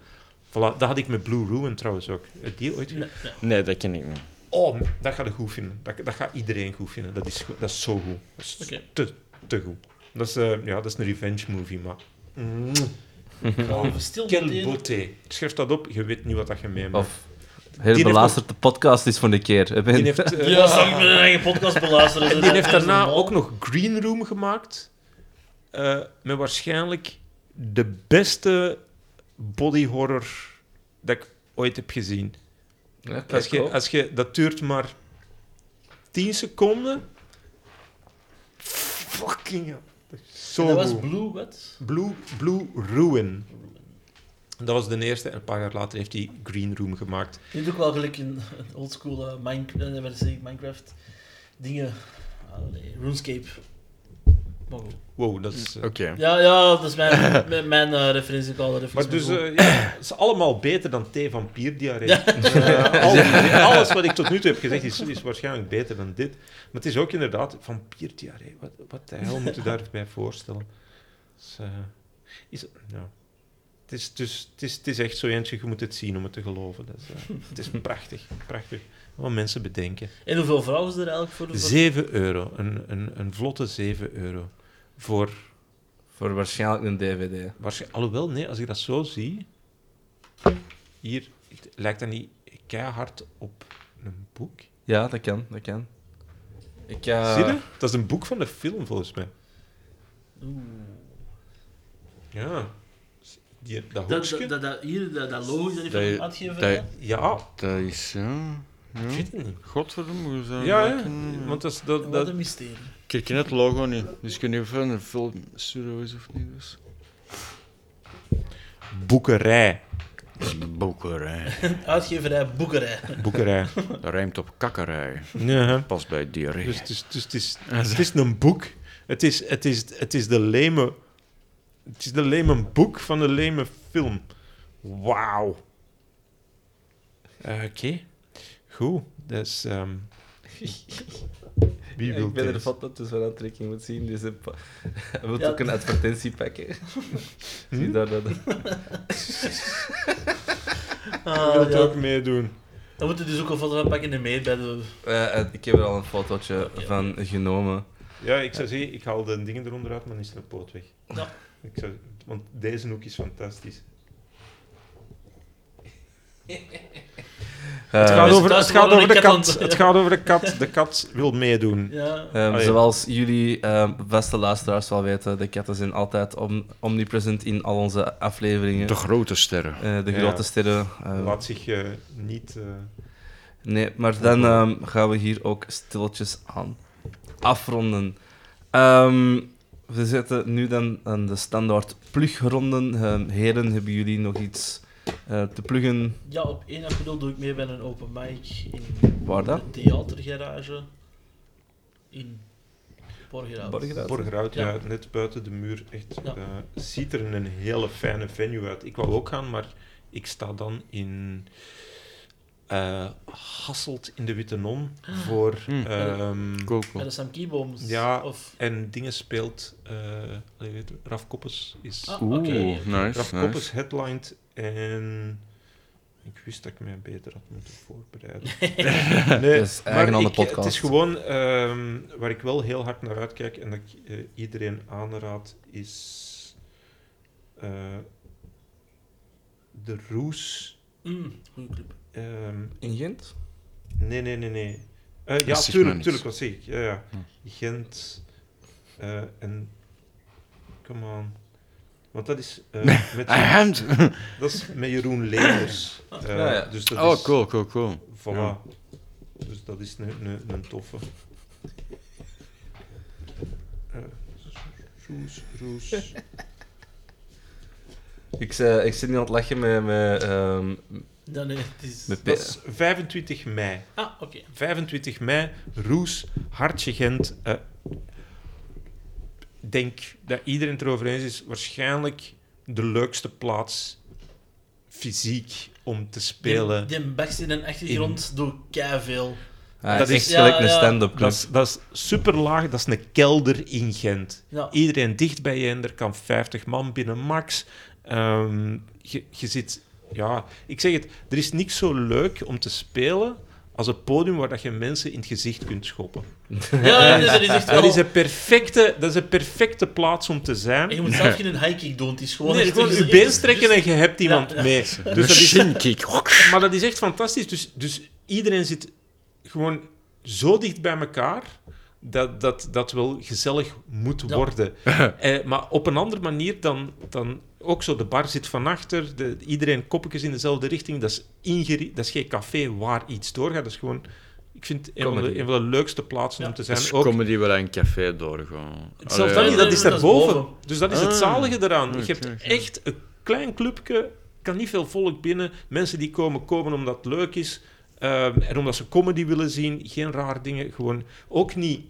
S1: Voilà, dat had ik met Blue Ruin trouwens ook. Heb je die ooit gezien?
S6: Nee, dat ken ik niet.
S1: Oh, dat gaat ik goed vinden. Dat, dat gaat iedereen goed vinden. Dat is, goed- dat is zo goed. Dat is
S5: Oké.
S1: te, te goed. Dat is, eh, ja, dat is een revenge movie, maar... Mm,
S5: Even stil
S1: Quel
S5: meteen.
S1: beauté. Schrijf dat op, je weet niet wat dat je meemaakt.
S2: Of heel
S1: heeft
S2: belasterd, de podcast is van de keer. hè, Ben.
S1: Die heeft, eh,
S5: Ja, zou ik mijn eigen dus podcast beluisteren?
S1: en die heeft daarna ook nog Green Room gemaakt. eh, met waarschijnlijk de beste body horror dat ik ooit heb gezien.
S2: Ja, kijk,
S1: Als je,
S5: Oh.
S2: cool.
S4: eh,
S1: als je, dat duurt maar 10 seconden. Fucking hell. Dat is Zo
S5: Dat was
S1: goed.
S5: Blue, wat?
S1: Blue, Blue Ruin. Dat was de eerste en een paar jaar later heeft hij Green Room gemaakt.
S5: Dit doe ik wel gelijk in een oldschool eh, Minecraft, eh, wat zeg ik, Minecraft dingen. Ah, nee, RuneScape. Maar goed.
S1: Wow, dat is... eh,
S3: Oké.
S5: Ja, ja, dat is mijn, mijn, mijn eh, referentie. Ik haal de
S1: Maar
S5: referentie
S1: dus,
S5: van
S1: eh, ja, het is allemaal beter dan thee van pierdiarree.
S5: Ja.
S1: Eh, al- alles wat ik tot nu toe heb gezegd is, is waarschijnlijk beter dan dit. Maar het is ook inderdaad van pierdiarree. Wat, wat de hel moet je daarbij voorstellen? Dus, eh, is, ja. het, is, dus, het, is, het is echt zo eentje, je moet het zien om het te geloven. Dat is, eh, het is prachtig, prachtig. Wat mensen bedenken.
S5: En hoeveel vrouwen is er eigenlijk voor de
S1: 7 euro, een, een, een vlotte 7 euro. Voor,
S2: Voor waarschijnlijk een DVD.
S1: waarschijnlijk, alhoewel, nee, als ik dat zo zie, hier het lijkt dat niet keihard op een boek.
S2: Ja, dat kan, dat kan. Ik,
S5: Ah.
S1: Zie je? Dat is een boek van de film, volgens mij.
S5: Oeh.
S1: Ja. Die, dat
S5: Dat,
S1: hoekje?
S5: dat, dat, dat- hier, dat, dat logo is dat niet
S6: Dat-
S5: van de uitgever?
S6: dat-
S5: hè?
S1: ja,
S6: Dat is, ja...
S1: ik
S6: ja.
S1: weet het niet.
S6: Godverdomme, hoe zou
S1: Ja,
S6: ja,
S1: ja. Want dat is... Dat,
S5: Wat
S1: dat,
S5: een mysterie.
S6: Ik herken het logo niet, dus ik weet niet of het een filmstudio is of niet. Dus.
S1: boekerij.
S6: Boekerij.
S5: Uitgeverij Boekerij.
S1: Boekerij.
S6: Dat rijmt op kakkerij.
S1: ja, hè.
S6: Pas bij diarree.
S1: Dus, dus, dus het, is, het is een boek. Het is, het is, het is de leme... Het is de leme boek van de leme film. Wauw. Eh, Oké. Goed. Dus... ehm Wie wil
S2: ik ben
S1: deze?
S2: er van dat dus wel aantrekking moet zien. Dus hij wil
S5: Ja.
S2: ook een advertentie pakken. Zie daar dat?
S5: Ah,
S1: wil het
S5: ja.
S1: ook meedoen.
S5: Dan moeten we dus ook een foto van pakken en mee bij de...
S2: Eh, eh, ik heb er al een fotootje van genomen.
S1: Ja, ik zou zeggen, ik haal de dingen eronder uit, maar dan is er een poot weg.
S5: Ja.
S1: Ik zou, want deze hoek is fantastisch.
S2: Eh,
S1: het gaat
S5: dus
S1: over,
S5: thuis
S1: het gaat
S5: gewoon
S1: over de
S5: een kat
S1: kat.
S5: aan-
S1: Het gaat over de kat. De kat wil meedoen.
S5: Ja.
S2: ehm,
S1: Allee.
S2: zoals jullie ehm, vaste luisteraars wel weten, de katten zijn altijd om, omnipresent in al onze afleveringen.
S6: De grote sterren.
S2: Eh, de
S1: Ja.
S2: grote sterren. eh,
S1: Laat zich eh, niet... eh,
S2: Nee, maar dan ehm, gaan we hier ook stilletjes aan afronden. Ehm, we zitten nu dan aan de standaard plugronden. Ehm, heren, hebben jullie nog iets eh, te pluggen?
S5: ja, op 1 april doe ik mee bij een open mic in
S2: Waar dan?
S5: de theatergarage in Borgerhout.
S1: Borgerhout, ja.
S5: Ja.
S1: net buiten de muur. Echt,
S5: Ja.
S1: eh, ziet er een hele fijne venue uit. Ik wou ook gaan, maar ik sta dan in eh, Hasselt in de Witte Non
S5: Ah.
S1: voor...
S6: Hmm.
S1: ehm,
S5: Bij de Sam Keebooms.
S1: Ja.
S5: Of...
S1: en dingen speelt... eh, allee, weet je, Raf Koppes is...
S5: Ah, oké.
S6: Oeh, nice,
S1: Raf
S6: nice.
S1: Koppes headlined en Ik wist dat ik mij beter had moeten voorbereiden.
S2: Dat
S1: nee,
S2: is eigen aan de
S1: ik- Het
S2: podcast.
S1: is gewoon ehm, waar ik wel heel hard naar uitkijk en dat ik eh, iedereen aanraad, is eh, de Roes.
S5: Mm, goeie club.
S1: ehm,
S2: In Gent?
S1: nee, nee, nee, nee. Eh, ja,
S6: zegt mij
S1: tuurlijk,
S6: niks.
S1: tuurlijk, wat zie ik. Ja, ja.
S2: Hm.
S1: Gent eh, en. Come on. Want dat is, eh, met,
S6: hand.
S1: dat is met Jeroen Leenders. Eh,
S2: Ja, ja.
S1: Dus dat
S6: Oh,
S1: is,
S6: cool, cool, cool.
S1: Voilà. Dus dat is een, een, een toffe. Eh, Roes, roes.
S2: Ik, zei- ik zit niet aan het lachen met... met, ehm,
S5: Dan, eh, het is...
S2: met
S1: Dat is 25 mei.
S5: Ah, oké.
S1: 25 mei, Roes, Hartje Gent. eh, Ik denk dat iedereen het erover eens is. Waarschijnlijk de leukste plaats fysiek om te spelen.
S5: Die, die backs in een achtergrond doe kei veel.
S2: Ah,
S1: Dat
S2: dat
S1: is-
S2: is echt gelijk
S5: ja,
S2: een
S5: ja.
S2: stand-up club.
S1: Dat is, dat is super laag, dat is een kelder in Gent.
S5: Ja.
S1: Iedereen dicht bij je en er kan 50 man binnen max. Ehm, je, je zit, ja, ik zeg het, er is niks zo leuk om te spelen als een podium waar dat je mensen in het gezicht kunt schoppen.
S5: Ja, dat is echt wel...
S1: Dat is een perfecte, dat is een perfecte plaats om te
S5: En
S1: zijn.
S5: je moet zelf geen high kick doen, het is gewoon...
S1: Nee,
S5: echt-
S1: gewoon
S5: het is-
S1: je been strekken en je hebt iemand
S5: Ja, ja.
S1: mee. Dus dat is
S6: Shin kick.
S1: maar dat is echt fantastisch. Dus, dus iedereen zit gewoon zo dicht bij elkaar dat dat, dat wel gezellig moet
S5: Ja.
S1: worden. Eh, maar op een andere manier dan, dan ook zo. De bar zit van achter, de, iedereen koppetjes in dezelfde richting. Dat is, ingeri- dat is geen café waar iets doorgaat. Dat is gewoon, ik vind, het een van, de,
S2: Comedy.
S1: een van de leukste plaatsen om te zijn.
S6: Dat is
S1: Ook-
S6: comedy waar een café doorgaan.
S5: Allee,
S1: Zelfs dat niet, dat is
S5: dat is
S1: daarboven.
S5: boven.
S1: Dus dat is het
S6: Oh, Ah.
S1: zalige eraan.
S6: Oké,
S1: Je hebt
S6: oké.
S1: echt een klein clubje, kan niet veel volk binnen. Mensen die komen, komen omdat het leuk is. ehm, en omdat ze comedy willen zien. Geen raar dingen. Gewoon ook niet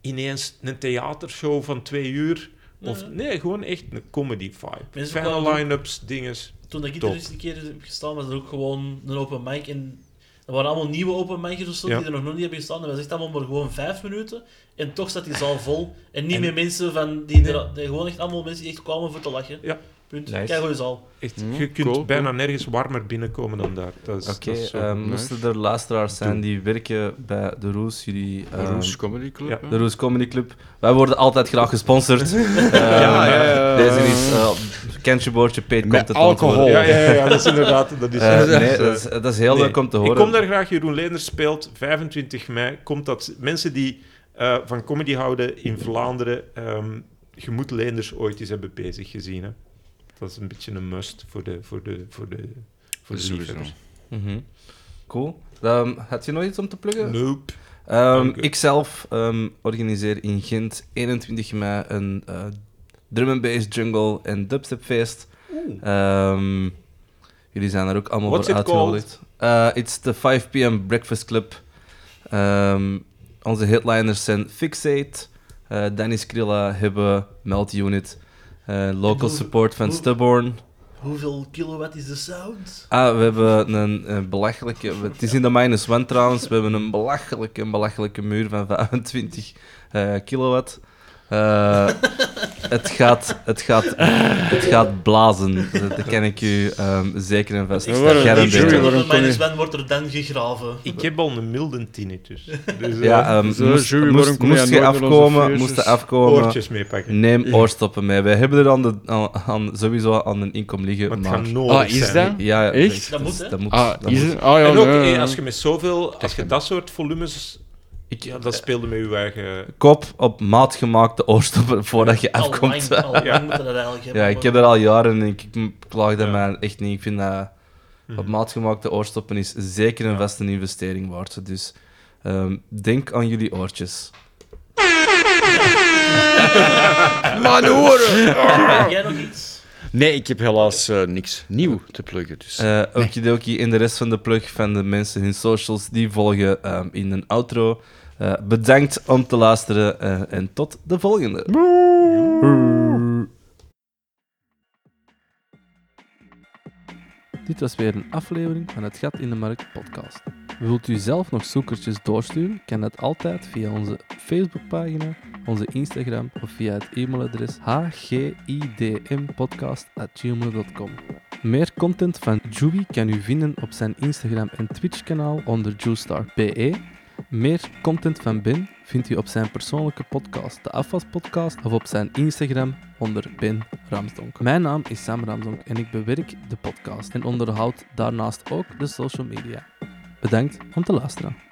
S1: ineens een theatershow van twee uur. Of,
S5: Nee.
S1: nee, gewoon echt een comedy vibe.
S5: Mensen komen
S1: Fijne
S5: doen-
S1: line-ups, dinges.
S5: Toen dat ik
S1: Top.
S5: er eens een keer heb gestaan, was er ook gewoon een open mic. En dat waren allemaal nieuwe open micers of zo,
S1: Ja.
S5: die er nog nooit niet hebben gestaan. Dat was echt allemaal maar gewoon vijf minuten. En toch zat die zaal vol. En niet
S1: En-
S5: meer mensen van... Die,
S1: Nee.
S5: er- die gewoon echt allemaal mensen die echt kwamen voor te lachen.
S1: Ja.
S5: Punt.
S2: Nice.
S5: Kijk Keigoede zaal.
S1: Echt,
S6: Hm,
S1: je kunt
S6: cool,
S1: bijna nergens warmer binnenkomen dan daar. Dat is, dat
S2: Oké,
S1: is zo.
S2: ehm, moesten er luisteraars zijn die werken bij de Roos, jullie... ehm,
S6: Roes eh, Comedy Club.
S1: ja.
S6: hè?
S2: de Roos Comedy Club. Wij worden altijd graag gesponsord. Eh,
S6: ja, ja, ja.
S2: Deze is... eh, Kentje Boordje Peet komt
S6: Met
S2: het wel te horen.
S6: alcohol.
S1: ja, ja, ja, ja, dat is inderdaad... Dat is,
S2: Eh,
S1: dat is,
S2: nee,
S1: eh,
S2: dat is, dat is heel
S1: Nee.
S2: leuk om te horen.
S1: Ik kom daar graag. Jeroen Leenders speelt 25 mei. Komt dat mensen die eh, van comedy houden in Vlaanderen, ehm je moet Leenders ooit eens hebben bezig gezien. Hè? Dat is een beetje een must voor de voor de voor de voor de
S6: Sowieso.
S1: liefhebbers.
S2: Mhm. Cool. Ehm, had je nog iets om te pluggen?
S1: Nope.
S2: Ikzelf
S1: Dank u.
S2: ik zelf ehm, organiseer in Gent 21 mei een eh, drum and bass jungle en dubstep feest. Ehm, jullie zijn er ook allemaal
S1: What's
S2: voor
S1: it called?
S2: uitgenodigd. Eh, it's the 5 p.m. Breakfast Club. Ehm, onze headliners zijn Fixate, eh Danny Skrilla, Hibbe, Melt Unit, eh, local
S5: hoe-
S2: support van
S5: hoe-
S2: Stubborn.
S5: Hoeveel kilowatt is de sound?
S2: Ah, we hebben een, een belachelijke. Het is in de minus one trouwens. We hebben een belachelijke, een belachelijke muur van 25 eh, kilowatt. Eh, het, gaat, het, gaat, het gaat blazen. Dat, dat kan ik u ehm, zeker en vast
S5: Ik sta
S6: een jury,
S2: garanderen.
S6: waarom
S5: Onder
S6: kom je-
S5: mijn zwan wordt er dan gegraven.
S1: Ik heb al een milde tinnitus. Dus eh,
S2: Ja, ehm,
S6: Zo,
S2: moest,
S6: jury,
S2: moest-
S6: waarom kom je
S2: moest je
S6: nooit met onze
S2: afkomen,
S6: feestjes?
S2: moest je afkomen.
S1: eh, oortjes meepakken.
S2: Neem oorstoppen mee. Wij hebben er aan de, aan, aan- sowieso aan een inkom liggen.
S1: Maar het
S2: maar,
S1: gaat nodig
S6: Ah, is
S1: zijn.
S6: dat?
S2: ja, ja,
S6: Echt?
S5: Dat moet, hè?
S2: dat moet.
S6: Ah,
S2: dat
S6: is
S2: moet.
S6: het? Ah, ja,
S1: en ook
S6: nee,
S1: eh,
S6: nee.
S1: als je met zoveel, als je dat soort volumes,
S2: Ik-
S1: ja, dat speelde met je eigen.
S2: Koop op maat gemaakte oorstoppen voordat je
S5: Al
S2: afkomt.
S5: lang, al lang
S1: Ja.
S5: moeten we dat eigenlijk hebben.
S2: Ja, ik heb
S5: maar-
S2: dat al jaren en ik ik klaag daar
S1: Ja.
S2: mij echt niet. Ik vind dat op maat gemaakte oorstoppen is zeker een vaste investering waard. Dus ehm, denk aan jullie oortjes.
S5: Heb Ah, jij nog iets?
S6: Nee, ik heb helaas eh, niks nieuw te pluggen. Dus.
S2: Eh okidoki. En de rest van de plug van de mensen hun socials, die volgen ehm, in een outro. Eh, bedankt om te luisteren eh, en tot de volgende. Dit was weer een aflevering van het Gat in de Markt podcast. Wilt u zelf nog zoekertjes doorsturen? Kan dat altijd via onze Facebookpagina, onze Instagram of via het e-mailadres hgidmpodcast.gmail.com. Meer content van Joey kan u vinden op zijn Instagram en Twitch-kanaal onder JewStar.be. Meer content van Ben vindt u op zijn persoonlijke podcast, de Afwas Podcast, of op zijn Instagram onder Ben Ramsdonk. Mijn naam is Sam Ramsdonk en ik bewerk de podcast en onderhoud daarnaast ook de social media. Bedankt om te luisteren.